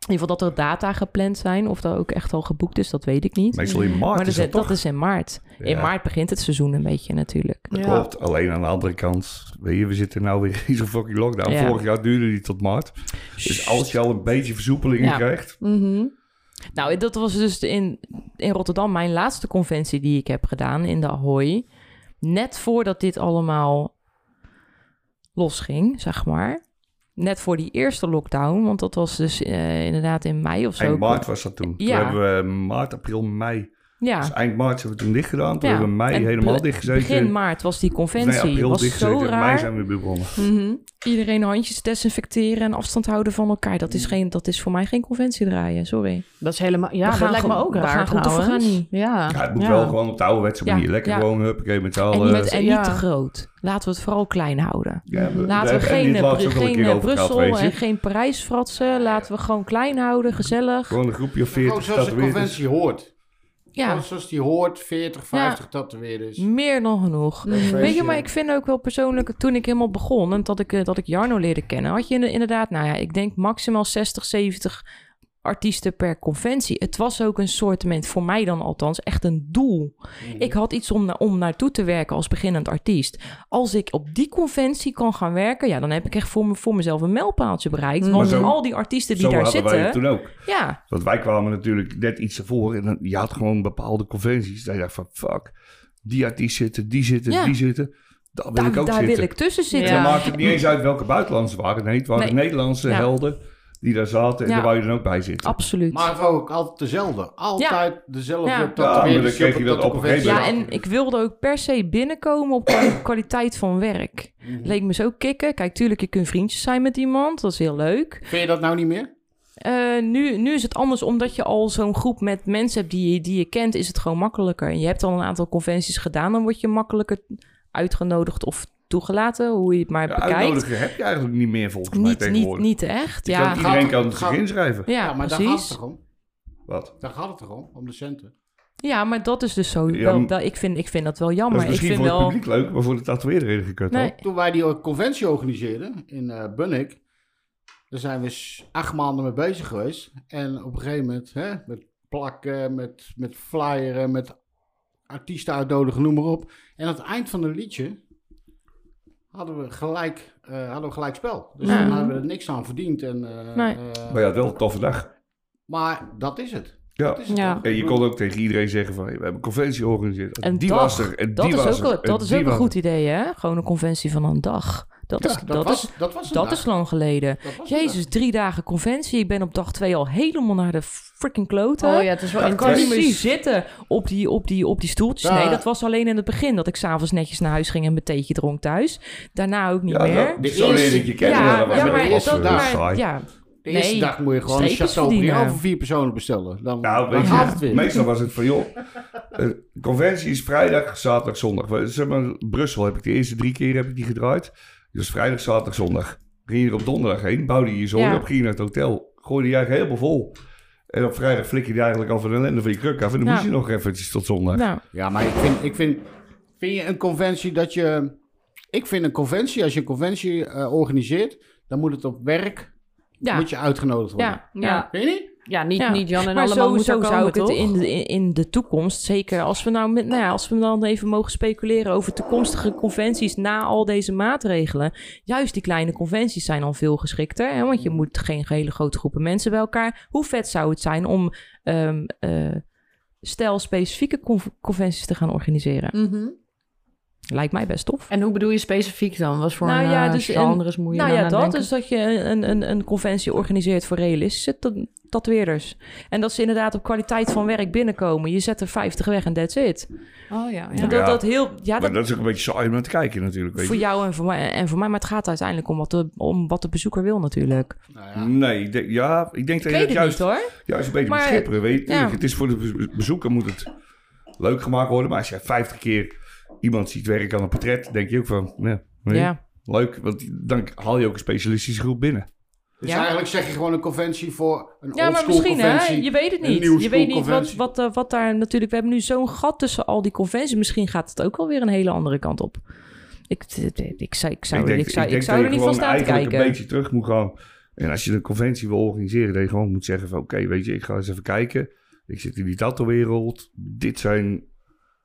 Speaker 4: In ieder geval dat er data gepland zijn. Of dat ook echt al geboekt is, dat weet ik niet.
Speaker 2: Meestal in maart is
Speaker 4: maar dat,
Speaker 2: dat
Speaker 4: is, dat
Speaker 2: toch?
Speaker 4: is in maart. In
Speaker 2: Ja.
Speaker 4: maart begint het seizoen een beetje natuurlijk.
Speaker 3: Ja.
Speaker 2: Klopt, alleen aan de andere kant, weet je, we zitten nou weer in zo'n fucking lockdown.
Speaker 4: Ja.
Speaker 2: Vorig jaar duurde die tot maart. Dus als je al een beetje versoepelingen
Speaker 4: Ja.
Speaker 2: krijgt,
Speaker 3: Mhm.
Speaker 4: Nou, dat was dus in, in Rotterdam mijn laatste conventie die ik heb gedaan in de Ahoy. Net voordat dit allemaal losging, zeg maar. Net voor die eerste lockdown, want dat was dus eh, inderdaad in mei of zo.
Speaker 2: eind maart was dat toen.
Speaker 4: Ja.
Speaker 2: Toen hebben we maart, april, mei Dus
Speaker 4: Ja.
Speaker 2: eind maart hebben we toen dicht gedaan. Toen
Speaker 4: Ja.
Speaker 2: hebben we mei
Speaker 4: En
Speaker 2: helemaal
Speaker 4: be-
Speaker 2: dicht gezeten.
Speaker 4: Begin maart was die conventie.
Speaker 2: Nee, april
Speaker 4: was
Speaker 2: dichtgezeten.
Speaker 4: zo
Speaker 2: In mei
Speaker 4: raar.
Speaker 2: zijn we weer begonnen.
Speaker 4: Mhm. Iedereen handjes desinfecteren en afstand houden van elkaar. Dat
Speaker 2: Mm.
Speaker 4: is, geen, dat is voor mij geen conventie draaien, sorry.
Speaker 3: Dat is helemaal... Ja,
Speaker 4: We
Speaker 3: dat
Speaker 4: gaan
Speaker 3: lijkt me
Speaker 4: gewoon-
Speaker 3: ook
Speaker 4: we
Speaker 3: raar
Speaker 4: gaan goed of we
Speaker 3: trouwens.
Speaker 4: gaan niet.
Speaker 3: Ja.
Speaker 2: Ja, het moet
Speaker 3: ja.
Speaker 2: wel gewoon op de ouderwetse
Speaker 4: Ja,
Speaker 2: manier. Lekker
Speaker 4: ja.
Speaker 2: gewoon, huppakee, met z'n
Speaker 4: En
Speaker 2: allen.
Speaker 4: niet, met- en
Speaker 3: Ja.
Speaker 4: niet te groot. Laten we het vooral klein houden.
Speaker 2: Ja, we- daar
Speaker 4: Laten we
Speaker 2: hebben Andy
Speaker 4: geen,
Speaker 2: het
Speaker 4: eh,
Speaker 2: laatst ook
Speaker 4: Bru-
Speaker 2: al een
Speaker 4: geen
Speaker 2: keer
Speaker 4: eh,
Speaker 2: over gehad,
Speaker 4: Brussel
Speaker 2: weet je.
Speaker 4: en geen Parijs fratsen. Laten we gewoon klein houden, gezellig.
Speaker 2: Gewoon een groepje of
Speaker 1: Gewoon
Speaker 2: 40
Speaker 1: zoals de
Speaker 2: tatoeëerders.
Speaker 1: conventie hoort.
Speaker 4: Ja, Mm.
Speaker 1: Gewoon zoals die hoort, 40, 50 tatoeëerders.
Speaker 4: meer dan genoeg. Weet je,
Speaker 1: Feestje.
Speaker 4: maar ik vind ook wel persoonlijk, toen ik helemaal begon en dat ik, eh, dat ik Jarno leerde kennen, had je in- inderdaad, nou ja, ik denk maximaal 60, 70 artiesten per conventie. Het was ook een soortement, voor mij dan althans, echt een doel.
Speaker 2: Mhm.
Speaker 4: Ik had iets om, na- om naartoe te werken als beginnend artiest. Als ik op die conventie kan gaan werken, ja, dan heb ik echt voor, me, voor mezelf een mijlpaaltje bereikt.
Speaker 3: Maar
Speaker 4: Want
Speaker 2: zo-
Speaker 4: al die artiesten die
Speaker 2: Zo
Speaker 4: daar
Speaker 2: hadden wij het
Speaker 4: zitten,
Speaker 2: toen ook.
Speaker 4: ja,
Speaker 2: Want wij kwamen natuurlijk net iets ervoor. En dan, je had gewoon bepaalde conventies. Dat je dacht van, fuck, die artiest zitten, die zitten,
Speaker 4: Ja.
Speaker 2: die zitten. Daar wil
Speaker 4: daar,
Speaker 2: ik ook
Speaker 4: daar
Speaker 2: zitten.
Speaker 4: wil ik tussen
Speaker 3: Ja.
Speaker 4: zitten.
Speaker 2: En dan maakt het niet eens uit welke buitenlanders het waren. Nee, het waren
Speaker 4: Nee.
Speaker 2: Nederlandse
Speaker 4: Ja.
Speaker 2: helden die daar zaten. En
Speaker 4: Ja.
Speaker 2: daar wou je dan ook bij zitten.
Speaker 4: Absoluut.
Speaker 1: Maar het waren ook altijd dezelfde. Altijd dezelfde
Speaker 4: Ja. Ja, maar
Speaker 2: dan
Speaker 1: tatoeëerders.
Speaker 2: kreeg je dat op een gegeven
Speaker 4: Ja,
Speaker 2: Ja.
Speaker 4: en ik wilde ook per se binnenkomen op kwa- kwaliteit van werk.
Speaker 2: Mhm.
Speaker 4: Leek me zo kicken. Kijk, tuurlijk, je kunt vriendjes zijn met iemand. Dat is heel leuk.
Speaker 1: Vind je dat nou niet meer?
Speaker 4: Eh, nu, nu is het anders, omdat je al zo'n groep met mensen hebt die je, die je kent, is het gewoon makkelijker. En je hebt al een aantal conventies gedaan, dan word je makkelijker uitgenodigd of toegelaten, hoe je het maar
Speaker 2: Ja,
Speaker 4: bekijkt.
Speaker 2: uitnodigen heb je eigenlijk niet meer volgens mij
Speaker 4: Niet, niet,
Speaker 2: tegenwoordig.
Speaker 4: niet echt.
Speaker 2: Je
Speaker 4: Ja,
Speaker 2: kan, iedereen
Speaker 1: Gaat-
Speaker 2: kan
Speaker 1: gaat-
Speaker 2: zich inschrijven.
Speaker 4: ja,
Speaker 1: maar daar gaat het
Speaker 4: precies.
Speaker 1: toch om?
Speaker 2: Wat?
Speaker 1: Daar gaat het toch om? Om de centen.
Speaker 4: Ja, maar dat is dus zo.
Speaker 2: Ja,
Speaker 4: wel-
Speaker 2: maar-
Speaker 4: dat, ik, vind, ik vind dat wel
Speaker 2: dat
Speaker 4: jammer.
Speaker 2: is misschien
Speaker 4: ik vind
Speaker 2: voor
Speaker 4: wel.
Speaker 2: het publiek leuk, maar voor de tatoeëerder heeft gekut.
Speaker 4: Nee.
Speaker 2: hoor.
Speaker 1: Toen wij die conventie organiseerden in eh Bunnik, daar zijn we s- acht maanden mee bezig geweest. En op een gegeven moment, hè, met plakken, met, met flyeren, met artiesten uitnodigen, noem maar op. En aan het eind van het liedje hadden we gelijk, eh, hadden we gelijk spel. Dus
Speaker 4: Ja.
Speaker 1: dan hadden we er niks aan verdiend. En, eh,
Speaker 4: Nee.
Speaker 1: eh,
Speaker 2: Maar ja, het wel een toffe dag.
Speaker 1: maar dat is het.
Speaker 2: Ja.
Speaker 1: Dat is het
Speaker 4: Ja.
Speaker 1: toch?
Speaker 2: En je kon ook tegen iedereen zeggen van, hey, we hebben een conventie georganiseerd. En
Speaker 4: Een
Speaker 2: die
Speaker 4: dag.
Speaker 2: was er, en
Speaker 4: Dat
Speaker 2: die
Speaker 4: is
Speaker 2: was er,
Speaker 4: ook, wel-
Speaker 2: en
Speaker 4: dat is
Speaker 2: die
Speaker 4: ook een
Speaker 2: was
Speaker 4: goed
Speaker 2: er.
Speaker 4: idee, hè? Gewoon een conventie van een dag. Dat, is,
Speaker 1: dat,
Speaker 4: dat,
Speaker 1: was,
Speaker 4: is,
Speaker 1: dat was een
Speaker 4: dat
Speaker 1: dag.
Speaker 4: is lang geleden.
Speaker 1: Dat was een
Speaker 4: Jezus, drie dagen conventie. Ik ben op dag twee al helemaal naar de freaking kloten.
Speaker 3: Oh ja, het is wel
Speaker 2: Dat
Speaker 4: Ik kan niet meer
Speaker 3: intens.
Speaker 4: zitten op die, op die, op die stoeltjes.
Speaker 1: Ja.
Speaker 4: Nee, dat was alleen in het begin. Dat ik s'avonds netjes naar huis ging en mijn theetje dronk thuis. Daarna ook niet
Speaker 2: Ja,
Speaker 4: meer.
Speaker 2: dat, zo leerde ik je kennen.
Speaker 4: ja,
Speaker 2: dat was
Speaker 4: ja,
Speaker 2: wel
Speaker 4: maar,
Speaker 2: los,
Speaker 4: dat,
Speaker 2: eh,
Speaker 4: maar-
Speaker 2: saai.
Speaker 4: ja,
Speaker 1: De eerste
Speaker 4: Nee,
Speaker 1: dag moet je gewoon een
Speaker 4: streepjes
Speaker 1: Chateaubriand
Speaker 4: verdienen.
Speaker 1: voor vier personen bestellen. Dan,
Speaker 2: Nou,
Speaker 1: dan
Speaker 2: weet
Speaker 1: gaat het
Speaker 2: je,
Speaker 1: weer.
Speaker 2: meestal was het van, joh, eh, conventie is vrijdag, zaterdag, zondag. We- Zeg maar, Brussel heb ik de eerste drie keer heb ik die gedraaid. Dus vrijdag, zaterdag, zondag. Ging je er op donderdag heen, bouwde je je zooi
Speaker 4: Ja.
Speaker 2: op, ging je naar het hotel. Gooide je eigenlijk helemaal vol. En op vrijdag flik je die eigenlijk al van de ellende van je kruk af. En dan
Speaker 4: Ja.
Speaker 2: moest je nog eventjes tot zondag.
Speaker 4: nou,
Speaker 1: Ja, maar ik vind, ik vind, vind je een conventie dat je... Ik vind een conventie, als je een conventie eh, organiseert, dan moet het op werk,
Speaker 4: ja,
Speaker 1: moet je uitgenodigd worden.
Speaker 4: ja, ja.
Speaker 1: Vind je niet?
Speaker 3: Ja, niet,
Speaker 4: Ja.
Speaker 3: niet Jan en
Speaker 4: maar
Speaker 3: allemaal moeten
Speaker 4: sowieso
Speaker 3: komen,
Speaker 4: zou ik het
Speaker 3: toch?
Speaker 4: in de, in- in de toekomst, zeker als we nou, met, nou ja, als we dan even mogen speculeren over toekomstige conventies na al deze maatregelen. Juist die kleine conventies zijn al veel geschikter, hè, want je moet geen hele grote groepen mensen bij elkaar. Hoe vet zou het zijn om ehm eh, stel specifieke conv- conventies te gaan organiseren?
Speaker 3: Mhm.
Speaker 4: Lijkt mij best tof.
Speaker 3: En hoe bedoel je specifiek dan? Wat voor
Speaker 4: Nou
Speaker 3: een,
Speaker 4: ja,
Speaker 3: eh,
Speaker 4: dus een-
Speaker 3: genres moet je
Speaker 4: Nou
Speaker 3: dan
Speaker 4: ja,
Speaker 3: aan
Speaker 4: dat
Speaker 3: denken?
Speaker 4: is dat je een, een, een conventie organiseert voor realistische ta- tatoeëerders. En dat ze inderdaad op kwaliteit van werk binnenkomen. Je zet er 50 weg en that's it.
Speaker 3: Oh ja,
Speaker 4: En
Speaker 3: ja.
Speaker 4: Dat,
Speaker 2: Ja.
Speaker 4: dat heel, ja,
Speaker 2: Maar
Speaker 4: dat,
Speaker 2: dat is ook een beetje saai om naar te kijken natuurlijk. Weet
Speaker 4: voor
Speaker 2: je.
Speaker 4: jou en voor, mij, en voor mij. Maar het gaat uiteindelijk om wat de, om wat de bezoeker wil natuurlijk.
Speaker 1: Nou ja.
Speaker 2: Nee, ik denk, ja, ik denk
Speaker 4: Ik
Speaker 2: dat je
Speaker 4: weet
Speaker 2: dat
Speaker 4: het
Speaker 2: juist,
Speaker 4: niet hoor.
Speaker 2: juist een beetje
Speaker 4: Maar,
Speaker 2: moet schipperen. Weet je.
Speaker 4: ja.
Speaker 2: Tuurlijk, Het is voor de bez- bezoeker moet het leuk gemaakt worden. Maar als jij 50 keer iemand ziet werken aan een portret, denk je ook van, ja, weet je,
Speaker 4: Ja.
Speaker 2: leuk. Want dan haal je ook een specialistische groep binnen.
Speaker 1: Dus
Speaker 4: Ja.
Speaker 1: eigenlijk zeg je gewoon een conventie voor een
Speaker 4: ja, maar
Speaker 1: oldschool
Speaker 4: misschien hè.
Speaker 1: conventie.
Speaker 4: Je weet het
Speaker 1: een
Speaker 4: niet.
Speaker 1: nieuwe
Speaker 4: Je weet niet wat,
Speaker 1: schoolconventie.
Speaker 4: wat, eh, wat daar natuurlijk... We hebben nu zo'n gat tussen al die conventies. Misschien gaat het ook wel weer een hele andere kant op. Ik, ik, ik, zou- ik zou,
Speaker 2: ik
Speaker 4: er-
Speaker 2: denk,
Speaker 4: ik
Speaker 2: ik
Speaker 4: zou, ik
Speaker 2: denk
Speaker 4: zou
Speaker 2: dat
Speaker 4: er
Speaker 2: je
Speaker 4: niet van
Speaker 2: gewoon
Speaker 4: staan te
Speaker 2: eigenlijk
Speaker 4: kijken.
Speaker 2: een beetje terug moet gaan. En als je een conventie wil organiseren, dat je gewoon moet zeggen van, oké, weet je, ik ga eens even kijken. Ik zit in die tattoo-wereld. Dit zijn,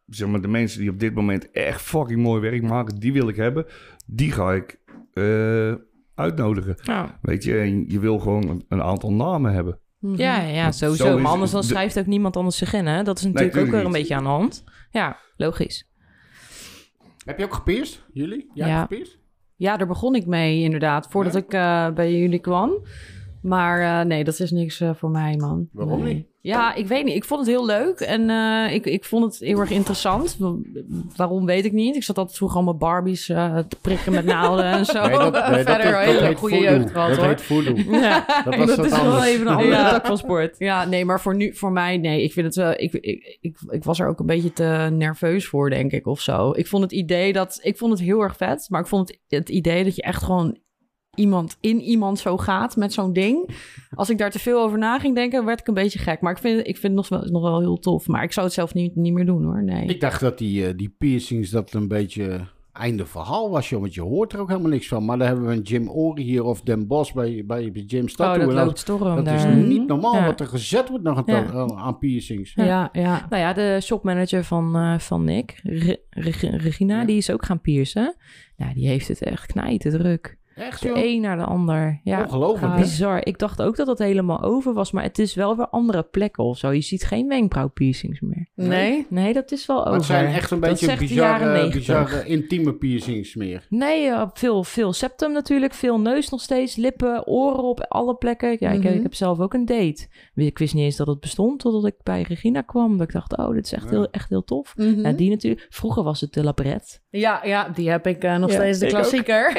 Speaker 2: zeg maar, de mensen die op dit moment echt fucking mooi werk maken. Die wil ik hebben. Die ga ik eh, uitnodigen.
Speaker 4: Nou,
Speaker 2: Weet je, en je wil gewoon een, een aantal namen hebben.
Speaker 3: Mhm.
Speaker 4: ja, ja, sowieso.
Speaker 2: zo is
Speaker 4: maar anders dan
Speaker 2: de-
Speaker 4: schrijft ook niemand anders zich in hè. Dat is natuurlijk ook
Speaker 2: tuurlijk
Speaker 4: weer een
Speaker 2: niet.
Speaker 4: beetje aan de hand. Ja, logisch.
Speaker 1: Heb je ook gepierst, jullie? Jij
Speaker 4: Ja.
Speaker 1: hebt gepierst?
Speaker 3: Ja, daar begon ik mee inderdaad, voordat
Speaker 1: Ja?
Speaker 3: ik eh, bij jullie kwam. Maar eh, nee, dat is niks eh, voor mij, man.
Speaker 1: Waarom
Speaker 3: Nee.
Speaker 1: niet?
Speaker 3: Ja, ik weet niet. Ik vond het heel leuk en eh, ik, ik vond het heel erg interessant. Wa- Waarom weet ik niet. Ik zat altijd vroeger allemaal Barbies eh, te prikken met naalden en
Speaker 4: Oh,
Speaker 3: zo. Verder een hele
Speaker 1: heet
Speaker 3: goede
Speaker 1: voodoo.
Speaker 3: jeugd gehad
Speaker 1: Dat
Speaker 3: hoor.
Speaker 1: heet voodoo.
Speaker 3: Ja.
Speaker 1: Dat was wat
Speaker 4: is wel
Speaker 1: anders.
Speaker 4: even een
Speaker 3: andere
Speaker 4: Ja.
Speaker 3: tak van sport. Ja, nee, maar voor nu, voor mij, nee. Ik vind het wel. Ik, ik, ik, ik was er ook een beetje te nerveus voor, denk ik, of zo. Ik vond het idee dat. Ik vond het heel erg vet, maar ik vond het, het idee dat je echt gewoon iemand in iemand zo gaat met zo'n ding. Als ik daar te veel over na ging denken, werd ik een beetje gek. Maar ik vind, ik vind het nog wel, nog wel heel tof. Maar ik zou het zelf niet, niet meer doen, hoor. Nee.
Speaker 1: Ik dacht dat die, eh, die piercings dat een beetje einde verhaal was, joh. Want je hoort er ook helemaal niks van. Maar dan hebben we een Jim Ori hier of Den Bos bij, bij, bij Jim
Speaker 3: oh,
Speaker 1: Tattoo.
Speaker 3: dat
Speaker 1: En dan-
Speaker 3: loopt storm
Speaker 1: dat is
Speaker 3: daar.
Speaker 1: niet normaal
Speaker 4: Ja.
Speaker 1: wat er gezet wordt nog aan,
Speaker 4: Ja.
Speaker 1: aan- aan piercings.
Speaker 3: Ja, ja.
Speaker 4: Nou ja, de shopmanager van, eh, van Nick, Re- Reg- Regina, die is ook gaan piercen. Nou, die heeft het echt knijten druk.
Speaker 1: Echt,
Speaker 4: De
Speaker 1: joh.
Speaker 4: een naar de ander. Ja, Ah,
Speaker 1: Ongelooflijk.
Speaker 3: gaaf.
Speaker 1: hè?
Speaker 4: bizar. Ik dacht ook dat dat helemaal over was, maar het is wel weer andere plekken of zo. Je ziet geen wenkbrauwpiercings meer.
Speaker 3: Nee?
Speaker 4: Nee, dat is wel over.
Speaker 1: Maar het zijn echt een beetje
Speaker 4: dat is echt de jaren
Speaker 1: bizarre,
Speaker 4: 90.
Speaker 1: bizarre intieme piercings meer.
Speaker 4: Nee, eh, veel, veel septum natuurlijk, veel neus nog steeds, lippen, oren op alle plekken. Ja, ik,
Speaker 3: Mhm.
Speaker 4: ik heb zelf ook een date. Ik wist niet eens dat het bestond totdat ik bij Regina kwam. Dat ik dacht, oh, dit is echt,
Speaker 1: Ja.
Speaker 4: heel, echt heel tof.
Speaker 3: Mhm.
Speaker 4: Ja, die natuurlijk. Vroeger was het de labret.
Speaker 3: Ja, ja, die heb ik eh, nog
Speaker 4: Ja,
Speaker 3: steeds de
Speaker 4: ik ook.
Speaker 3: klassieker.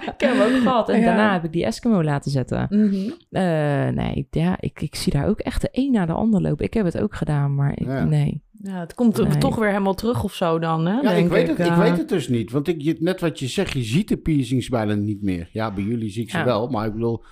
Speaker 4: Ik heb hem ook gehad. En
Speaker 3: Ja.
Speaker 4: daarna heb ik die Eskimo laten zetten.
Speaker 3: Mhm.
Speaker 4: Eh, nee, ja, ik, ik zie daar ook echt de een na de ander lopen. Ik heb het ook gedaan, maar ik,
Speaker 1: Ja.
Speaker 4: nee.
Speaker 3: Ja, het komt
Speaker 4: Nee.
Speaker 3: toch weer helemaal terug of zo dan, hè?
Speaker 1: Ja,
Speaker 3: denk
Speaker 1: ik weet, het, ik
Speaker 3: eh.
Speaker 1: weet het dus niet. Want ik, je- net wat je zegt, je ziet de piercings bijna niet meer. Ja, bij jullie zie ik ze
Speaker 4: Ja.
Speaker 1: wel. Maar ik bedoel,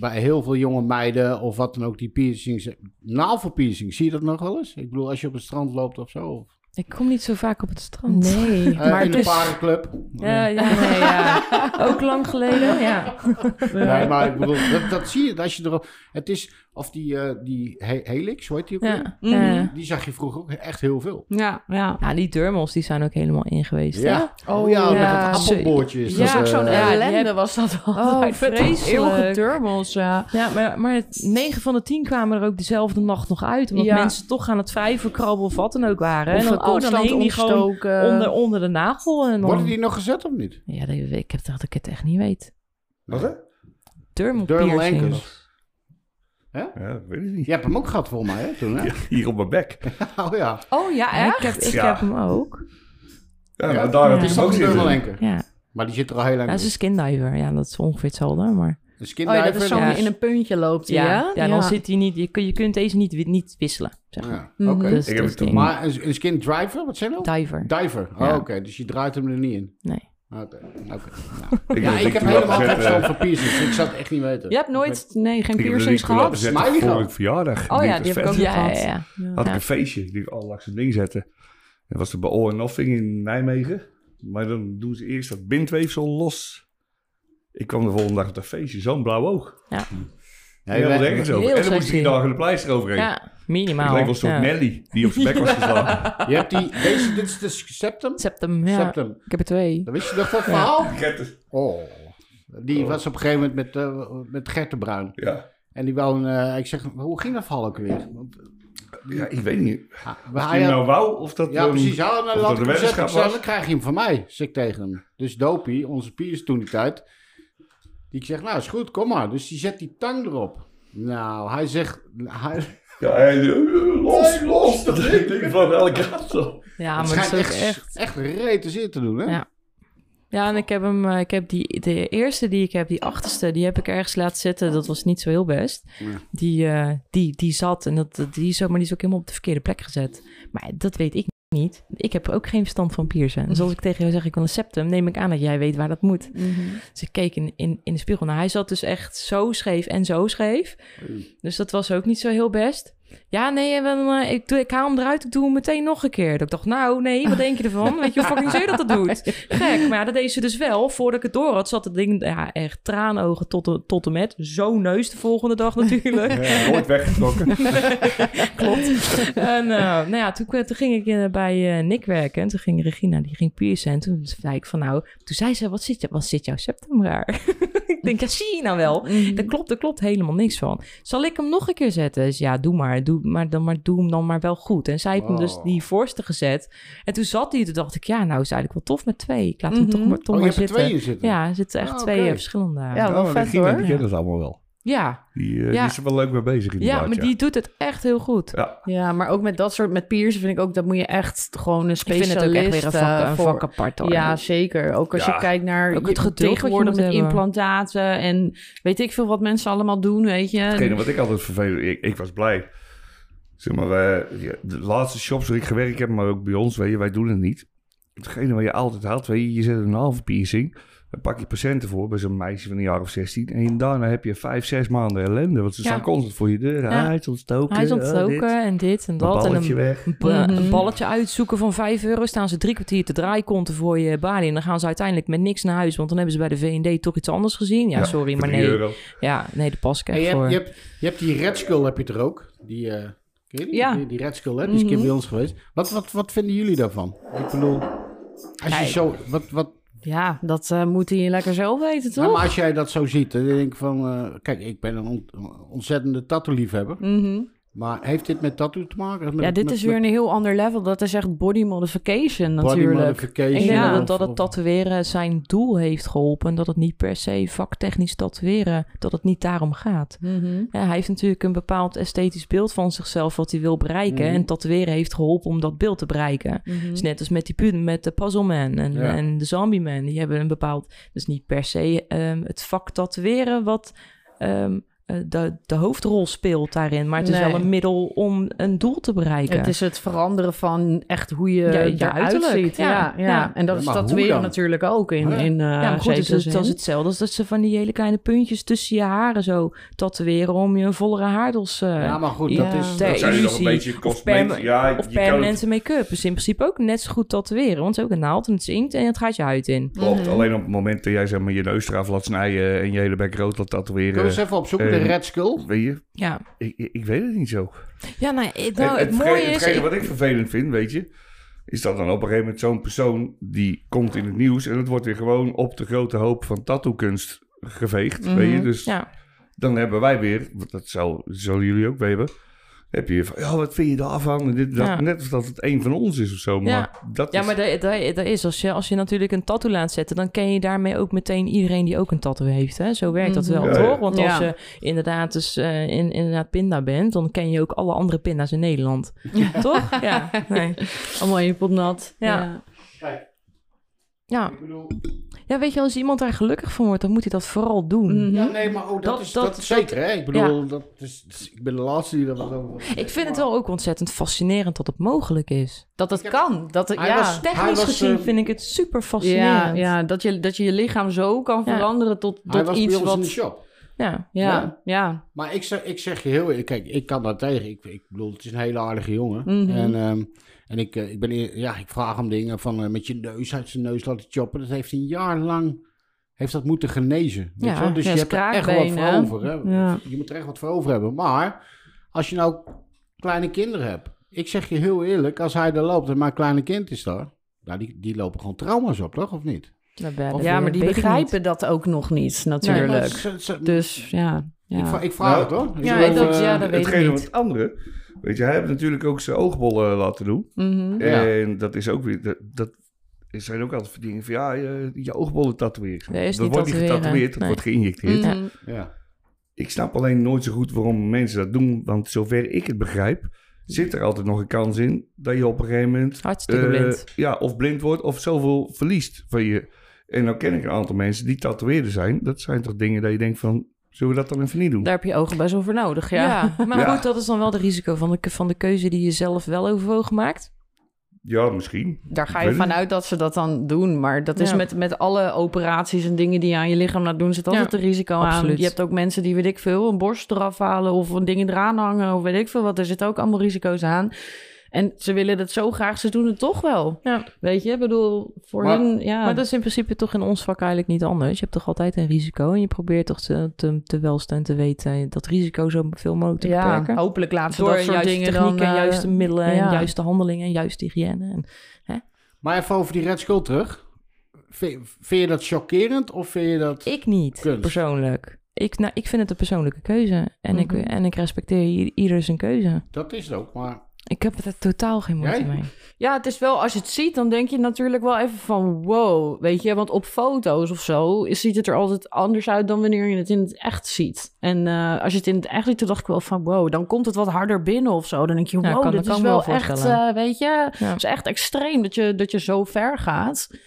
Speaker 1: bij heel veel jonge meiden of wat dan ook, die piercings... Navelpiercings, zie je dat nog wel eens? Ik bedoel, als je op het strand loopt of zo. Of,
Speaker 4: Ik kom niet zo vaak op het strand.
Speaker 3: Nee.
Speaker 1: Eh,
Speaker 4: Maar
Speaker 1: in
Speaker 4: dus-
Speaker 1: de parenclub.
Speaker 4: Ja, ja, nee, ja. ook lang geleden. Ja.
Speaker 1: Nee, maar ik bedoel, dat, dat zie je. Als je erop, het is, of die, eh, die he- Helix, hoe heet die ook weer?
Speaker 4: Ja.
Speaker 3: Mhm.
Speaker 4: Eh,
Speaker 1: Die zag je vroeger ook echt heel veel.
Speaker 3: Ja, ja.
Speaker 4: ja, die dermels die zijn ook helemaal in geweest. hè?
Speaker 1: Oh ja,
Speaker 3: ja.
Speaker 1: met dat appelboordje is
Speaker 3: Ja,
Speaker 1: dat.
Speaker 3: ook
Speaker 1: eh,
Speaker 3: zo'n
Speaker 4: ja, die
Speaker 3: ellende
Speaker 4: heb-
Speaker 3: was dat al.
Speaker 4: Oh, vreselijk.
Speaker 3: Eeuwige turbos, ja.
Speaker 4: Ja, maar, maar 9 van de 10 kwamen er ook dezelfde nacht nog uit. Omdat
Speaker 3: Ja.
Speaker 4: mensen toch aan het wrijven, krabben of wat dan ook waren.
Speaker 3: Of
Speaker 4: en dan,
Speaker 3: een
Speaker 4: oh, dan
Speaker 3: constant
Speaker 4: hing die gewoon
Speaker 3: ontstoken.
Speaker 4: onder, onder de nagel. En
Speaker 1: Worden
Speaker 4: dan...
Speaker 1: eh, die nog gezet of niet?
Speaker 4: Ja, dat- ik heb dat ik het echt niet weet.
Speaker 2: Wat hè?
Speaker 4: Dermal
Speaker 1: Dermal
Speaker 4: piercing.
Speaker 1: ankles.
Speaker 2: Ja, dat weet ik niet.
Speaker 1: Je hebt hem ook gehad volgens mij, hè, toen, hè?
Speaker 2: Hier op mijn bek.
Speaker 1: Oh ja.
Speaker 3: Oh ja,
Speaker 4: Ja,
Speaker 3: echt?
Speaker 4: ik heb, ik
Speaker 2: Ja.
Speaker 4: heb hem ook.
Speaker 2: Ja, maar daar heb
Speaker 1: Is
Speaker 2: ik
Speaker 4: Ja.
Speaker 2: hem
Speaker 1: Dus dat
Speaker 2: ook
Speaker 1: een
Speaker 2: zitten.
Speaker 1: dubbellenker?
Speaker 4: Ja,
Speaker 1: Maar die zit er al heel lang
Speaker 4: dat
Speaker 1: in.
Speaker 4: is een skindiver. Ja, dat is ongeveer hetzelfde. Maar...
Speaker 1: Een skin
Speaker 3: Oh ja, dat
Speaker 1: diver,
Speaker 3: is zo'n
Speaker 1: dat
Speaker 4: ja.
Speaker 3: in een puntje loopt, die,
Speaker 4: Ja,
Speaker 3: hè?
Speaker 4: ja, dan zit hij niet... Je, kun- je kunt deze niet, wi- niet wisselen, zeg maar.
Speaker 1: Ja,
Speaker 3: Mhm.
Speaker 1: oké.
Speaker 4: Dus
Speaker 2: Ik heb
Speaker 4: dat
Speaker 2: het
Speaker 4: is ding.
Speaker 1: Maar een, een skin driver, wat zijn dat?
Speaker 4: Diver.
Speaker 1: Diver. Oh,
Speaker 4: Ja.
Speaker 1: oké. Dus je draait hem er niet in.
Speaker 4: Nee.
Speaker 1: Oké. oké.
Speaker 2: Ik
Speaker 1: Ja,
Speaker 2: dat
Speaker 1: ik heb
Speaker 2: toen
Speaker 1: helemaal
Speaker 2: had
Speaker 1: geen
Speaker 2: gezet, eh,
Speaker 1: verstand van piercings. Ik zou het echt niet weten.
Speaker 3: Je hebt nooit, nee, geen
Speaker 2: Ik heb de
Speaker 3: piercings
Speaker 2: link toen laten
Speaker 3: gehad?
Speaker 2: zetten
Speaker 1: Smiley
Speaker 2: voor
Speaker 1: gehad.
Speaker 2: mijn verjaardag.
Speaker 3: Oh ja,
Speaker 2: dacht,
Speaker 3: die
Speaker 2: vet.
Speaker 3: heb ik ook nog
Speaker 4: Ja, ja,
Speaker 3: gehad.
Speaker 4: ja.
Speaker 2: had
Speaker 4: Ja.
Speaker 2: ik een feestje. Die ik al langs het ding zetten. Dat was er bij All Nothing in Nijmegen. Maar dan doen ze eerst dat bindweefsel los. Ik kwam de volgende dag op dat feestje. Zo'n blauw oog.
Speaker 1: Ja,
Speaker 2: Ja,
Speaker 1: je
Speaker 2: dat denk
Speaker 1: weet-
Speaker 2: ik zo.
Speaker 4: heel
Speaker 2: En dan moest
Speaker 4: sexy.
Speaker 2: drie dagen de pleister overheen.
Speaker 4: Ja,
Speaker 2: Ik
Speaker 4: minimaal.
Speaker 2: leek wel een soort
Speaker 4: ja.
Speaker 2: Nelly die op zijn bek was geslagen.
Speaker 1: je hebt die, deze, dit is de septum.
Speaker 4: Septum, ja.
Speaker 1: Septum.
Speaker 4: Ik heb er twee.
Speaker 1: Dan wist je nog van het verhaal?
Speaker 2: Ik heb het-
Speaker 1: Oh. Die was op een gegeven moment met, eh, met Gert de Bruin.
Speaker 2: Ja.
Speaker 1: En die wou een, eh, ik zeg, hoe ging dat verhaal ook weer? Want,
Speaker 2: ja, ik weet niet.
Speaker 1: ah,
Speaker 2: Of
Speaker 1: hij
Speaker 2: die
Speaker 1: had-
Speaker 2: nou wou of dat...
Speaker 1: Ja,
Speaker 2: ehm,
Speaker 1: precies. Ja,
Speaker 2: dat
Speaker 1: dan laat
Speaker 2: de
Speaker 1: ik hem zetten.
Speaker 2: weddenschap
Speaker 1: Ik zei,
Speaker 2: was.
Speaker 1: dan krijg je hem van mij, zeg ik tegen hem. Dus Dopie, onze piers toen die tijd, die zegt, nou is goed, kom maar. Dus die zet die tang erop. Nou, hij zegt, hij,
Speaker 2: Ja, hij- eh, los, los. Dat ding van elke kant op.
Speaker 4: Ja,
Speaker 1: het
Speaker 4: maar dat
Speaker 1: schijnt
Speaker 4: is ook
Speaker 1: echt,
Speaker 4: echt...
Speaker 1: echt, rete zeer te doen, hè?
Speaker 4: Ja. Ja, en ik heb hem, eh, ik heb die, de eerste die ik heb, die achterste, die heb ik ergens laten zitten. Dat was niet zo heel best.
Speaker 1: Ja.
Speaker 4: Die, eh, die, die zat en dat, dat- die, zo, maar die is ook helemaal op de verkeerde plek gezet. Maar dat weet ik niet. Ik heb ook geen verstand van piercen. Dus als ik tegen jou zeg, ik wil een septum, neem ik aan dat jij weet waar dat moet.
Speaker 3: Mhm.
Speaker 4: Dus ik keek in, in, in de spiegel. Nou, hij zat dus echt zo scheef en zo scheef. Dus dat was ook niet zo heel best. Ja, nee, en dan, eh, ik, doe, ik haal hem eruit. Ik doe hem meteen nog een keer. Dat ik dacht, nou, nee, wat denk je ervan? Weet je hoe fucking zeer dat dat doet? Gek, maar ja, dat deed ze dus wel. Voordat ik het door had, zat het ding ja, echt traanogen tot, de- tot en met. Zo'n neus de volgende dag natuurlijk.
Speaker 2: Ja, nooit weggetrokken.
Speaker 4: Klopt. en eh, nou ja, toen, toen ging ik eh, bij eh, Nick werken. En toen ging Regina, die ging piercen. En toen zei ik van nou... Toen zei ze, wat zit, je- wat zit jouw septum raar? ik denk, ja, zie je nou wel. Dat klopt, daar klopt helemaal niks van. Zal ik hem nog een keer zetten? Dus ja, doe maar. Doe, maar, dan, maar doe hem dan maar wel goed. En zij heeft hem dus
Speaker 1: Oh.
Speaker 4: die voorste gezet. En toen zat hij, toen dacht ik... Ja, nou is eigenlijk wel tof met twee. Ik laat hem
Speaker 3: Mhm.
Speaker 4: toch maar, toch
Speaker 1: Oh, je
Speaker 4: maar
Speaker 1: hebt er
Speaker 4: zitten.
Speaker 1: twee in zitten?
Speaker 4: Mm-hmm. Ja, er zitten echt
Speaker 1: Ah,
Speaker 4: twee
Speaker 1: oké.
Speaker 4: eh, verschillende.
Speaker 3: Ja, wel
Speaker 2: maar
Speaker 3: vet,
Speaker 2: Regina,
Speaker 3: hoor.
Speaker 2: die kent dat allemaal wel.
Speaker 4: Ja,
Speaker 2: Die, eh,
Speaker 4: Ja.
Speaker 2: die is er wel leuk mee bezig inderdaad.
Speaker 4: ja maar die doet het echt heel goed.
Speaker 2: Ja,
Speaker 3: Ja, maar ook met dat soort, met Piers vind ik ook, dat moet je echt gewoon een
Speaker 4: Ik vind
Speaker 3: specialist...
Speaker 4: het ook echt weer een vak,
Speaker 3: eh,
Speaker 4: een
Speaker 3: voor-
Speaker 4: vak apart. hoor.
Speaker 3: Ja, zeker. Ook als
Speaker 2: Ja.
Speaker 3: je kijkt naar
Speaker 4: Ook het
Speaker 3: je-
Speaker 4: geduld wat je
Speaker 3: tegenwoordig
Speaker 4: moet
Speaker 3: met
Speaker 4: hebben.
Speaker 3: implantaten en weet ik veel wat mensen allemaal doen, weet je. Dus
Speaker 2: hetgene wat ik altijd vervelend... Ik, ik was blij. Zeg maar, eh, ja, de laatste shops waar ik gewerkt heb, maar ook bij ons, weet je, wij doen het niet. Hetgene wat je altijd had, weet je, je zet een halve piercing... Dan pak je patiënten voor bij zo'n meisje van een jaar of 16. En daarna heb je vijf, zes maanden ellende. Want ze
Speaker 4: Ja.
Speaker 2: staan constant voor je deur.
Speaker 4: Ja.
Speaker 2: Hij is ontstoken.
Speaker 4: Hij is
Speaker 2: oh, dit.
Speaker 4: ontstoken en dit en
Speaker 2: Een
Speaker 4: dat. En
Speaker 2: balletje
Speaker 4: een,
Speaker 2: weg.
Speaker 4: ba-
Speaker 3: Mhm.
Speaker 4: een balletje uitzoeken van 5 euro. Staan ze drie kwartier te draaikonten voor je balie. En dan gaan ze uiteindelijk met niks naar huis. Want dan hebben ze bij de V&D toch iets anders gezien. Ja, sorry,
Speaker 2: voor
Speaker 4: maar
Speaker 2: drie
Speaker 4: nee.
Speaker 2: euro.
Speaker 4: Ja, nee, daar pas ik
Speaker 1: En
Speaker 4: echt
Speaker 1: je,
Speaker 4: voor.
Speaker 1: hebt, je, hebt, je hebt die Red Skull heb je er ook. Die, eh ken je die?
Speaker 4: Ja. Mhm.
Speaker 1: die, die Red Skull, hè? die is een keer bij ons geweest. Wat, wat, wat vinden jullie daarvan? Ik bedoel, als je
Speaker 3: Nee.
Speaker 1: zo, wat, wat,
Speaker 3: Ja, dat eh, moet hij lekker zelf weten,
Speaker 1: nou, maar
Speaker 3: toch?
Speaker 1: als jij dat zo ziet, dan denk ik van, eh, kijk, ik ben een ont- ontzettende tattoo-liefhebber.
Speaker 3: Mhm.
Speaker 1: Maar heeft dit met tattoo te maken? Met-
Speaker 3: Ja, dit
Speaker 1: met-
Speaker 3: is weer
Speaker 1: met
Speaker 3: een heel ander level. Dat is echt body modification
Speaker 1: body
Speaker 3: natuurlijk.
Speaker 1: modification
Speaker 4: Ik denk
Speaker 3: Ja.
Speaker 4: dat,
Speaker 1: of-
Speaker 4: het, dat
Speaker 1: of-
Speaker 4: het tatoeëren zijn doel heeft geholpen. En dat het niet per se vaktechnisch tatoeëren, dat het niet daarom gaat.
Speaker 3: Mhm.
Speaker 4: Ja, hij heeft natuurlijk een bepaald esthetisch beeld van zichzelf wat hij wil bereiken.
Speaker 1: Mhm.
Speaker 4: En tatoeëren heeft geholpen om dat beeld te bereiken.
Speaker 3: Mhm.
Speaker 4: Dus net als met die pu- met de Puzzle Man en,
Speaker 1: Ja.
Speaker 4: en de Zombie Man. Die hebben een bepaald, dus niet per se ehm, het vak tatoeëren wat ehm, eh, de, de hoofdrol speelt daarin. Maar het is
Speaker 3: Nee.
Speaker 4: wel een middel om een doel te bereiken.
Speaker 3: Het is het veranderen van echt hoe je
Speaker 4: Ja, je
Speaker 3: eruit
Speaker 4: uiterlijk.
Speaker 3: ziet. Ja,
Speaker 4: Ja,
Speaker 3: ja,
Speaker 4: ja.
Speaker 3: En dat
Speaker 1: Ja,
Speaker 3: is
Speaker 1: maar hoe
Speaker 3: tatoeëren
Speaker 1: dan?
Speaker 3: natuurlijk ook in,
Speaker 1: Ja.
Speaker 3: in eh,
Speaker 4: Ja, maar goed, het
Speaker 3: zekere
Speaker 4: is, het is
Speaker 3: zin.
Speaker 4: hetzelfde dus als dat ze van die hele kleine puntjes tussen je haren zo tatoeëren om je een vollere haardels eh
Speaker 1: Ja, maar goed,
Speaker 4: Ja.
Speaker 1: dat is...
Speaker 4: ter
Speaker 2: Dat zijn nog een
Speaker 4: illusie
Speaker 2: beetje
Speaker 4: of,
Speaker 2: cosmetic-
Speaker 4: perma-
Speaker 2: ja, je
Speaker 4: of
Speaker 2: kan
Speaker 4: permanente make-up. Is in principe ook net zo goed tatoeëren, want het is ook een naald en het zinkt en het gaat je huid in.
Speaker 2: Klopt, alleen op het moment dat jij zeg maar, je neus eraf laat snijden en je hele bek rood laat
Speaker 1: Kun je eens
Speaker 2: tatoeëren.
Speaker 1: even opzoeken, de
Speaker 2: eh,
Speaker 1: Red Skull?
Speaker 2: Weet je,
Speaker 4: Ja,
Speaker 2: ik, ik, ik weet het niet zo.
Speaker 4: ja nou, eh, nou, het,
Speaker 2: hetgeen-
Speaker 4: mooie is...
Speaker 2: hetgene
Speaker 4: ik-
Speaker 2: wat ik vervelend vind, weet je, is dat dan op een gegeven moment zo'n persoon die komt in het nieuws en het wordt weer gewoon op de grote hoop van tattookunst geveegd. Weet je, dus
Speaker 4: Mhm, ja,
Speaker 2: dan hebben wij weer, want dat zal, zullen jullie ook weer hebben. Heb je van, ja, wat vind je daarvan? En dit, en dat,
Speaker 4: Ja.
Speaker 2: Net of dat het een van ons is of zo. Maar
Speaker 4: Ja.
Speaker 2: dat
Speaker 4: ja,
Speaker 2: is,
Speaker 4: maar daar, daar, daar is, als je, als je natuurlijk een tattoo laat zetten, dan ken je daarmee ook meteen iedereen die ook een tattoo heeft. Hè? Zo werkt dat wel,
Speaker 2: Mhm. Ja, ja.
Speaker 4: toch? Want als
Speaker 3: Ja.
Speaker 4: je inderdaad, dus, eh, in, inderdaad pinda bent, dan ken je ook alle andere pinda's in Nederland. toch? Ja, nee.
Speaker 3: Allemaal in je pot nat.
Speaker 4: Ja.
Speaker 3: ja.
Speaker 4: Ja.
Speaker 1: Ik bedoel,
Speaker 4: ja, weet je, als iemand daar gelukkig van wordt, dan moet hij dat vooral doen.
Speaker 3: Mhm.
Speaker 1: Ja, nee, maar oh, dat,
Speaker 4: Dat-
Speaker 1: is,
Speaker 4: dat-
Speaker 1: dat, is zeker, hè? Ik bedoel, dat is, ik ben de laatste die dat wat over...
Speaker 4: Ik vind het wel ook ontzettend fascinerend dat het mogelijk is.
Speaker 3: Dat het
Speaker 1: Ik heb-
Speaker 3: kan. Dat het,
Speaker 1: Hij
Speaker 3: ja.
Speaker 1: was- Hij
Speaker 4: Technisch
Speaker 1: was,
Speaker 4: gezien
Speaker 1: eh,
Speaker 4: vind ik het super
Speaker 3: ja,
Speaker 4: fascinerend.
Speaker 3: ja dat, je, dat je je lichaam zo kan
Speaker 4: Ja.
Speaker 3: veranderen tot,
Speaker 1: Hij
Speaker 3: tot
Speaker 1: was bij
Speaker 3: iets
Speaker 1: ons in de
Speaker 3: wat...
Speaker 1: shop.
Speaker 4: ja.
Speaker 3: Ja, ja.
Speaker 1: Maar ik zeg, ik zeg je heel eerlijk, kijk, ik kan daar tegen. Ik, ik bedoel, het is een hele aardige jongen.
Speaker 3: Mhm.
Speaker 1: En, ehm, en ik, eh, ik, ben, eer- ja, ik vraag hem dingen van eh, met je neus uit zijn neus laten choppen. Dat heeft hij een jaar lang heeft dat moeten genezen. Weet
Speaker 4: Ja,
Speaker 1: je wel? Dus
Speaker 3: ja,
Speaker 1: je
Speaker 3: is
Speaker 1: hebt er echt wat
Speaker 3: kraakbeen,
Speaker 1: voor
Speaker 3: hè?
Speaker 1: over. Hè?
Speaker 3: Ja.
Speaker 1: Je moet er echt wat voor over hebben. Maar als je nou kleine kinderen hebt. Ik zeg je heel eerlijk, als hij er loopt en mijn kleine kind is daar. Nou, die, die lopen gewoon trauma's op, toch? Of niet?
Speaker 4: Ja,
Speaker 1: Of eh,
Speaker 3: ja, maar die
Speaker 4: weet ik
Speaker 3: begrijpen dat ook nog niet, natuurlijk.
Speaker 1: Ze- ze-
Speaker 3: dus ja. ja.
Speaker 1: Ik, vra- ik vraag
Speaker 2: Nou,
Speaker 1: het hoor. Ik
Speaker 3: ja,
Speaker 1: bedoel,
Speaker 3: dat-
Speaker 1: eh,
Speaker 3: ja, dat- weet ik
Speaker 2: hetgene
Speaker 3: niet.
Speaker 2: wat het andere. Weet je, hij heeft natuurlijk ook zijn oogbollen eh, laten doen.
Speaker 3: Mhm.
Speaker 1: Ja.
Speaker 2: En dat is ook weer. Dat, dat zijn ook altijd dingen van ja, je, je oogbollen tatoeëren.
Speaker 4: Dat is
Speaker 2: Dat
Speaker 4: niet
Speaker 2: wordt niet
Speaker 4: tatoeëren.
Speaker 2: getatoeëerd, dat
Speaker 4: Nee.
Speaker 2: wordt geïnjecteerd.
Speaker 3: Mhm.
Speaker 4: Ja.
Speaker 1: eh, ja.
Speaker 2: Ik snap alleen nooit zo goed waarom mensen dat doen. Want zover ik het begrijp, zit er altijd nog een kans in dat je op een gegeven moment.
Speaker 3: Ah,
Speaker 4: Hartstikke
Speaker 2: eh,
Speaker 4: blind.
Speaker 2: Ja, of blind wordt of zoveel verliest van je. En dan ken ik een aantal mensen die tatoeëerder zijn. Dat zijn toch dingen dat je denkt van, zullen we dat dan even niet doen?
Speaker 3: Daar heb je ogen best wel voor nodig, ja.
Speaker 4: Ja, maar
Speaker 2: Ja.
Speaker 4: goed, dat is dan wel de risico van de, van de keuze die je zelf wel overwogen maakt.
Speaker 2: Ja, misschien.
Speaker 3: Daar ga
Speaker 2: Ik
Speaker 3: je
Speaker 2: weet het
Speaker 3: vanuit dat ze dat dan doen. Maar dat is
Speaker 4: Ja.
Speaker 3: met, met alle operaties en dingen die je aan je lichaam laat doen, zit altijd
Speaker 4: Ja,
Speaker 3: een risico
Speaker 4: absoluut.
Speaker 3: aan. Je hebt ook mensen die, weet ik veel, een borst eraf halen of een ding eraan hangen of weet ik veel wat. Er zitten ook allemaal risico's aan. En ze willen dat zo graag, ze doen het toch wel.
Speaker 4: Ja.
Speaker 3: Weet je, ik bedoel, voor
Speaker 1: Maar-
Speaker 3: hun, ja.
Speaker 4: Maar dat is in principe toch in ons vak eigenlijk niet anders. Je hebt toch altijd een risico en je probeert toch te, te, te welste en te weten dat risico zo veel mogelijk te
Speaker 3: ja,
Speaker 4: beperken.
Speaker 3: hopelijk laten ze
Speaker 4: Door
Speaker 3: dat soort
Speaker 4: juiste
Speaker 3: dingen
Speaker 4: technieken,
Speaker 3: dan... eh,
Speaker 4: juiste middelen, en
Speaker 3: ja.
Speaker 4: juiste handelingen en juiste hygiëne. En,
Speaker 1: Maar even over die Red Skull terug. Vind, vind je dat chockerend of vind je dat...
Speaker 4: ik niet,
Speaker 1: Kunst.
Speaker 4: persoonlijk. Ik, nou, ik vind het een persoonlijke keuze en,
Speaker 3: Mhm.
Speaker 4: ik, en ik respecteer i- ieder zijn keuze.
Speaker 1: Dat is het ook, maar...
Speaker 4: Ik heb er totaal geen moeite
Speaker 1: Jij?
Speaker 4: mee.
Speaker 3: Ja, het is wel, als je het ziet, dan denk je natuurlijk wel even van wow, weet je. Want op foto's of zo is- ziet het er altijd anders uit dan wanneer je het in het echt ziet. En eh, als je het in het echt ziet, toen dacht ik wel van wow, dan komt het wat harder binnen of zo. Dan denk je, wow,
Speaker 4: Ja, kan-
Speaker 3: dit
Speaker 4: dat
Speaker 3: is
Speaker 4: kan ik me
Speaker 3: wel
Speaker 4: wel
Speaker 3: echt,
Speaker 4: voorstellen.
Speaker 3: eh, weet je, het
Speaker 4: Ja.
Speaker 3: is echt extreem dat je, dat je zo ver gaat.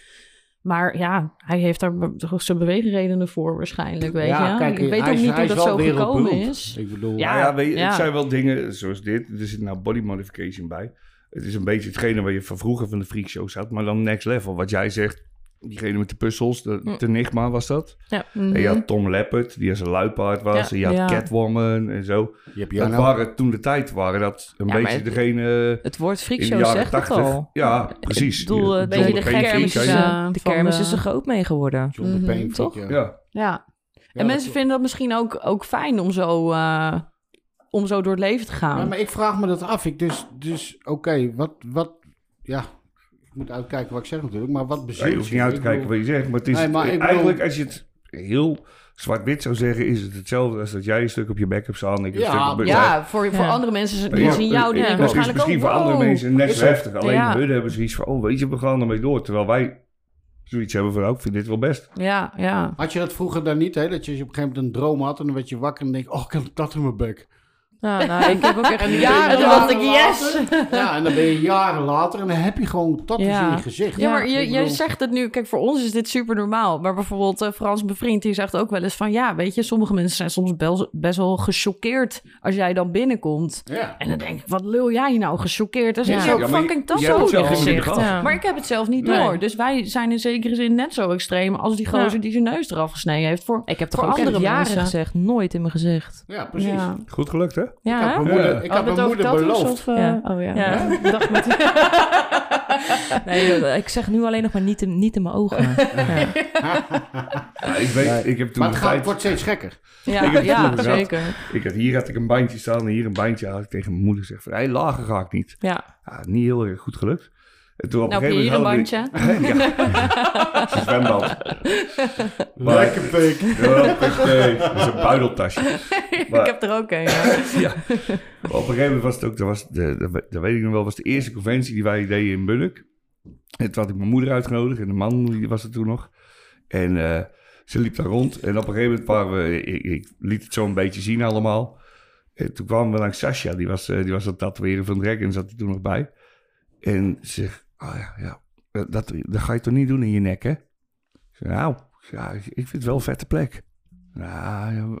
Speaker 3: Maar ja, hij heeft daar be- toch zijn beweegredenen voor waarschijnlijk, weet je. ik weet
Speaker 1: hij
Speaker 3: ook
Speaker 1: is-
Speaker 3: niet
Speaker 1: hij
Speaker 3: hoe
Speaker 1: is
Speaker 3: dat
Speaker 1: wel
Speaker 3: zo gekomen
Speaker 1: wereldberoemd.
Speaker 3: is.
Speaker 1: Ik bedoel,
Speaker 3: Ja,
Speaker 2: Ja, ja, weet je,
Speaker 3: ja.
Speaker 2: het zijn wel dingen zoals dit. Er zit nou body modification bij. Het is een beetje hetgene waar je van vroeger van de freakshows had, maar dan next level. Wat jij zegt, diegene met de puzzels, de,
Speaker 3: Mm.
Speaker 4: Hm.
Speaker 2: de Nigma was dat.
Speaker 4: Ja.
Speaker 2: En je had Tom Leppert, die als een luipaard was.
Speaker 4: Mhm. Ja.
Speaker 2: En je had
Speaker 3: Ja.
Speaker 2: Catwoman en zo.
Speaker 1: je hebt nou
Speaker 2: Dat
Speaker 1: Janno.
Speaker 2: waren toen de tijd, waren dat een
Speaker 4: Ja, maar
Speaker 2: beetje
Speaker 4: het-
Speaker 2: degene eh,
Speaker 4: Het woord
Speaker 2: in de
Speaker 4: freakshow
Speaker 2: jaren
Speaker 4: zegt het
Speaker 2: 80.
Speaker 4: al.
Speaker 2: Ja, precies.
Speaker 4: Ik bedoel,
Speaker 2: Je-
Speaker 4: een
Speaker 2: John
Speaker 4: beetje de
Speaker 2: Wayne
Speaker 3: gek
Speaker 4: kermis,
Speaker 2: Freak,
Speaker 4: is,
Speaker 3: hè?
Speaker 2: hè?
Speaker 3: Ja,
Speaker 4: eh, de
Speaker 3: van
Speaker 4: kermis
Speaker 3: de-
Speaker 4: is er groot mee geworden.
Speaker 1: John de
Speaker 3: Mhm,
Speaker 1: Pain,
Speaker 4: toch?
Speaker 1: ja.
Speaker 2: Ja.
Speaker 3: Ja,
Speaker 1: Ja,
Speaker 3: en
Speaker 1: dat
Speaker 3: mensen
Speaker 1: klopt.
Speaker 3: vinden dat misschien ook, ook fijn om zo, eh, om zo door het leven te gaan.
Speaker 1: Ja, maar ik vraag me dat af. Ik dus, dus oké, wat, wat, ja, ik moet uitkijken wat ik zeg natuurlijk, maar wat
Speaker 2: Ja,
Speaker 1: bezielt
Speaker 2: je hoeft niet uit te
Speaker 1: Ik
Speaker 2: kijken
Speaker 1: bedoel,
Speaker 2: wat je zegt, maar het is
Speaker 1: Nee, maar ik bedoel-
Speaker 2: eigenlijk als je het heel zwart-wit zou zeggen, is het hetzelfde als dat jij een stuk op je bek hebt staan. Ik een
Speaker 1: Ja,
Speaker 2: stuk op mijn-
Speaker 3: Ja, voor, voor
Speaker 4: Ja.
Speaker 3: andere mensen z-
Speaker 2: Ja,
Speaker 3: die zien jou, die denken
Speaker 4: ja.
Speaker 2: Dat is
Speaker 3: waarschijnlijk
Speaker 2: dus misschien
Speaker 3: ook,
Speaker 2: voor andere
Speaker 3: wow.
Speaker 2: mensen net zo heftig. Alleen
Speaker 3: Ja.
Speaker 2: hun hebben zoiets van, oh weet je, we gaan ermee door. Terwijl wij zoiets hebben van, oh, ik vind dit wel best.
Speaker 3: Ja, ja.
Speaker 1: Had je dat vroeger dan niet, hè? Dat je op een gegeven moment een droom had en dan werd je wakker en denk je, oh, ik heb een tat in mijn bek.
Speaker 4: Ja, nou, ik heb ook echt...
Speaker 3: Ja,
Speaker 1: jaren
Speaker 3: toen dacht ik,
Speaker 1: later-
Speaker 3: yes!
Speaker 1: Ja, en dan ben je jaren later en dan heb je gewoon tattoos
Speaker 4: Ja.
Speaker 1: in je gezicht.
Speaker 3: Ja, maar je,
Speaker 1: Ik
Speaker 3: jij
Speaker 1: bedoel-
Speaker 3: zegt het nu, kijk, voor ons is dit super normaal. Maar bijvoorbeeld eh, Frans, mijn vriend, die zegt ook wel eens van... ja, weet je, sommige mensen zijn soms bel- best wel gechoqueerd als jij dan binnenkomt.
Speaker 1: Ja.
Speaker 3: En dan denk ik, wat lul jij nou, gechoqueerd? Dat is
Speaker 4: Ja.
Speaker 3: ik
Speaker 4: Ja,
Speaker 3: heb
Speaker 2: maar
Speaker 3: fucking
Speaker 2: je- jij hebt
Speaker 3: tasso in
Speaker 2: het
Speaker 3: je
Speaker 2: zelf
Speaker 3: gezicht.
Speaker 2: al.
Speaker 4: Ja.
Speaker 3: Maar ik heb het zelf niet
Speaker 4: Nee.
Speaker 3: door. Dus wij zijn in zekere zin net zo extreem als die gozer
Speaker 4: Ja.
Speaker 3: die zijn neus eraf gesneden heeft. Voor...
Speaker 4: Ik heb toch
Speaker 3: Voor
Speaker 4: ook echt
Speaker 3: andere
Speaker 4: jaren
Speaker 3: mensen.
Speaker 4: gezegd, nooit in mijn gezicht.
Speaker 1: Ja, precies.
Speaker 3: Ja.
Speaker 2: Goed gelukt, hè?
Speaker 1: Ik had
Speaker 4: Ja,
Speaker 1: mijn
Speaker 2: Ja.
Speaker 1: moeder, ik
Speaker 3: Oh,
Speaker 1: had
Speaker 3: dat
Speaker 1: mijn
Speaker 3: over
Speaker 1: moeder
Speaker 3: tattoos
Speaker 1: beloofd.
Speaker 3: of, eh,
Speaker 4: Ja.
Speaker 3: Oh ja.
Speaker 4: Ja.
Speaker 3: Dag met
Speaker 4: nee, joh, ik zeg nu alleen nog maar niet in, niet in mijn ogen. Ja.
Speaker 2: Ja, ik weet,
Speaker 1: Nee.
Speaker 2: ik heb toen
Speaker 1: Maar het
Speaker 2: de
Speaker 1: gaat,
Speaker 2: tijd...
Speaker 1: het wordt steeds gekker.
Speaker 2: Ik
Speaker 3: Ja,
Speaker 2: heb het
Speaker 3: ja
Speaker 2: vroeger gehad.
Speaker 3: zeker.
Speaker 2: Ik had, hier had ik een bandje staan en hier een bandje. Had ik tegen mijn moeder gezegd van, hey, lager ga ik niet.
Speaker 4: Ja.
Speaker 2: Ja, niet heel erg goed gelukt. En toen op
Speaker 3: Nou, heb
Speaker 2: een
Speaker 3: je hier
Speaker 2: gegeven
Speaker 3: een
Speaker 2: moment
Speaker 3: bandje?
Speaker 2: hadden we- ja, het is een zwembad. Maar-
Speaker 1: pik.
Speaker 2: Ja, pik, nee, dat is een buideltasje.
Speaker 3: ik heb er ook een. ja.
Speaker 2: ja. Maar op een gegeven moment was het ook, dat, was de, de- dat weet ik nog wel, was de eerste conventie die wij deden in Bunnik. En toen had ik mijn moeder uitgenodigd en de man die was er toen nog. En eh, ze liep daar rond en op een gegeven moment waren we, ik, ik liet het zo een beetje zien allemaal. En toen kwamen we langs Sasha, die was, eh, die was aan het tatoeëren van Drek en zat hij toen nog bij. En ze zegt, oh ja, ja dat, dat ga je toch niet doen in je nek, hè? Ik zeg, nou, ja, ik vind het wel een vette plek. Nou, ja.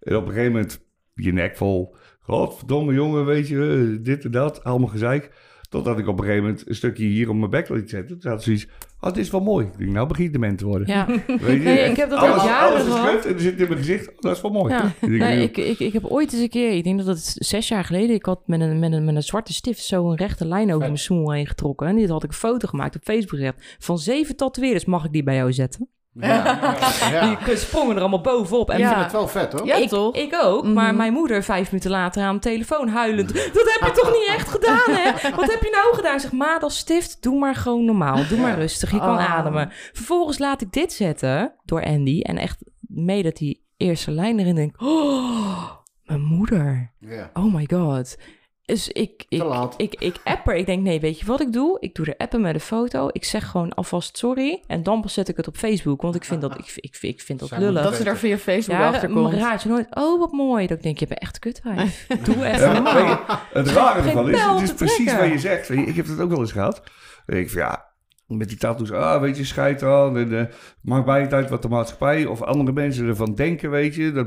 Speaker 2: En op een gegeven moment je nek vol. Godverdomme jongen, weet je, eh, dit en dat, allemaal gezeik. Totdat ik op een gegeven moment een stukje hier op mijn bek liet zetten. Toen had ze zoiets, oh, dit is wel mooi. Ik denk, nou begint de te worden.
Speaker 4: Ja.
Speaker 2: Weet je,
Speaker 4: Nee, ik heb dat
Speaker 2: alles,
Speaker 4: al jaren
Speaker 2: alles is
Speaker 4: gehad.
Speaker 2: kut en er zit in mijn gezicht, oh, dat is wel mooi.
Speaker 4: Ja.
Speaker 2: Ik denk,
Speaker 4: Nee, ik, ik, ik heb ooit eens een keer, ik denk dat het zes jaar geleden, ik had met een, met een, met een zwarte stift zo een rechte lijn over mijn smoel heen getrokken. En dit had ik een foto gemaakt op Facebook gezet. Van zeven tatoeëerders mag ik die bij jou zetten.
Speaker 1: Ja.
Speaker 4: Die sprongen eh, er allemaal bovenop. En
Speaker 1: Ik vind
Speaker 3: Ja.
Speaker 1: het wel vet, hoor.
Speaker 3: Ja,
Speaker 4: ik,
Speaker 3: toch?
Speaker 4: Ik ook, maar
Speaker 3: Mhm.
Speaker 4: mijn moeder vijf minuten later aan de telefoon huilend. Dat heb je toch niet echt gedaan, hè? Wat heb je nou gedaan? Ik Zeg, ma, dat stift, doe maar gewoon normaal. Doe maar rustig, je kan
Speaker 3: Oh.
Speaker 4: ademen. Vervolgens laat ik dit zetten door Andy. En echt mee dat die eerste lijn erin denkt. Oh, mijn moeder.
Speaker 1: Ja.
Speaker 4: Oh my god. Dus ik, ik,
Speaker 1: Te laat.
Speaker 4: ik, ik app er. Ik denk, nee, weet je wat ik doe? Ik doe er appen met een foto. Ik zeg gewoon alvast sorry. En dan pas zet ik het op Facebook. Want ik vind dat, ik, ik, ik vind dat
Speaker 1: Zijn we
Speaker 4: lullig.
Speaker 3: Dat ze daar via Facebook
Speaker 4: Ja,
Speaker 3: achter
Speaker 4: maar
Speaker 3: komt.
Speaker 4: raad je nooit. Oh, wat mooi. Dat ik denk, je bent echt kut. Doe even
Speaker 2: Ja, maar Eh, weet
Speaker 4: normaal.
Speaker 2: je, het rare
Speaker 4: Geen
Speaker 2: ervan is,
Speaker 4: pijl
Speaker 2: het is
Speaker 4: te
Speaker 2: precies
Speaker 4: trekken.
Speaker 2: wat je zegt. Weet je, Ik heb dat ook wel eens gehad. En ik van ja, met die tattoos, ah, weet je, scheid aan. En, eh, maakt mij het uit wat de maatschappij of andere mensen ervan denken, weet je. Dat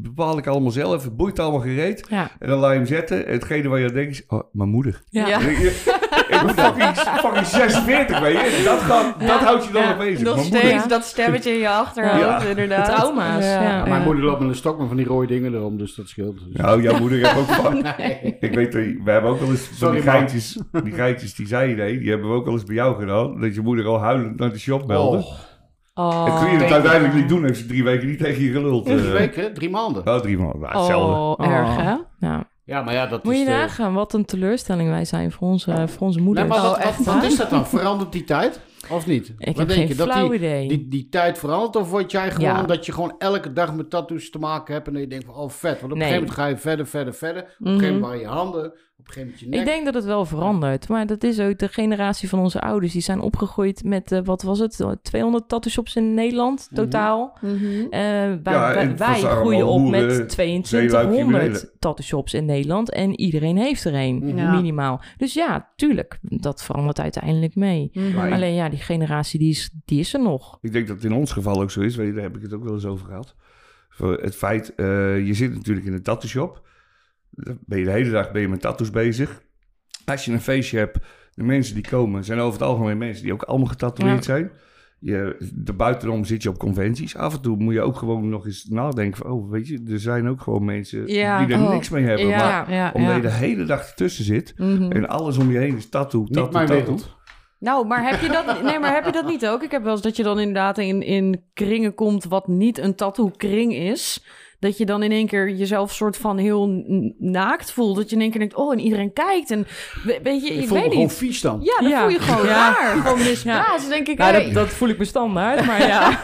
Speaker 2: bepaal ik allemaal zelf. Het boeit allemaal gereed.
Speaker 4: Ja,
Speaker 2: En dan laat je hem zetten. En hetgene waar je aan denkt is, oh, mijn moeder.
Speaker 4: ja.
Speaker 3: Ja.
Speaker 4: ja.
Speaker 2: En ik- Ik ben fucking, fucking 46, weet je. Dat, gaat, dat houdt je dan
Speaker 4: Ja,
Speaker 2: nog bezig.
Speaker 3: Nog
Speaker 2: Mijn
Speaker 3: steeds
Speaker 2: moeder.
Speaker 4: moeder.
Speaker 3: dat stemmetje in je achterhoofd,
Speaker 2: Ja.
Speaker 3: inderdaad.
Speaker 4: Trauma's, ja.
Speaker 1: Ja, mijn moeder loopt met een stok maar van die rode dingen erom, dus dat scheelt. Dus-
Speaker 2: Nou, jouw moeder heeft ook van. Ik weet, dat je- we hebben ook wel eens van die
Speaker 1: Sorry, mam.
Speaker 2: geitjes, die geitjes die zij deed, die hebben we ook wel eens bij jou gedaan. Dat je moeder al huilend naar de shop belde.
Speaker 1: Oh,
Speaker 2: en toen je het uiteindelijk niet doen, heeft ze drie weken niet tegen je geluld.
Speaker 1: drie
Speaker 2: eh.
Speaker 1: weken, drie maanden.
Speaker 2: Nou, drie maanden. Nou, hetzelfde.
Speaker 3: Oh, erg hè?
Speaker 4: Ja. Nou,
Speaker 1: Ja, maar ja, dat
Speaker 4: Moet
Speaker 1: is...
Speaker 4: je
Speaker 1: de-
Speaker 4: nagaan wat een teleurstelling wij zijn voor onze, voor onze
Speaker 1: Nee,
Speaker 4: moeder.
Speaker 1: maar wat, wat,
Speaker 3: echt
Speaker 1: wat
Speaker 3: waar?
Speaker 1: is dat dan? Verandert die tijd? Of niet?
Speaker 4: Ik heb geen flauw
Speaker 1: die,
Speaker 4: idee.
Speaker 1: die, die tijd verandert? Of word jij gewoon
Speaker 4: Ja.
Speaker 1: dat je gewoon elke dag met tattoos te maken hebt en dat je denkt van, oh vet. Want op
Speaker 4: Nee.
Speaker 1: een gegeven moment ga je verder, verder, verder. Op een
Speaker 4: Mhm.
Speaker 1: gegeven moment waren je handen, op een gegeven moment je nek.
Speaker 4: Ik denk dat het wel verandert. Maar dat is ook de generatie van onze ouders. Die zijn opgegroeid met, eh, wat was het, 200 tattoo shops in Nederland totaal.
Speaker 3: Mhm.
Speaker 4: Eh, wij
Speaker 2: Ja, en
Speaker 4: wij-
Speaker 2: dat
Speaker 4: wij
Speaker 2: zijn allemaal
Speaker 4: groeien op
Speaker 2: hoeren,
Speaker 4: met
Speaker 2: criminelen.
Speaker 4: 2200 tattoo shops in Nederland. En iedereen heeft er een,
Speaker 3: Ja.
Speaker 4: minimaal. Dus ja, tuurlijk, dat verandert uiteindelijk mee.
Speaker 2: Maar ik-
Speaker 4: Alleen ja, die generatie die is, die is er nog.
Speaker 2: Ik denk dat het in ons geval ook zo is. Weet je, daar heb ik het ook wel eens over gehad. Voor het feit, eh, je zit natuurlijk in een tattoo shop. Dan ben je de hele dag ben je met tattoos bezig. Als je een feestje hebt, de mensen die komen zijn over het algemeen mensen die ook allemaal getatoeëerd
Speaker 4: Ja.
Speaker 2: zijn. Je, de buitenom zit je op conventies. Af en toe moet je ook gewoon nog eens nadenken van, oh weet je, er zijn ook gewoon mensen
Speaker 3: Ja.
Speaker 2: die er
Speaker 4: Oh.
Speaker 2: niks mee hebben.
Speaker 4: Ja.
Speaker 2: Maar
Speaker 3: ja,
Speaker 2: omdat
Speaker 3: ja.
Speaker 2: je de hele dag ertussen zit
Speaker 3: Mhm.
Speaker 2: en alles om je heen is tattoo,
Speaker 1: Niet
Speaker 2: tattoo,
Speaker 1: mijn
Speaker 2: tattoo.
Speaker 1: wereld.
Speaker 3: Nou, maar heb, je dat, nee, maar heb je dat niet ook? Ik heb wel eens dat je dan inderdaad in, in kringen komt wat niet een tattoo-kring is. Dat je dan in één keer jezelf soort van heel n- naakt voelt. Dat je in één keer denkt, oh, en iedereen kijkt. En we- weet je, ik,
Speaker 1: ik voel me
Speaker 3: weet
Speaker 1: gewoon
Speaker 3: niet.
Speaker 1: vies dan.
Speaker 3: Ja, dan
Speaker 4: Ja.
Speaker 3: voel je gewoon
Speaker 4: Ja.
Speaker 3: raar. Gewoon misplaatst. Dan denk ik,
Speaker 4: Nou,
Speaker 3: hey.
Speaker 4: dat, dat voel ik me standaard, maar ja.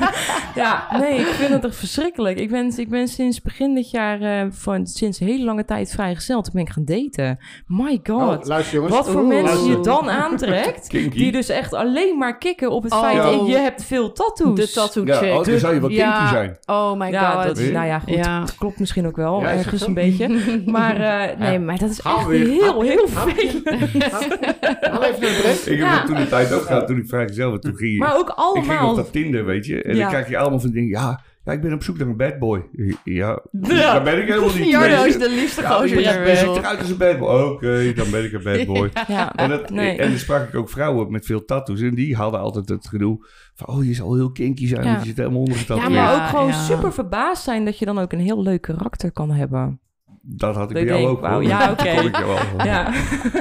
Speaker 4: ja. Nee, ik vind het echt verschrikkelijk. Ik ben, ik ben sinds begin dit jaar, eh, van, sinds een hele lange tijd vrijgezel. Toen ben ik gaan daten. My
Speaker 1: Oh,
Speaker 4: god.
Speaker 1: luister jongens.
Speaker 4: Wat voor
Speaker 1: Oeh.
Speaker 4: mensen je
Speaker 1: Luister.
Speaker 4: dan aantrekt,
Speaker 2: Kinky.
Speaker 4: die dus echt alleen maar kicken op het
Speaker 3: Oh.
Speaker 4: feit,
Speaker 3: Ja.
Speaker 4: eh, je hebt veel tattoos.
Speaker 3: de tattoo
Speaker 2: Ja,
Speaker 3: chick.
Speaker 2: oh, dan zou je wel
Speaker 3: Ja.
Speaker 2: kinky zijn.
Speaker 3: Oh my
Speaker 4: ja,
Speaker 3: god.
Speaker 4: dat, nou ja, goed.
Speaker 3: Ja.
Speaker 4: Dat klopt misschien ook wel,
Speaker 1: Ja, is
Speaker 4: ergens
Speaker 1: dat
Speaker 4: een
Speaker 1: zo?
Speaker 4: beetje. Maar eh, nee,
Speaker 1: Ja.
Speaker 4: maar dat is
Speaker 1: Gaan
Speaker 4: echt
Speaker 1: we weer.
Speaker 4: heel, heel veel.
Speaker 1: Haal oh, even een break.
Speaker 2: Ik heb
Speaker 4: Ja.
Speaker 2: dat toen de tijd ook gehad, toen ik vrijgezel was. Toen ging je,
Speaker 4: Maar ook
Speaker 2: ik ging op
Speaker 4: allemaal.
Speaker 2: dat Tinder, weet je. En
Speaker 4: Ja.
Speaker 2: dan krijg je allemaal van die dingen. Ja, ja, ik ben op zoek naar een bad boy. Ja,
Speaker 3: Ja.
Speaker 2: daar ben ik helemaal niet.
Speaker 3: Jarno
Speaker 2: weet
Speaker 3: is
Speaker 2: je.
Speaker 3: de liefste
Speaker 2: Ja,
Speaker 3: gozer
Speaker 2: je
Speaker 3: ter
Speaker 2: ziet
Speaker 3: wereld.
Speaker 2: eruit als een bad boy. Oké, dan ben ik een bad boy.
Speaker 4: Ja.
Speaker 2: En, dat,
Speaker 4: Nee.
Speaker 2: en dan sprak ik ook vrouwen met veel tattoos. En die hadden altijd het gedoe van... Oh, je zal heel kinky zijn,
Speaker 4: Ja.
Speaker 2: want je zit helemaal onder
Speaker 4: Ja,
Speaker 2: getatoeëerd.
Speaker 4: maar
Speaker 3: Ja,
Speaker 4: ook gewoon
Speaker 3: ja.
Speaker 4: super verbaasd zijn dat je dan ook een heel leuk karakter kan hebben.
Speaker 2: Dat had ik
Speaker 4: Dat
Speaker 2: bij jou
Speaker 4: denk ik,
Speaker 2: ook.
Speaker 4: wauw,
Speaker 2: hoor.
Speaker 4: ja,
Speaker 2: Dat
Speaker 4: oké.
Speaker 2: kon ik jou wel.
Speaker 4: Ja,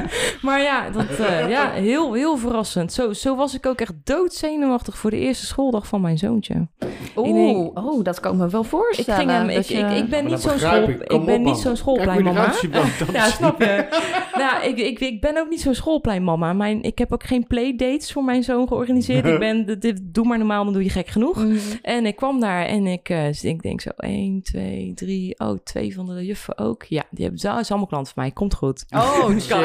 Speaker 4: maar ja, dat, eh, ja heel, heel verrassend. Zo, zo was ik ook echt doodzenuwachtig voor de eerste schooldag van mijn zoontje.
Speaker 3: Oeh, oh, dat kan ik me wel
Speaker 4: Ik,
Speaker 3: voorstellen.
Speaker 4: ging hem,
Speaker 3: nou dat je-
Speaker 4: ik, ik, ik ben
Speaker 1: Maar
Speaker 4: niet
Speaker 1: dat
Speaker 4: zo'n
Speaker 1: begrijp
Speaker 4: school,
Speaker 1: ik.
Speaker 4: ik,
Speaker 1: Kom
Speaker 4: ben
Speaker 1: op, man.
Speaker 4: niet zo'n schoolpleinmama.
Speaker 1: Kijk hoe je eruit ziet dan.
Speaker 4: Ja, snap je? nou, ik, ik, ik ben ook niet zo'n schoolpleinmama. Mijn, ik heb ook geen playdates voor mijn zoon georganiseerd. Ik ben, dit, dit- doe maar normaal, dan doe je gek genoeg. En ik kwam daar en ik, eh, ik denk zo 1, 2, 3. Oh, twee van de juffen ook. Ja, die hebben ze is allemaal klant van mij. Komt goed. Dus,
Speaker 3: Oh,
Speaker 4: Nice.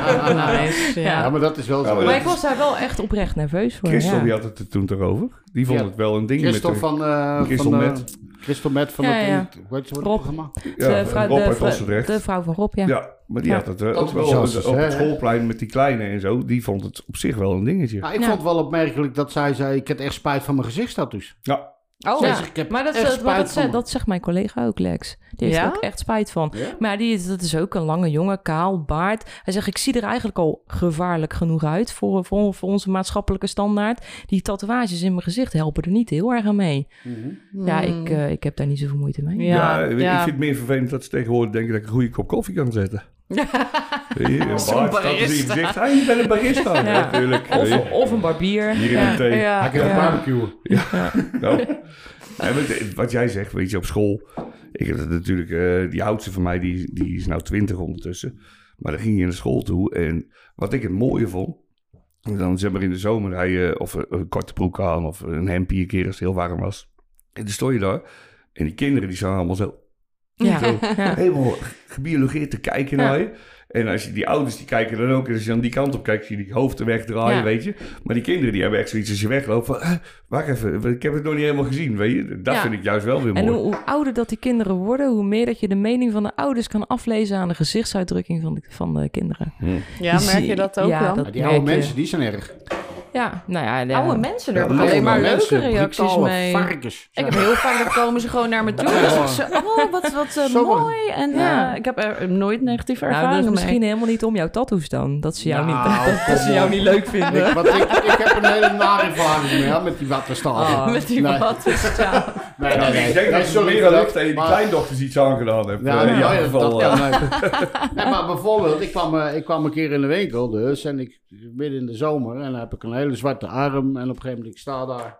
Speaker 3: Ah, nice. Ja.
Speaker 1: Ja, maar dat is wel
Speaker 2: Ja,
Speaker 1: zo.
Speaker 2: maar
Speaker 4: Maar
Speaker 2: dat-
Speaker 4: ik was daar wel echt oprecht nerveus voor.
Speaker 2: Christel,
Speaker 4: ja.
Speaker 2: die had het er toen toch over? Die vond
Speaker 1: Ja.
Speaker 2: het wel een ding
Speaker 1: Christel
Speaker 2: met de-
Speaker 1: van... eh,
Speaker 2: Christel
Speaker 1: van, eh,
Speaker 2: Met.
Speaker 1: Christel Met van
Speaker 4: Ja,
Speaker 1: het...
Speaker 4: ja.
Speaker 1: Hoe heet ze het
Speaker 4: Rob.
Speaker 1: programma?
Speaker 2: ja,
Speaker 4: de, vrouw,
Speaker 2: Rob
Speaker 4: de,
Speaker 2: uit
Speaker 4: vrou-
Speaker 2: Ossendrecht.
Speaker 4: de vrouw van Rob, ja.
Speaker 2: Ja, maar die
Speaker 4: Ja.
Speaker 2: had het eh,
Speaker 1: Dat
Speaker 2: ook wel
Speaker 1: was
Speaker 2: op,
Speaker 1: zelfs,
Speaker 2: het- op het
Speaker 1: hè?
Speaker 2: schoolplein met die kleine en zo. Die vond het op zich wel een dingetje.
Speaker 1: Nou, ik
Speaker 4: Ja.
Speaker 1: vond het wel opmerkelijk dat zij zei... Ik heb echt spijt van mijn gezichtstattoes.
Speaker 2: Ja,
Speaker 3: Oh,
Speaker 1: Zij
Speaker 4: Ja.
Speaker 1: zegt, ik heb
Speaker 4: Maar dat,
Speaker 1: echt
Speaker 4: dat, maar
Speaker 1: spijt
Speaker 4: dat,
Speaker 1: van
Speaker 4: zegt,
Speaker 1: me.
Speaker 4: dat zegt mijn collega ook, Lex. Die heeft
Speaker 3: Ja?
Speaker 4: er ook echt spijt van.
Speaker 1: Ja?
Speaker 4: Maar die, dat is ook een lange jongen, kaal, baard. Hij zegt, ik zie er eigenlijk al gevaarlijk genoeg uit voor, voor, voor onze maatschappelijke standaard. Die tatoeages in mijn gezicht helpen er niet heel erg aan mee.
Speaker 1: Mhm.
Speaker 4: Ja, ik, eh, ik heb daar niet zoveel moeite mee.
Speaker 2: ja,
Speaker 3: Hmm. Ja,
Speaker 2: ik
Speaker 3: ja.
Speaker 2: vind het meer vervelend dat ze tegenwoordig denken dat ik een goede kop koffie kan zetten. Weet je, een baard staat dus in je
Speaker 3: barista.
Speaker 2: gezicht. Hey, je bent een barista. Ja,
Speaker 4: Ja.
Speaker 2: natuurlijk. Weet
Speaker 4: Of,
Speaker 2: je,
Speaker 4: of een barbier.
Speaker 2: Hier in
Speaker 4: Ja.
Speaker 2: de thee.
Speaker 1: Hij kan
Speaker 4: Ja.
Speaker 1: barbecuen.
Speaker 2: Nou, hè, wat- wat jij zegt, weet je, op school. Ik heb dat natuurlijk, eh, die oudste van mij, die, die is nou twintig ondertussen. Maar dan ging je naar school toe. En wat ik het mooie vond. Dan zeg maar in de zomer rij je of een, een korte broek aan of een hemdje een keer als het heel warm was. En dan stond je daar. En die kinderen die zijn allemaal zo
Speaker 4: Ja.
Speaker 2: Zo.
Speaker 4: Ja.
Speaker 2: helemaal gebiologeerd te kijken
Speaker 4: Ja.
Speaker 2: naar je. En als je die ouders die kijken dan ook, en als je aan die kant op kijkt, zie je die hoofden wegdraaien,
Speaker 4: Ja.
Speaker 2: weet je. Maar die kinderen die hebben echt zoiets als je wegloopt van, "Eh, wacht even, ik heb het nog niet helemaal gezien, weet je. Dat
Speaker 4: Ja.
Speaker 2: vind ik juist wel weer mooi.
Speaker 4: En hoe, hoe ouder dat die kinderen worden, hoe meer dat je de mening van de ouders kan aflezen aan de gezichtsuitdrukking van de, van de kinderen.
Speaker 3: Ja, merk je
Speaker 4: zie-
Speaker 3: dat ook
Speaker 4: ja,
Speaker 3: dan?
Speaker 4: dat-
Speaker 1: Maar die oude
Speaker 4: merk je.
Speaker 1: mensen, die zijn erg.
Speaker 4: Ja, nou ja. de-
Speaker 3: Oude mensen, daar
Speaker 2: Ja,
Speaker 3: heb ik
Speaker 2: oude
Speaker 3: alleen maar
Speaker 1: mensen,
Speaker 3: leuke reacties
Speaker 1: brutale
Speaker 3: mee.
Speaker 1: varkens.
Speaker 3: Ik heb heel vaak, dan komen ze gewoon naar me toe. Dan zeggen ze, oh, wat, wat eh,
Speaker 1: Zo.
Speaker 3: mooi. En
Speaker 4: Ja.
Speaker 3: eh, ik heb er nooit negatieve
Speaker 4: Nou, dat
Speaker 3: ervaringen
Speaker 4: is misschien
Speaker 3: mee.
Speaker 4: helemaal niet om jouw tattoos dan. Dat ze jou,
Speaker 1: Nou,
Speaker 4: niet, dat,
Speaker 1: kom
Speaker 4: ze jou
Speaker 1: op.
Speaker 4: niet leuk vinden.
Speaker 1: Ik, want ik, ik heb een hele nare ervaring mee, hè, met die wattenstaven.
Speaker 4: Ah.
Speaker 3: Met die
Speaker 1: Oh. Nee.
Speaker 3: wat is ja.
Speaker 1: Nee, nee, nee.
Speaker 2: Ik denk
Speaker 1: Nee,
Speaker 2: dat ze
Speaker 1: sorry
Speaker 2: meer
Speaker 1: voor
Speaker 2: aan
Speaker 1: dat,
Speaker 2: je
Speaker 1: maar-
Speaker 2: kleindochters iets aangedaan hebt.
Speaker 1: Ja,
Speaker 2: Eh, in
Speaker 1: ja,
Speaker 2: jouw
Speaker 1: ja,
Speaker 2: geval,
Speaker 1: dat
Speaker 2: eh,
Speaker 1: kan ook. nee, maar bijvoorbeeld, ik kwam, eh, ik kwam een keer in de winkel dus en ik midden in de zomer en dan heb ik een hele zwarte arm en op een gegeven moment ik sta daar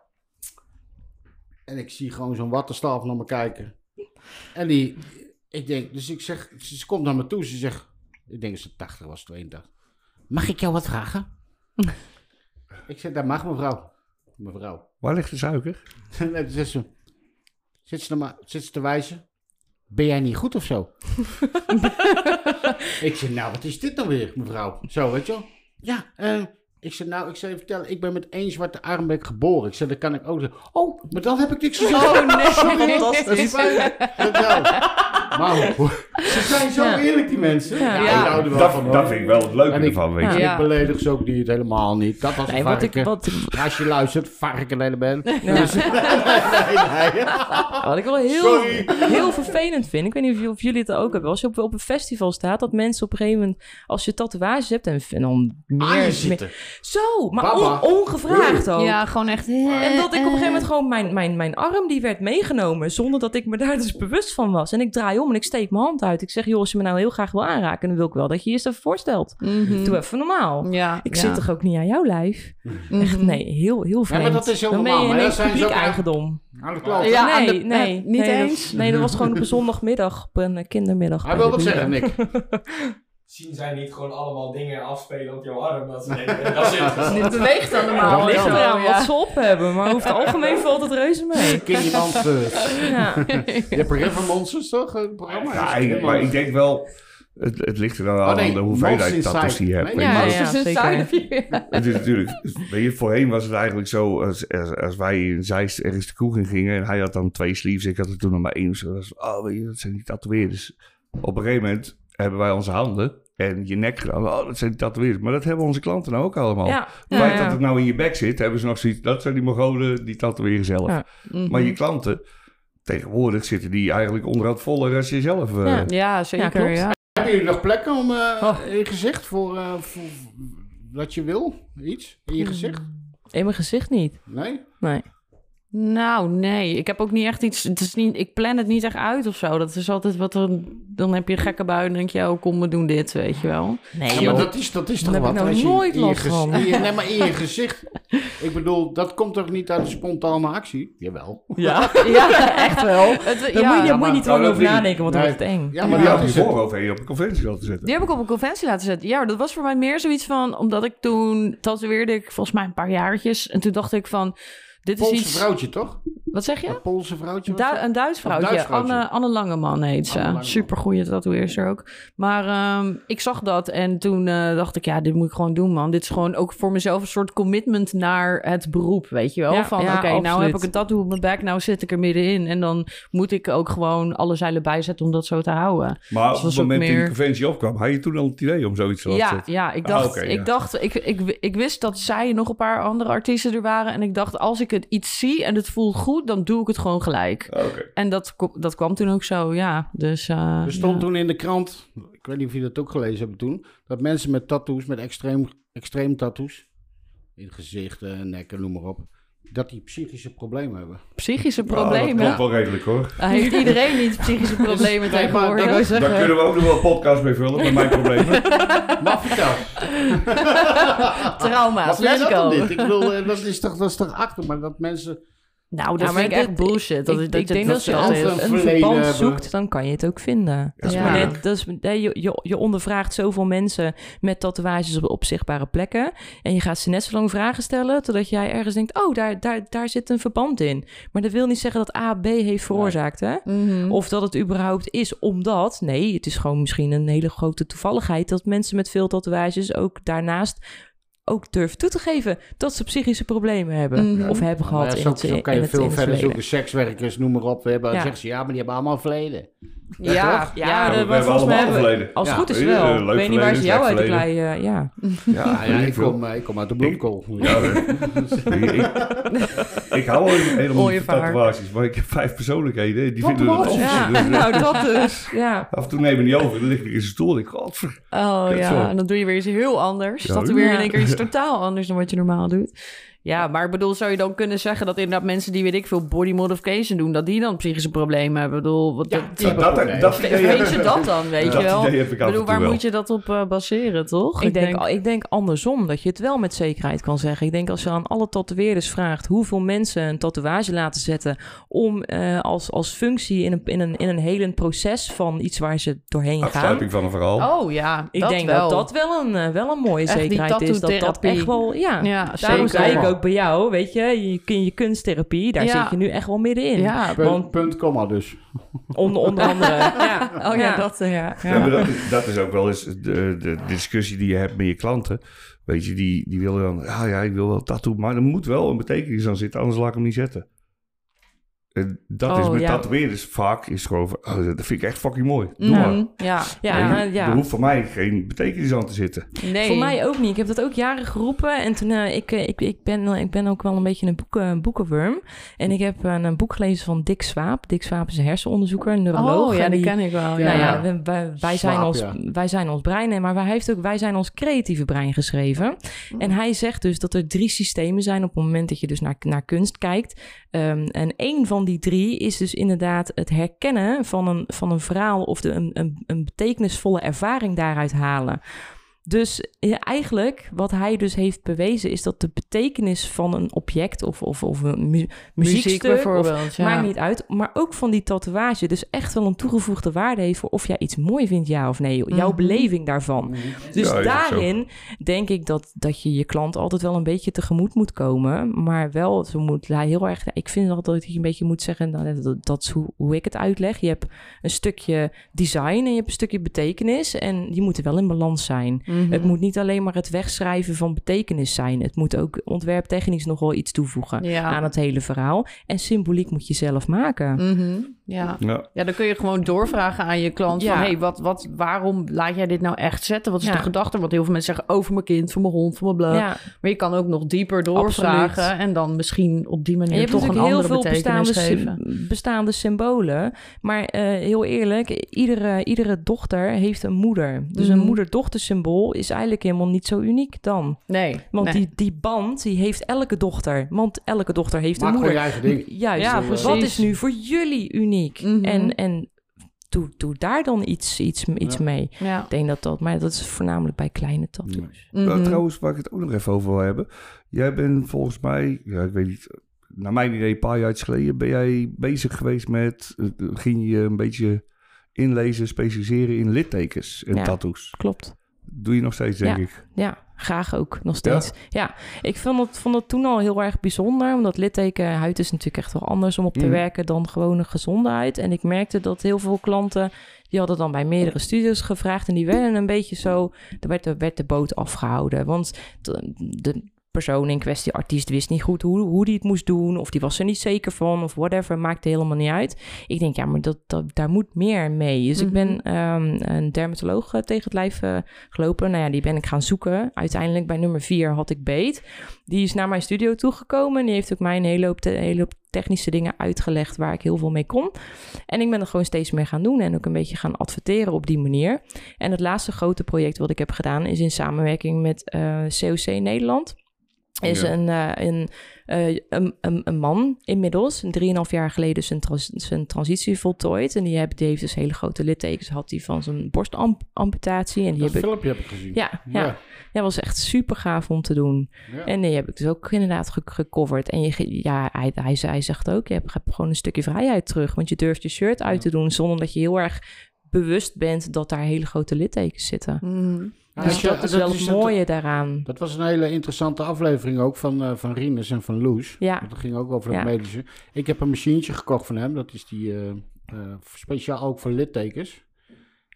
Speaker 1: en ik zie gewoon zo'n wattenstaaf naar me kijken. En die, ik denk, dus ik zeg, ze ze komt naar me toe, ze zegt, ik denk dat ze 80 was, 82. Mag ik jou wat vragen? Ik zeg, dat mag mevrouw. Mevrouw.
Speaker 2: Waar ligt de suiker?
Speaker 1: En dan zegt ze, zit ze, nou maar, zit ze te wijzen. Ben jij niet goed of zo? ik zeg, nou, wat is dit dan weer, mevrouw? Zo, weet je wel. Ja, eh, ik zeg, nou, ik zal je vertellen, ik ben met één zwarte arm ben ik geboren. Ik zeg, dat kan ik ook zeggen. Oh, maar dan heb ik niks gezegd.
Speaker 3: Oh nee,
Speaker 1: Dat is
Speaker 3: fantastisch.
Speaker 1: fijn. Dat wel. Maar hoe- ze zijn zo
Speaker 3: Ja.
Speaker 1: eerlijk, die mensen.
Speaker 3: Ja.
Speaker 1: ik
Speaker 3: Ja.
Speaker 1: hou er wel
Speaker 2: Dat,
Speaker 1: van,
Speaker 2: dat
Speaker 1: hoor.
Speaker 2: vind ik wel het leuke
Speaker 1: En ik-
Speaker 2: ervan, weet
Speaker 3: Ja.
Speaker 2: je.
Speaker 1: Ik beledig ze ook niet, helemaal niet. Dat was een
Speaker 3: Nee, wat ik,
Speaker 1: varken.
Speaker 3: wat,
Speaker 1: Als je luistert, varken hele ben.
Speaker 3: Ja.
Speaker 1: Dus, nee, nee.
Speaker 4: Wat ik wel heel,
Speaker 1: Sorry.
Speaker 4: heel vervelend vind. Ik weet niet of, j- of jullie het ook hebben. Als je op, op een festival staat, dat mensen op een gegeven moment... Als je tatoeages hebt en, en dan meer...
Speaker 1: Aan je
Speaker 4: meer-
Speaker 1: zitten.
Speaker 4: zo, maar
Speaker 1: Baba.
Speaker 4: on- ongevraagd ook.
Speaker 6: Ja, gewoon echt.
Speaker 3: Eh,
Speaker 4: En dat ik op een gegeven moment gewoon mijn, mijn, mijn arm die werd meegenomen. Zonder dat ik me daar dus bewust van was. En ik draai om en ik steek mijn hand uit. Ik zeg, joh, als je me nou heel graag wil aanraken, dan wil ik wel dat je je eerst even voorstelt.
Speaker 3: Mhm.
Speaker 4: Doe even normaal.
Speaker 3: Ja,
Speaker 4: Ik
Speaker 3: ja.
Speaker 4: zit toch ook niet aan jouw lijf? Echt,
Speaker 3: Mhm.
Speaker 4: nee, heel, heel
Speaker 1: maar
Speaker 4: vreemd.
Speaker 1: dat is heel
Speaker 4: Dan ben je
Speaker 1: normaal, maar
Speaker 4: ineens
Speaker 1: dat zijn ze
Speaker 4: publiek
Speaker 1: ook aan-
Speaker 4: eigendom.
Speaker 1: Aan de kloot.
Speaker 3: Ja, aan
Speaker 4: nee,
Speaker 3: de-
Speaker 4: nee,
Speaker 3: eh, niet
Speaker 4: nee, dat-
Speaker 3: eens?
Speaker 4: nee, dat was gewoon op een zondagmiddag, op een eh, kindermiddag.
Speaker 1: Hij
Speaker 4: bij
Speaker 1: wil
Speaker 4: de
Speaker 1: wat
Speaker 4: buren.
Speaker 1: zeggen, Nick.
Speaker 5: Zien zij niet gewoon allemaal dingen afspelen op jouw arm? Dat ze denken, dat is interessant.
Speaker 3: Dit beweegt allemaal.
Speaker 1: Dat
Speaker 4: Het ligt
Speaker 1: kan.
Speaker 4: eraan
Speaker 3: Ja.
Speaker 4: wat ze op hebben, maar over het algemeen valt het reuze mee.
Speaker 1: Kindje Monsters.
Speaker 4: Ja.
Speaker 1: Je hebt een River Monsters, toch? Een programma.
Speaker 2: Ja, ik- maar ik denk wel... Het, het ligt er dan aan
Speaker 1: Oh, nee,
Speaker 2: de
Speaker 1: Monsters
Speaker 2: hoeveelheid
Speaker 1: Inside.
Speaker 2: tattoos die je hebt.
Speaker 1: Nee,
Speaker 2: weet je.
Speaker 3: Ja,
Speaker 4: Maar-
Speaker 3: ja,
Speaker 4: Ja, zeker.
Speaker 3: zeker.
Speaker 2: Het is natuurlijk, weet je, voorheen was het eigenlijk zo, als, als, als wij in Zeist ergens de kroeg in gingen en hij had dan twee sleeves, ik had er toen nog maar één. Zo, was, oh, weet je, dat zijn die tatoeëerders. Op een gegeven moment hebben wij onze handen en je nek gedaan, oh, dat zijn die tatoeëerders. Maar dat hebben onze klanten nou ook allemaal.
Speaker 4: Ja.
Speaker 2: Het feit
Speaker 4: Ja, ja.
Speaker 2: dat het nou in je bek zit, hebben ze nog zoiets, dat zijn die Mongolen, die tatoeëren zelf.
Speaker 4: Ja.
Speaker 2: Maar je klanten, tegenwoordig zitten die eigenlijk onderhand voller als jezelf. eh.
Speaker 4: Ja.
Speaker 3: Ja,
Speaker 4: Ja,
Speaker 3: zeker.
Speaker 4: klopt.
Speaker 3: Ja,
Speaker 1: Hebben jullie nog plekken om eh,
Speaker 4: Oh.
Speaker 1: in je gezicht voor, eh, voor wat je wil? Iets? In je
Speaker 4: Hmm.
Speaker 1: gezicht?
Speaker 4: In mijn gezicht niet.
Speaker 1: Nee?
Speaker 4: Nee.
Speaker 3: Nou, nee. Ik heb ook niet echt iets... Het is niet, ik plan het niet echt uit of zo. Dat is altijd wat er... Dan heb je een gekke bui en denk je... Oh, kom, we doen dit, weet je wel.
Speaker 4: Nee,
Speaker 1: Ja, maar dat is, dat is toch
Speaker 4: Daar heb
Speaker 1: wat?
Speaker 4: ik nou
Speaker 1: als je
Speaker 4: nooit
Speaker 1: in je
Speaker 4: last
Speaker 1: gez-
Speaker 4: van.
Speaker 1: in je- nee, maar in je gezicht. Ik bedoel, dat komt toch niet uit een spontane actie? Jawel.
Speaker 4: Ja, ja echt wel.
Speaker 3: Het,
Speaker 4: Daar moet je, daar moet je
Speaker 1: maar-
Speaker 4: niet te
Speaker 2: Nou, dat
Speaker 4: lang over
Speaker 2: vind ik-
Speaker 4: nadenken, want dan
Speaker 1: Nee.
Speaker 4: wordt het eng.
Speaker 1: Ja,
Speaker 2: Maar die had
Speaker 1: dat
Speaker 2: je
Speaker 1: is het.
Speaker 2: voorhoofd en je op een conventie laten zitten.
Speaker 3: Die heb ik op een conventie laten zetten. Ja, maar dat was voor mij meer zoiets van... Omdat ik toen tatoeëerde ik volgens mij een paar jaartjes. En toen dacht ik van... Dit is
Speaker 1: Poolse
Speaker 3: iets...
Speaker 1: vrouwtje, toch?
Speaker 3: Wat zeg je?
Speaker 1: Een Poolse vrouwtje? was
Speaker 3: Du-
Speaker 1: dat?
Speaker 3: een Duits vrouwtje.
Speaker 1: Duits vrouwtje.
Speaker 3: Anne, Anne Langeman heet
Speaker 1: Anne
Speaker 3: ze.
Speaker 1: Langeman.
Speaker 3: Supergoeie tatoeëerster ook. Maar ehm, ik zag dat en toen eh, dacht ik, ja, dit moet ik gewoon doen, man. Dit is gewoon ook voor mezelf een soort commitment naar het beroep, weet je wel?
Speaker 4: Ja,
Speaker 3: Van,
Speaker 4: ja,
Speaker 3: oké, nou
Speaker 4: absoluut.
Speaker 3: heb ik een tattoo op mijn bek, nou zit ik er middenin. En dan moet ik ook gewoon alle zeilen bijzetten om dat zo te houden.
Speaker 2: Maar
Speaker 3: Dus
Speaker 2: op
Speaker 3: dat
Speaker 2: het
Speaker 3: is ook
Speaker 2: moment dat
Speaker 3: meer-
Speaker 2: die conventie opkwam, had je toen al het idee om zoiets te laten
Speaker 3: Ja,
Speaker 2: zetten?
Speaker 3: ja, ik
Speaker 2: Ah,
Speaker 3: dacht,
Speaker 2: oké, ja.
Speaker 3: ik, dacht ik, ik, ik wist dat zij en nog een paar andere artiesten er waren. En ik dacht, als ik het iets zie en het voelt goed, dan doe ik het gewoon gelijk.
Speaker 2: Oké.
Speaker 3: En dat, ko- dat kwam toen ook zo, ja. Dus, eh,
Speaker 1: Er
Speaker 3: ja.
Speaker 1: stond toen in de krant, ik weet niet of jullie dat ook gelezen hebben toen, dat mensen met tattoos, met extreem, extreem tattoos, in gezichten, nekken, noem maar op, dat die psychische problemen hebben.
Speaker 3: psychische
Speaker 2: Nou, dat
Speaker 3: problemen.
Speaker 2: klopt wel redelijk hoor.
Speaker 3: Hij Heeft iedereen niet psychische problemen
Speaker 1: Nee, maar
Speaker 3: tegenwoordig?
Speaker 1: dat-
Speaker 3: wil je
Speaker 2: Daar
Speaker 3: zeggen?
Speaker 2: kunnen we ook nog wel een podcast mee vullen met mijn problemen.
Speaker 1: Maar vertel, wat
Speaker 3: Trauma's,
Speaker 1: vind je
Speaker 3: let's
Speaker 1: dat
Speaker 3: go.
Speaker 1: dan niet? Ik bedoel, eh, dat is toch, dat is toch achter, maar dat mensen...
Speaker 3: Nou, dat
Speaker 4: Ja, maar
Speaker 3: vind ik echt
Speaker 4: dit-
Speaker 3: bullshit. Dat,
Speaker 4: ik,
Speaker 3: dat
Speaker 4: ik
Speaker 3: dat
Speaker 4: denk dat als je
Speaker 1: ze
Speaker 4: als
Speaker 1: altijd
Speaker 4: je
Speaker 1: een
Speaker 4: een
Speaker 1: verleden
Speaker 4: verband
Speaker 1: hebben.
Speaker 4: zoekt, dan kan je het ook vinden. Dat is
Speaker 3: Ja.
Speaker 4: maar
Speaker 3: Ja.
Speaker 4: net, dat is, nee, je, je, je ondervraagt zoveel mensen met tatoeages op, op zichtbare plekken. En je gaat ze net zo lang vragen stellen, totdat jij ergens denkt, oh, daar, daar, daar zit een verband in. Maar dat wil niet zeggen dat A B heeft veroorzaakt, hè?
Speaker 3: Mhm.
Speaker 4: Of dat het überhaupt is omdat, nee, het is gewoon misschien een hele grote toevalligheid dat mensen met veel tatoeages ook daarnaast ook durven toe te geven dat ze psychische problemen hebben
Speaker 3: Mhm.
Speaker 4: of hebben
Speaker 1: Maar
Speaker 4: gehad
Speaker 1: ja,
Speaker 4: in
Speaker 1: zo,
Speaker 4: het,
Speaker 1: zo
Speaker 4: in
Speaker 1: kan je
Speaker 4: het- in
Speaker 1: veel
Speaker 4: het
Speaker 1: verder
Speaker 4: verleden.
Speaker 1: zoeken, sekswerkers, noem maar op. We hebben,
Speaker 4: Ja.
Speaker 1: zeggen ze, ja, maar die hebben allemaal verleden.
Speaker 3: Ja,
Speaker 1: Ja,
Speaker 3: ja,
Speaker 2: we
Speaker 4: dat-
Speaker 2: hebben
Speaker 4: want volgens mij
Speaker 2: allemaal
Speaker 4: hebben-
Speaker 2: verleden.
Speaker 4: Als het
Speaker 1: Ja,
Speaker 4: goed is
Speaker 2: weet je,
Speaker 4: wel.
Speaker 2: eh,
Speaker 4: Ik
Speaker 2: leuk
Speaker 4: weet niet waar ze
Speaker 2: verleden,
Speaker 4: jou uit de
Speaker 2: slecht
Speaker 4: klei... eh, ja.
Speaker 1: Ja, ja, ik,
Speaker 2: wil-
Speaker 1: kom, eh, ik kom uit de bloemkool.
Speaker 2: Ja, ik, ik- ik hou helemaal
Speaker 4: Mooie
Speaker 2: niet van
Speaker 4: vaar.
Speaker 2: tatoeages, maar ik heb vijf persoonlijkheden. hè. Die
Speaker 1: Wat
Speaker 2: vinden het
Speaker 1: was?
Speaker 2: anders.
Speaker 4: ja.
Speaker 2: Dus, eh,
Speaker 4: Nou, dat dus. Ja.
Speaker 2: Af en toe nemen die over, dan lig ik in zijn stoel. en Ik, godver.
Speaker 3: Oh
Speaker 2: Dat
Speaker 3: ja,
Speaker 2: zo.
Speaker 3: en dan doe je weer iets heel anders.
Speaker 2: Ja.
Speaker 3: Dat er weer in
Speaker 4: Ja.
Speaker 3: één keer iets totaal anders dan wat je normaal doet. Ja, maar ik bedoel, zou je dan kunnen zeggen dat inderdaad mensen die, weet ik veel, body modification doen, dat die dan psychische problemen hebben? Ik bedoel, wat,
Speaker 1: Ja,
Speaker 3: dat-
Speaker 1: die hebben
Speaker 2: dat-
Speaker 1: problemen.
Speaker 2: dat-
Speaker 3: Ve- Weet je dat dan, weet je wel?
Speaker 2: idee heb ik af
Speaker 3: Ik
Speaker 2: en
Speaker 3: bedoel,
Speaker 2: toe
Speaker 3: waar
Speaker 2: wel.
Speaker 3: moet je dat op eh, baseren, toch?
Speaker 4: Ik denk, ik denk andersom, dat je het wel met zekerheid kan zeggen. Ik denk als je aan alle tatoeëerders vraagt hoeveel mensen een tatoeage laten zetten om eh, als, als functie in een, in, een, in een helend proces van iets waar ze doorheen gaan.
Speaker 2: Afsluiting van een verhaal.
Speaker 3: Oh ja,
Speaker 4: Ik
Speaker 3: dat
Speaker 4: denk
Speaker 3: wel.
Speaker 4: dat dat wel een, eh, wel een mooie
Speaker 3: Echt die
Speaker 4: zekerheid is. Dat dat
Speaker 3: tattoo-therapie.
Speaker 4: echt wel, ja.
Speaker 3: Ja,
Speaker 4: Daarom
Speaker 3: zeker.
Speaker 4: zei ik ook bij jou, weet je, je, kun- je kunsttherapie, daar
Speaker 3: Ja.
Speaker 4: zit je nu echt wel middenin.
Speaker 3: Ja,
Speaker 1: Punt,
Speaker 4: Want-
Speaker 1: punt, komma dus.
Speaker 4: Onder, onder andere. ja.
Speaker 3: oh ja, dat eh, ja.
Speaker 2: Ja, maar dat, is- dat is ook wel eens de, de discussie die je hebt met je klanten. Weet je, die, die willen dan, ah ja, ik wil wel tattoo, maar er moet wel een betekenis aan zitten, anders laat ik hem niet zetten. En dat is
Speaker 4: Oh,
Speaker 2: met
Speaker 4: ja.
Speaker 2: tatoeëerders vaak, is gewoon van, oh, dat vind ik echt fucking mooi. Doe maar.
Speaker 3: Mhm, ja.
Speaker 4: Ja, nou
Speaker 2: Weet je,
Speaker 4: ja.
Speaker 2: Er hoeft voor mij geen betekenis aan te zitten.
Speaker 3: Nee.
Speaker 4: Voor mij ook niet. Ik heb dat ook jaren geroepen. En toen, eh, ik, eh, ik, ik, ben, ik ben ook wel een beetje een boeken, eh, boekenworm. En ik heb een, een boek gelezen van Dick Swaap. Dick Swaap is een hersenonderzoeker, een neuroloog.
Speaker 3: Oh ja,
Speaker 4: En
Speaker 3: die
Speaker 4: die-
Speaker 3: ken ik wel. Ja.
Speaker 4: Nou ja,
Speaker 1: Ja.
Speaker 4: we- wij, wij
Speaker 1: Swaap,
Speaker 4: zijn ons,
Speaker 1: ja.
Speaker 4: wij zijn ons brein, nee, maar hij heeft ook Wij zijn ons creatieve brein geschreven. En hij zegt dus dat er drie systemen zijn op het moment dat je dus naar, naar kunst kijkt. Ehm, en één van die drie is dus inderdaad het herkennen van een, van een verhaal of de, een, een, een betekenisvolle ervaring daaruit halen. Dus ja, eigenlijk wat hij dus heeft bewezen is dat de betekenis van een object of, of, of een mu- muziekstuk
Speaker 3: Muziek
Speaker 4: of-
Speaker 3: bijvoorbeeld. Ja.
Speaker 4: Maakt niet uit. Maar ook van die tatoeage. Dus echt wel een toegevoegde waarde heeft voor of jij iets mooi vindt, ja of nee. Jouw
Speaker 3: Mhm.
Speaker 4: beleving daarvan. Dus
Speaker 2: Ja, is ook
Speaker 4: daarin denk ik dat, dat je je klant altijd wel een beetje tegemoet moet komen. Maar wel, ze moet hij heel erg. Ik vind altijd dat je een beetje moet zeggen. nou, Dat, dat is hoe, hoe ik het uitleg. Je hebt een stukje design en je hebt een stukje betekenis. En die moeten wel in balans zijn.
Speaker 3: Mhm.
Speaker 4: Het moet niet alleen maar het wegschrijven van betekenis zijn. Het moet ook ontwerptechnisch nog wel iets toevoegen
Speaker 3: Ja.
Speaker 4: aan het hele verhaal. En symboliek moet je zelf maken.
Speaker 3: Mhm, ja.
Speaker 2: Ja.
Speaker 3: Ja, dan kun je gewoon doorvragen aan je klant van...
Speaker 4: Ja.
Speaker 3: hey, wat, wat, waarom laat jij dit nou echt zetten? Wat is
Speaker 4: Ja.
Speaker 3: de gedachte? Want heel veel mensen zeggen... over mijn kind, voor mijn hond, voor mijn bla.
Speaker 4: Ja.
Speaker 3: Maar je kan ook nog dieper doorvragen...
Speaker 4: Absoluut.
Speaker 3: en dan misschien op die
Speaker 4: En je
Speaker 3: manier
Speaker 4: hebt
Speaker 3: toch een
Speaker 4: natuurlijk heel
Speaker 3: andere
Speaker 4: veel
Speaker 3: betekenis
Speaker 4: bestaande,
Speaker 3: geven.
Speaker 4: sym- bestaande symbolen. Maar eh, heel eerlijk, iedere, iedere dochter heeft een moeder. Dus een
Speaker 3: Mhm.
Speaker 4: moeder-dochter symbool is eigenlijk helemaal niet zo uniek dan.
Speaker 3: Nee,
Speaker 4: Want
Speaker 3: nee.
Speaker 4: die, die band die heeft elke dochter. Want elke dochter heeft
Speaker 1: Maak
Speaker 4: een
Speaker 1: gewoon
Speaker 4: moeder.
Speaker 1: je eigen ding.
Speaker 4: Juist.
Speaker 3: Ja,
Speaker 4: Wat
Speaker 3: precies.
Speaker 4: is nu voor jullie uniek?
Speaker 3: Mhm.
Speaker 4: En, en doe, doe daar dan iets, iets, iets
Speaker 1: Ja.
Speaker 4: mee.
Speaker 3: Ja.
Speaker 4: Ik denk dat dat, maar dat is voornamelijk bij kleine tattoos.
Speaker 2: Nou,
Speaker 3: Mhm.
Speaker 2: trouwens, waar ik het ook nog even over wil hebben. Jij bent volgens mij, ja, ik weet niet, naar mijn idee een paar jaar geleden ben jij bezig geweest met, eh, ging je een beetje inlezen, specialiseren in littekens en
Speaker 4: Ja.
Speaker 2: tattoos.
Speaker 4: Klopt.
Speaker 2: Doe je nog steeds, denk ik.
Speaker 4: Ja, graag ook, nog steeds. Ja, ik vond het, vond het toen al heel erg bijzonder. Omdat littekenhuid is natuurlijk echt wel anders om op te
Speaker 2: Mhm.
Speaker 4: werken dan gewone gezonde huid. En ik merkte dat heel veel klanten, die hadden dan bij meerdere studios gevraagd. En die werden een beetje zo, er werd, er werd de boot afgehouden. Want de, de persoon in kwestie, artiest, wist niet goed hoe, hoe die het moest doen. Of die was er niet zeker van, of whatever, maakte helemaal niet uit. Ik denk, ja, maar dat, dat, daar moet meer mee. Dus ik ben ehm, een dermatoloog eh, tegen het lijf eh, gelopen. Nou ja, die ben ik gaan zoeken. Uiteindelijk bij nummer 4 had ik beet. Die is naar mijn studio toegekomen. en Die heeft ook mij een hele hoop, te- hele hoop technische dingen uitgelegd waar ik heel veel mee kon. En ik ben er gewoon steeds meer gaan doen en ook een beetje gaan adverteren op die manier. En het laatste grote project wat ik heb gedaan is in samenwerking met eh, COC Nederland. Is
Speaker 2: Ja.
Speaker 4: een, eh, een, eh, een, een, een man inmiddels, een 3,5 jaar geleden zijn, trans- zijn transitie voltooid. En die, heb, die heeft dus hele grote littekens, had hij van zijn borstamputatie. En die
Speaker 1: Dat
Speaker 4: heb ik
Speaker 1: filmpje heb ik gezien.
Speaker 4: ja, ja. ja. was echt super gaaf om te doen.
Speaker 1: Ja.
Speaker 4: En die heb ik dus ook inderdaad ge- gecoverd. En je, ge- ja, hij, hij, zei- hij zegt ook, je hebt, hebt gewoon een stukje vrijheid terug. Want je durft je shirt uit te doen zonder dat je heel erg bewust bent dat daar hele grote littekens zitten.
Speaker 3: Mhm.
Speaker 1: Ja,
Speaker 4: dus
Speaker 1: als je-
Speaker 4: dat is wel het
Speaker 1: een-
Speaker 4: mooie daaraan.
Speaker 1: Dat was een hele interessante aflevering ook van, eh van Rinus en van Loes.
Speaker 4: Ja.
Speaker 1: Want Dat ging ook over het
Speaker 4: Ja.
Speaker 1: medische. Ik heb een machientje gekocht van hem. Dat is die eh, eh, speciaal ook voor littekens.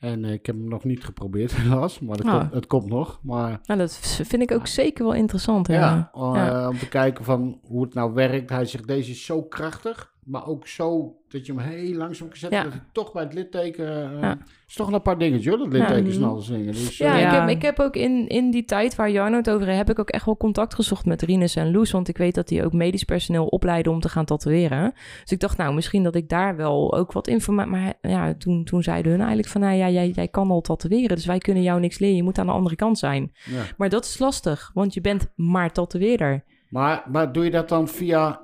Speaker 1: En eh, ik heb hem nog niet geprobeerd helaas. Maar dat
Speaker 4: Oh.
Speaker 1: komt, het komt nog. Maar
Speaker 4: Nou, dat vind ik ook zeker wel interessant.
Speaker 1: ja,
Speaker 4: Ja. Ja.
Speaker 1: eh, om te kijken van hoe het nou werkt. Hij zegt deze is zo krachtig. Maar ook zo dat je hem heel langzaam kan zetten.
Speaker 4: Ja.
Speaker 1: Dat hij toch bij het litteken... eh,
Speaker 4: Ja.
Speaker 1: is toch nog een paar dingetjes hoor. Dat littekens
Speaker 3: Mhm.
Speaker 1: en alles dingen. Dus, eh,
Speaker 4: Ja,
Speaker 3: Ja.
Speaker 4: Ik, heb, ik heb ook in, in die tijd waar Jarno het over heeft, heb ik ook echt wel contact gezocht met Rinus en Loes. Want ik weet dat die ook medisch personeel opleiden om te gaan tatoeëren. Dus ik dacht, nou, misschien dat ik daar wel ook wat informatie... Maar ja, toen, toen zeiden hun eigenlijk van, nou ja, jij, jij kan al tatoeëren. Dus wij kunnen jou niks leren. Je moet aan de andere kant zijn.
Speaker 1: ja.
Speaker 4: Maar dat is lastig, want je bent maar tatoeëerder.
Speaker 1: Maar, maar doe je dat dan via,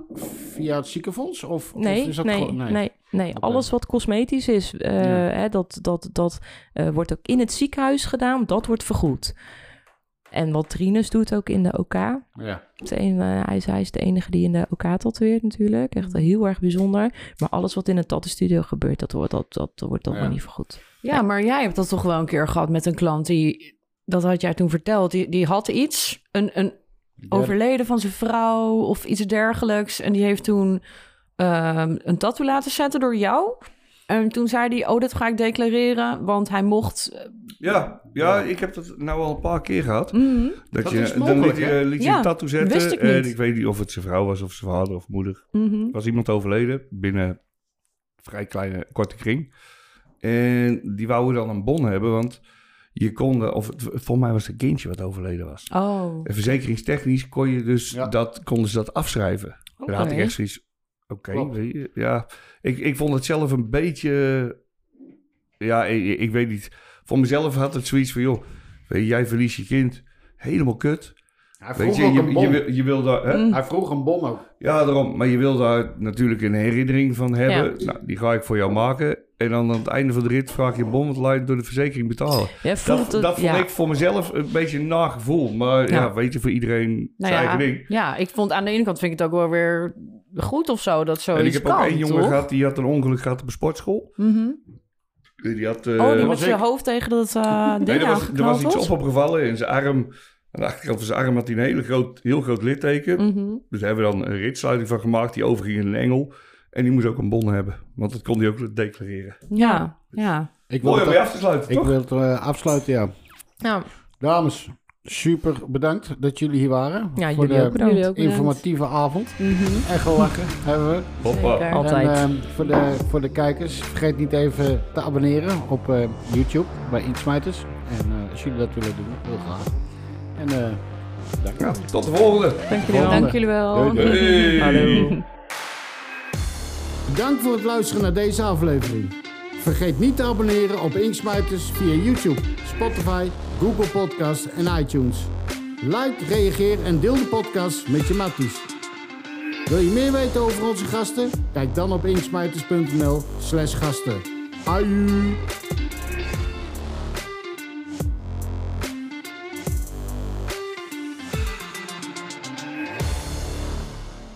Speaker 1: via het ziekenfonds? Of, of
Speaker 4: Nee,
Speaker 1: is dat
Speaker 4: nee,
Speaker 1: gewoon-
Speaker 4: nee, nee,
Speaker 1: Oké.
Speaker 4: Alles wat cosmetisch is, eh, hè, dat, dat, dat eh, wordt ook in het ziekenhuis gedaan. Dat wordt vergoed. En wat Rinus doet ook in de OK.
Speaker 1: Ja.
Speaker 4: Het een, eh, hij, is, hij is de enige die in de OK tatoeëert natuurlijk. Echt
Speaker 1: Mhm.
Speaker 4: heel erg bijzonder. Maar alles wat in een tattoo-studio gebeurt, dat wordt dat, dat, dat, wordt dat
Speaker 1: Ja.
Speaker 4: maar niet vergoed.
Speaker 3: Ja, maar jij hebt dat toch wel een keer gehad met een klant die... Dat had jij toen verteld. Die, die had iets, een, een overleden van zijn vrouw of iets dergelijks. En die heeft toen ehm, een tattoo laten zetten door jou. En toen zei hij, oh, dat ga ik declareren, want hij mocht...
Speaker 2: Ja, ja, ik heb dat nou al een paar keer gehad.
Speaker 3: Mhm.
Speaker 2: Dat,
Speaker 1: Dat
Speaker 2: je,
Speaker 1: is
Speaker 2: dan
Speaker 1: mogelijk,
Speaker 2: liet je,
Speaker 1: hè?
Speaker 2: liet je
Speaker 3: Ja,
Speaker 2: een tattoo zetten.
Speaker 3: wist ik
Speaker 2: En
Speaker 3: niet.
Speaker 2: ik weet niet of het zijn vrouw was of zijn vader of moeder.
Speaker 4: Mhm.
Speaker 2: was iemand overleden binnen een vrij kleine, korte kring. En die wouden dan een bon hebben, want je kon, eh, of het- volgens mij was het een kindje wat overleden was.
Speaker 3: Oh,
Speaker 2: En verzekeringstechnisch kon je dus
Speaker 1: Ja.
Speaker 2: dat, konden ze dat afschrijven.
Speaker 4: Oké.
Speaker 2: Daar had ik echt zoiets. Oké,
Speaker 1: Klopt.
Speaker 2: weet je, ja. Ik, ik vond het zelf een beetje. Ja, ik, ik weet niet. Voor mezelf had het zoiets van: joh, weet je, jij verliest je kind. Helemaal kut.
Speaker 1: Hij vroeg
Speaker 2: Weet je,
Speaker 1: ook
Speaker 2: je,
Speaker 1: een
Speaker 2: je,
Speaker 1: bom.
Speaker 2: wil, je wil daar. Hè?
Speaker 1: Hij vroeg een bom ook.
Speaker 2: Ja, daarom. Maar je wil daar natuurlijk een herinnering van hebben. Nou, die ga ik voor jou maken. En dan aan het einde van de rit vraag je bon, want laat je het door de verzekering betalen.
Speaker 3: ja, voelt
Speaker 2: Dat,
Speaker 3: het-
Speaker 2: dat vond
Speaker 3: ja.
Speaker 2: ik voor mezelf een beetje een nagevoel. Maar ja,
Speaker 3: Ja.
Speaker 2: weet je, voor iedereen
Speaker 3: Nou
Speaker 2: zijn
Speaker 3: ja,
Speaker 2: eigen ding.
Speaker 3: ja, ik vond aan de ene kant vind ik het ook wel weer goed of zo dat zoiets
Speaker 2: En ik heb ook
Speaker 3: kan,
Speaker 2: één jongen
Speaker 3: toch?
Speaker 2: gehad, die had een ongeluk gehad op een sportschool.
Speaker 3: Mhm.
Speaker 2: Die had,
Speaker 3: oh,
Speaker 2: eh,
Speaker 3: die
Speaker 1: was
Speaker 3: met zijn
Speaker 1: ik.
Speaker 3: hoofd tegen dat eh ding
Speaker 2: Nee, er was, er was
Speaker 3: aangeknald
Speaker 2: iets
Speaker 3: was?
Speaker 2: op opgevallen in zijn arm. Aan de achterkant van zijn arm had hij een hele groot, heel groot litteken.
Speaker 3: Mhm.
Speaker 2: Dus daar hebben we dan een ritsluiting van gemaakt. Die overging in een engel. En die moest ook een bon hebben. Want dat kon hij ook declareren.
Speaker 3: Ja, ja.
Speaker 1: Ik wil,
Speaker 2: Mooi om
Speaker 1: het,
Speaker 2: mee af te sluiten,
Speaker 1: ik
Speaker 2: toch?
Speaker 1: wil het eh, afsluiten, ja.
Speaker 3: Ja,
Speaker 1: Dames, super bedankt dat jullie hier waren.
Speaker 4: Ja,
Speaker 1: voor
Speaker 4: jullie ook
Speaker 1: de
Speaker 4: bedankt.
Speaker 3: jullie ook bedankt.
Speaker 1: informatieve avond.
Speaker 3: Mhm.
Speaker 1: Echt gelachen hebben we.
Speaker 2: Hoppa.
Speaker 3: Zeker.
Speaker 1: En,
Speaker 3: Altijd.
Speaker 1: ehm, voor, de, voor de kijkers, vergeet niet even te abonneren op eh, YouTube bij Insmijters. En eh, als jullie dat willen doen, heel graag. En eh,
Speaker 2: Ja, tot de volgende.
Speaker 4: Dank jullie wel.
Speaker 3: Dank jullie wel.
Speaker 1: Doei,
Speaker 2: Hey.
Speaker 4: Hallo.
Speaker 1: dank voor het luisteren naar deze aflevering. Vergeet niet te abonneren op Inksmijters via YouTube, Spotify, Google Podcast en iTunes. Like, reageer en deel de podcast met je matties. Wil je meer weten over onze gasten? Kijk dan op inksmijters.nl slash gasten. Aju!